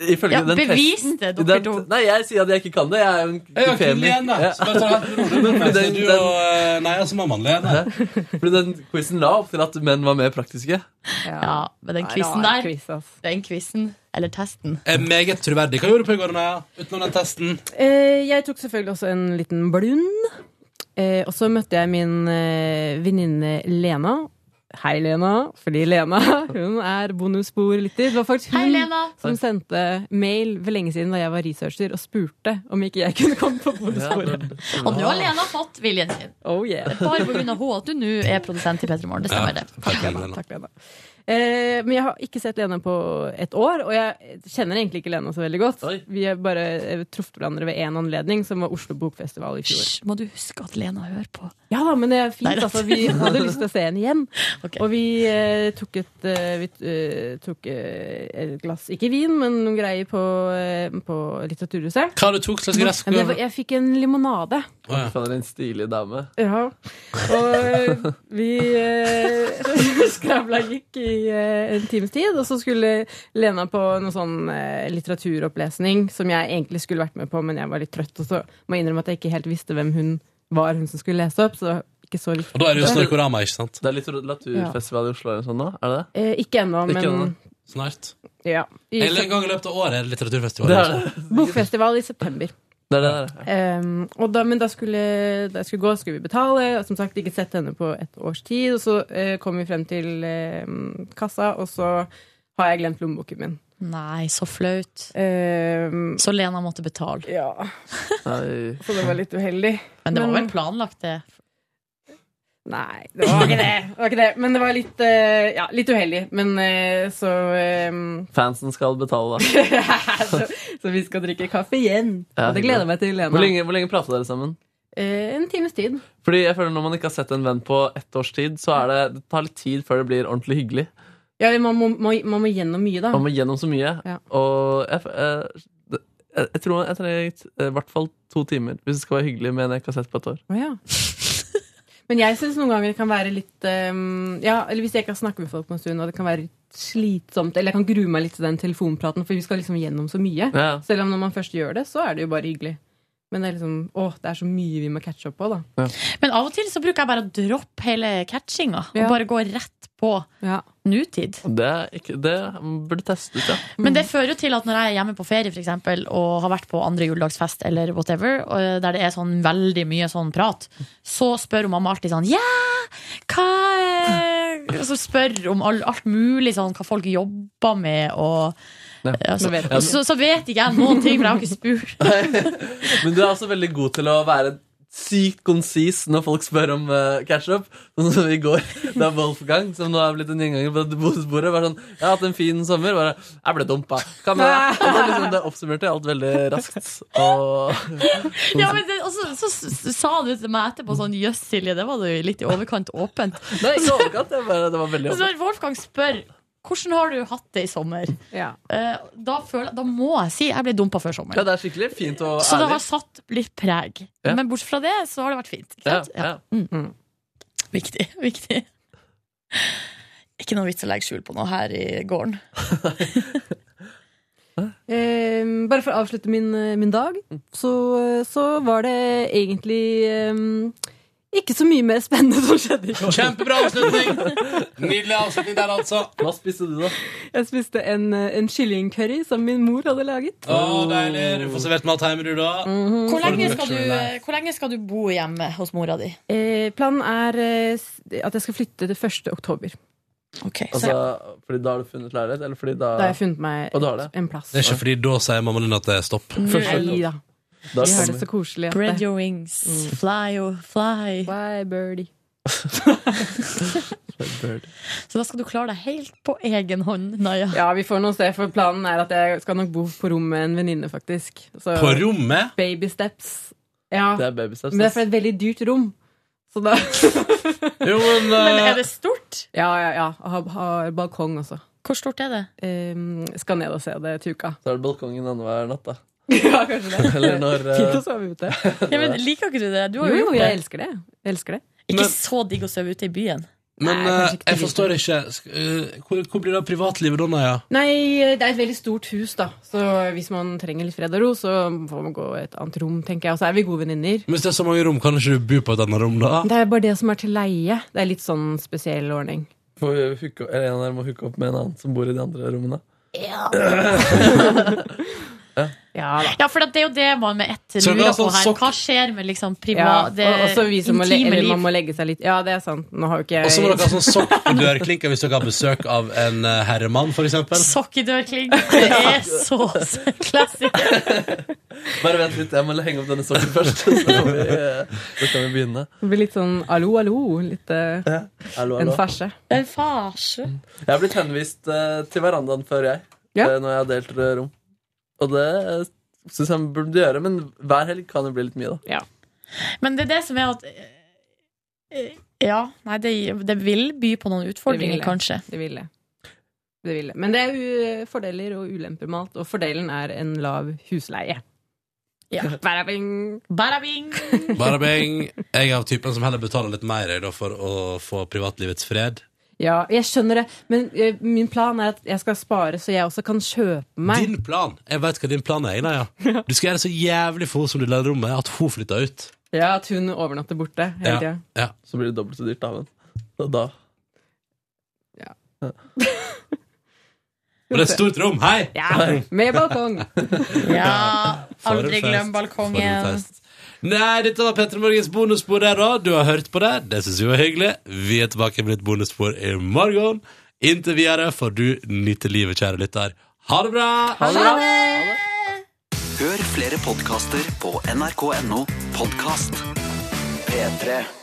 J: Ifølge
C: Ja,
J: den
C: bevis
J: testen-
C: det, dere
J: den- Nei, jeg sier at jeg ikke kan det. Jeg er jo en
B: Jeg er
J: femi.
B: kvinnelig igjen, da.
J: Ja.
B: Så bare ta det rolig med meg. Så
J: Den-
B: du
J: den-
B: og eh, Nei, altså, mammaen leder.
J: Fordi den quizen la opp til at menn var mer praktiske.
C: Ja, men den
E: Nei,
C: quizen
E: rar
C: der Den quizen, eller testen
B: Er meget troverdig. Hva gjorde du på i går, Naja? Utenom den testen?
E: Eh, jeg tok selvfølgelig også en liten blund. Eh, og så møtte jeg min eh, venninne Lena. Hei, Lena. Fordi Lena (laughs) hun er bonusbordlytter. Det var faktisk
C: Mm.
E: hun som sendte mail for lenge siden da jeg var researcher, og spurte om ikke jeg kunne komme på bonusbordet.
C: Og nå har Lena fått viljen sin.
E: Oh, yeah.
C: Det er bare på grunn av henne at du nå er produsent i P3 Morgen. Det stemmer, det.
E: Takk, Lena. Takk, Lena. Eh, men jeg har ikke sett Lena på et år, og jeg kjenner egentlig ikke Lena så veldig godt. Vi har bare eh, truffet hverandre ved én anledning, som var Oslo Bokfestival i fjor.
C: Må du huske at Lena hører på?
E: Ja da, men det er fint.
C: Nei, det-
E: altså, vi hadde lyst til å se henne
C: (laughs)
E: igjen. Og vi eh, tok, et, eh, vi, eh, tok eh, et glass, ikke vin, men noen greier på, eh, på Litteraturhuset.
B: Hva du tok slags glass?
E: Men det var- Jeg fikk en limonade.
J: Fader, en stilig dame.
E: Ja. Og eh, vi eh, (laughs) skravla gikk i eh, en times tid, og så skulle Lena på noe sånn eh, litteraturopplesning som jeg egentlig skulle vært med på, men jeg var litt trøtt, og så må jeg innrømme at jeg ikke helt visste hvem hun var, hun som skulle lese opp. Så det var ikke så viktig.
B: Og da er det jo Snorkorama, ikke sant?
J: Det er litt litteraturfestival i Oslo eller sånn nå, er det det?
E: Eh, ikke ennå,
J: Ikke
E: men
J: ennå.
B: Snart.
E: ja. I,
B: Eller en gang i løpet av året er det litteraturfestival.
J: Det er det.
E: bokfestival i september.
J: Det er det der.
E: Ehm, og da, men da skulle, da jeg skulle gå, skulle vi betale. Og som sagt, ikke sett henne på et års tid. Og så eh, kom vi frem til eh, kassa, og så har jeg glemt lommeboken min. Ehm,
C: Nei, så flaut. så Lena måtte betale.
E: Ja. Så det var litt uheldig.
C: Men det var
E: Men-
C: vel planlagt, det?
E: Nei, det var ikke det. det, var ikke det. Men det var litt, eh, ja, litt uheldig. Men eh, så ehm,
J: Fansen skal betale, da.
E: (laughs) Så vi skal drikke kaffe igjen. og det gleder jeg meg til, Lena.
J: Hvor lenge, hvor lenge prata dere sammen?
E: Eh, en times tid.
J: Fordi jeg føler Når man ikke har sett en venn på ett års tid, så er det, det tar litt tid før det blir ordentlig hyggelig.
E: Ja, man må, må, man må gjennom mye, da.
J: Man må gjennom så mye.
E: Mm. Ja.
J: Og jeg, f- eh, det- jeg, jeg tror jeg trenger i hvert fall to timer hvis det skal være hyggelig med en jeg ikke har sett på et år.
E: Å
J: (laughs)
E: ja. Men jeg syns noen ganger det kan være litt ehm, Ja, eller hvis jeg ikke har snakket med folk på en stund, og det kan være litt slitsomt, eller jeg kan grue meg litt til den telefonpraten, for vi skal liksom gjennom så mye.
J: Ja.
E: Selv om når man først gjør det, så er det jo bare hyggelig. Men det er liksom Å, det er så mye vi må catche opp på, da.
C: Men av og til så bruker jeg bare å droppe hele catchinga, og
E: Ja.
C: bare gå rett på nutid.
J: Det, er ikke, det burde testes ut, ja.
C: Men det fører jo til at når jeg er hjemme på ferie for eksempel, og har vært på andre juledagsfest eller whatever, og der det er sånn veldig mye sånn prat, så spør jo mamma alltid sånn Ja, hva er-" Og så spør om all, alt mulig, sånn hva folk jobber med og ja, så,
J: Nå vet jeg.
C: og så, så vet ikke jeg noen ting, for jeg har ikke spurt. (laughs)
J: Men du er også veldig god til å være sykt konsis når folk spør om uh, catch-up. Sånn som i går, (laughs) da Wolfgang, som nå er blitt en gjenganger på bordet, var sånn 'Jeg har hatt en fin sommer.' Bare 'Jeg ble dumpa.' Hva med deg? Og da liksom, det oppsummerte alt veldig raskt. Og (laughs)
C: Ja, men det, og så, så, s- sa du til meg etterpå sånn Jøss, Silje, det var jo litt i overkant åpent.
J: Nei, ikke overkant. Det, var- det var veldig
C: Så
J: åpent.
C: Altså, når Wolfgang spør hvordan har du hatt det i sommer, Eh, da, føler, jeg- da må jeg si jeg ble dumpa før sommeren.
J: Ja, det er skikkelig fint og
C: Så det
J: ærlig.
C: har satt litt preg.
J: Ja.
C: Men bortsett fra det, så har det vært fint. Ikke
J: Ja,
C: sant?
J: ja.
C: Viktig. (laughs) viktig Ikke noe vits å legge skjul på noe her i gården.
E: Ehm, bare for å avslutte min, eh, min dag, så, så var det egentlig ehm, Ikke så mye mer spennende som skjedde i går.
B: Kjempebra avslutning! Nydelig avslutning der, altså. Hva spiste du, da?
E: Jeg spiste en, eh, en kyllingcurry som min mor hadde laget.
B: Å, deilig. Du får servert mat hjemme, du, da.
C: Hvor lenge, skal du, eh, hvor lenge skal du bo hjemme hos mora di?
E: Eh, planen er eh, s- at jeg skal flytte til 1. oktober.
J: Altså, fordi da har du funnet leilighet? Eller fordi da
E: Da har jeg funnet meg
J: Og da har det.
E: en plass.
B: Det er ikke fordi da sier mammaen din at det er stopp.
E: Nei, da.
J: Da
E: Vi har
J: kommer-
E: det så koselig. at
C: Spread
E: det-
C: your wings, fly oh, fly.
E: Fly birdie.
C: Så da skal du klare deg helt på egen hånd, Naja.
E: Ja, vi får noe sted, for planen er at jeg skal nok bo på rom med en venninne, faktisk. Så,
B: På rommet?
E: Baby steps. Ja.
J: Det er baby steps,
E: Men det er
J: ass.
E: for et veldig dyrt rom. Så da
B: (laughs) Jo, men,
E: (laughs)
B: eh,
C: Men er det stort?
E: Ja, ja. ja. Og Har, har balkong også. Ehm.
C: Hvor stort er det?
E: skal ned og se det til uka.
J: Så er det balkongen annenhver natt, da.
E: (laughs) ja, kanskje det.
J: Eller når,
E: (laughs)
J: eh,
E: Fint å sove ute.
C: Ja, men Liker ikke du det? Du har
E: Jo,
C: jo,
E: jo,
C: gjort
E: jeg
C: det.
E: elsker det. Jeg elsker det.
C: Ikke så digg å sove ute i byen.
B: Men eh, jeg forstår ikke. Sk- eh, Hvor, hvor blir det av privatlivet da, Naja?
E: Nei, eh, det er et veldig stort hus, da. Så hvis man trenger litt fred og ro, så får man gå i et annet rom, tenker jeg. Og så er vi gode venninner.
B: Hvis det er så mange rom, kan ikke du bo på et annet rom, da?
E: Det er bare det som er til leie. Det er litt sånn spesiell ordning.
J: Får vi hooke opp- eller en av dere må hooke opp med en annen som bor i de andre rommene.
E: Ja,
C: Ja, for det er jo det man med ett
J: Så det er
C: lurer på
J: sånn
C: her.
J: sokk-
C: Hva skjer med liksom
E: Ja,
C: privat,
E: og
C: det
E: også vi som må, le
C: intime
E: eller
C: liv?
E: man må legge seg litt. Ja, det er sant. Nå har jo ikke jeg
B: Og så må dere ha sånn sokk på dørklinka hvis dere har besøk av en eh, herremann, for eksempel.
C: Sokk i
E: (laughs)
C: dørkling. Det er så classic.
J: Bare vent litt, jeg må henge opp denne sokken først. (laughs) Så kan vi, eh, så kan vi begynne.
E: Det blir litt sånn allo, allo. Litt eh,
J: Hallo,
E: en
J: hallo.
E: farse.
C: En farse.
J: Jeg har blitt henvist eh, til verandaen før, jeg. eh, Når jeg har delt eh, rom. Og det uh, syns jeg man burde gjøre, men hver helg kan det bli litt mye, da.
C: Men det er det som er at eh, Ja, nei, det, det vil by på noen utfordringer,
E: det.
C: kanskje.
E: Det vil det. Det vil det. Men det er u fordeler og ulemper med alt, og fordelen er en lav husleie.
C: Ja.
E: Bada bing.
C: Bada bing.
B: Bare bing. Jeg er av typen som heller betaler litt mer jeg, da, for å få privatlivets fred.
E: Ja, jeg skjønner det, men eh, min plan er at jeg skal spare så jeg også kan kjøpe meg
B: Din plan! Jeg vet hva din plan er, Naja.
E: (laughs)
B: Du skal gjøre det så jævlig for henne som du lar rommet, at hun flytter ut.
E: Ja, at hun overnatter borte hele
B: Ja.
E: tida.
B: Ja.
J: Så blir det dobbelt så dyrt, da. Men. Og da
B: Og det er et stort rom. Hei!
E: Ja, med balkong.
C: Ja,
B: For en
C: aldri
B: fest.
C: glem
B: For en
C: balkongen.
B: fest. Nei, dette var Petter Morgens bonusspor der, da. Du har hørt på det. Det syns vi var hyggelig. Vi er tilbake med nytt bonusspor i morgen. Inntil videre får du nyte livet, kjære lytter. Ha det bra!
A: Hør flere podkaster på nrk.no podkast. P3.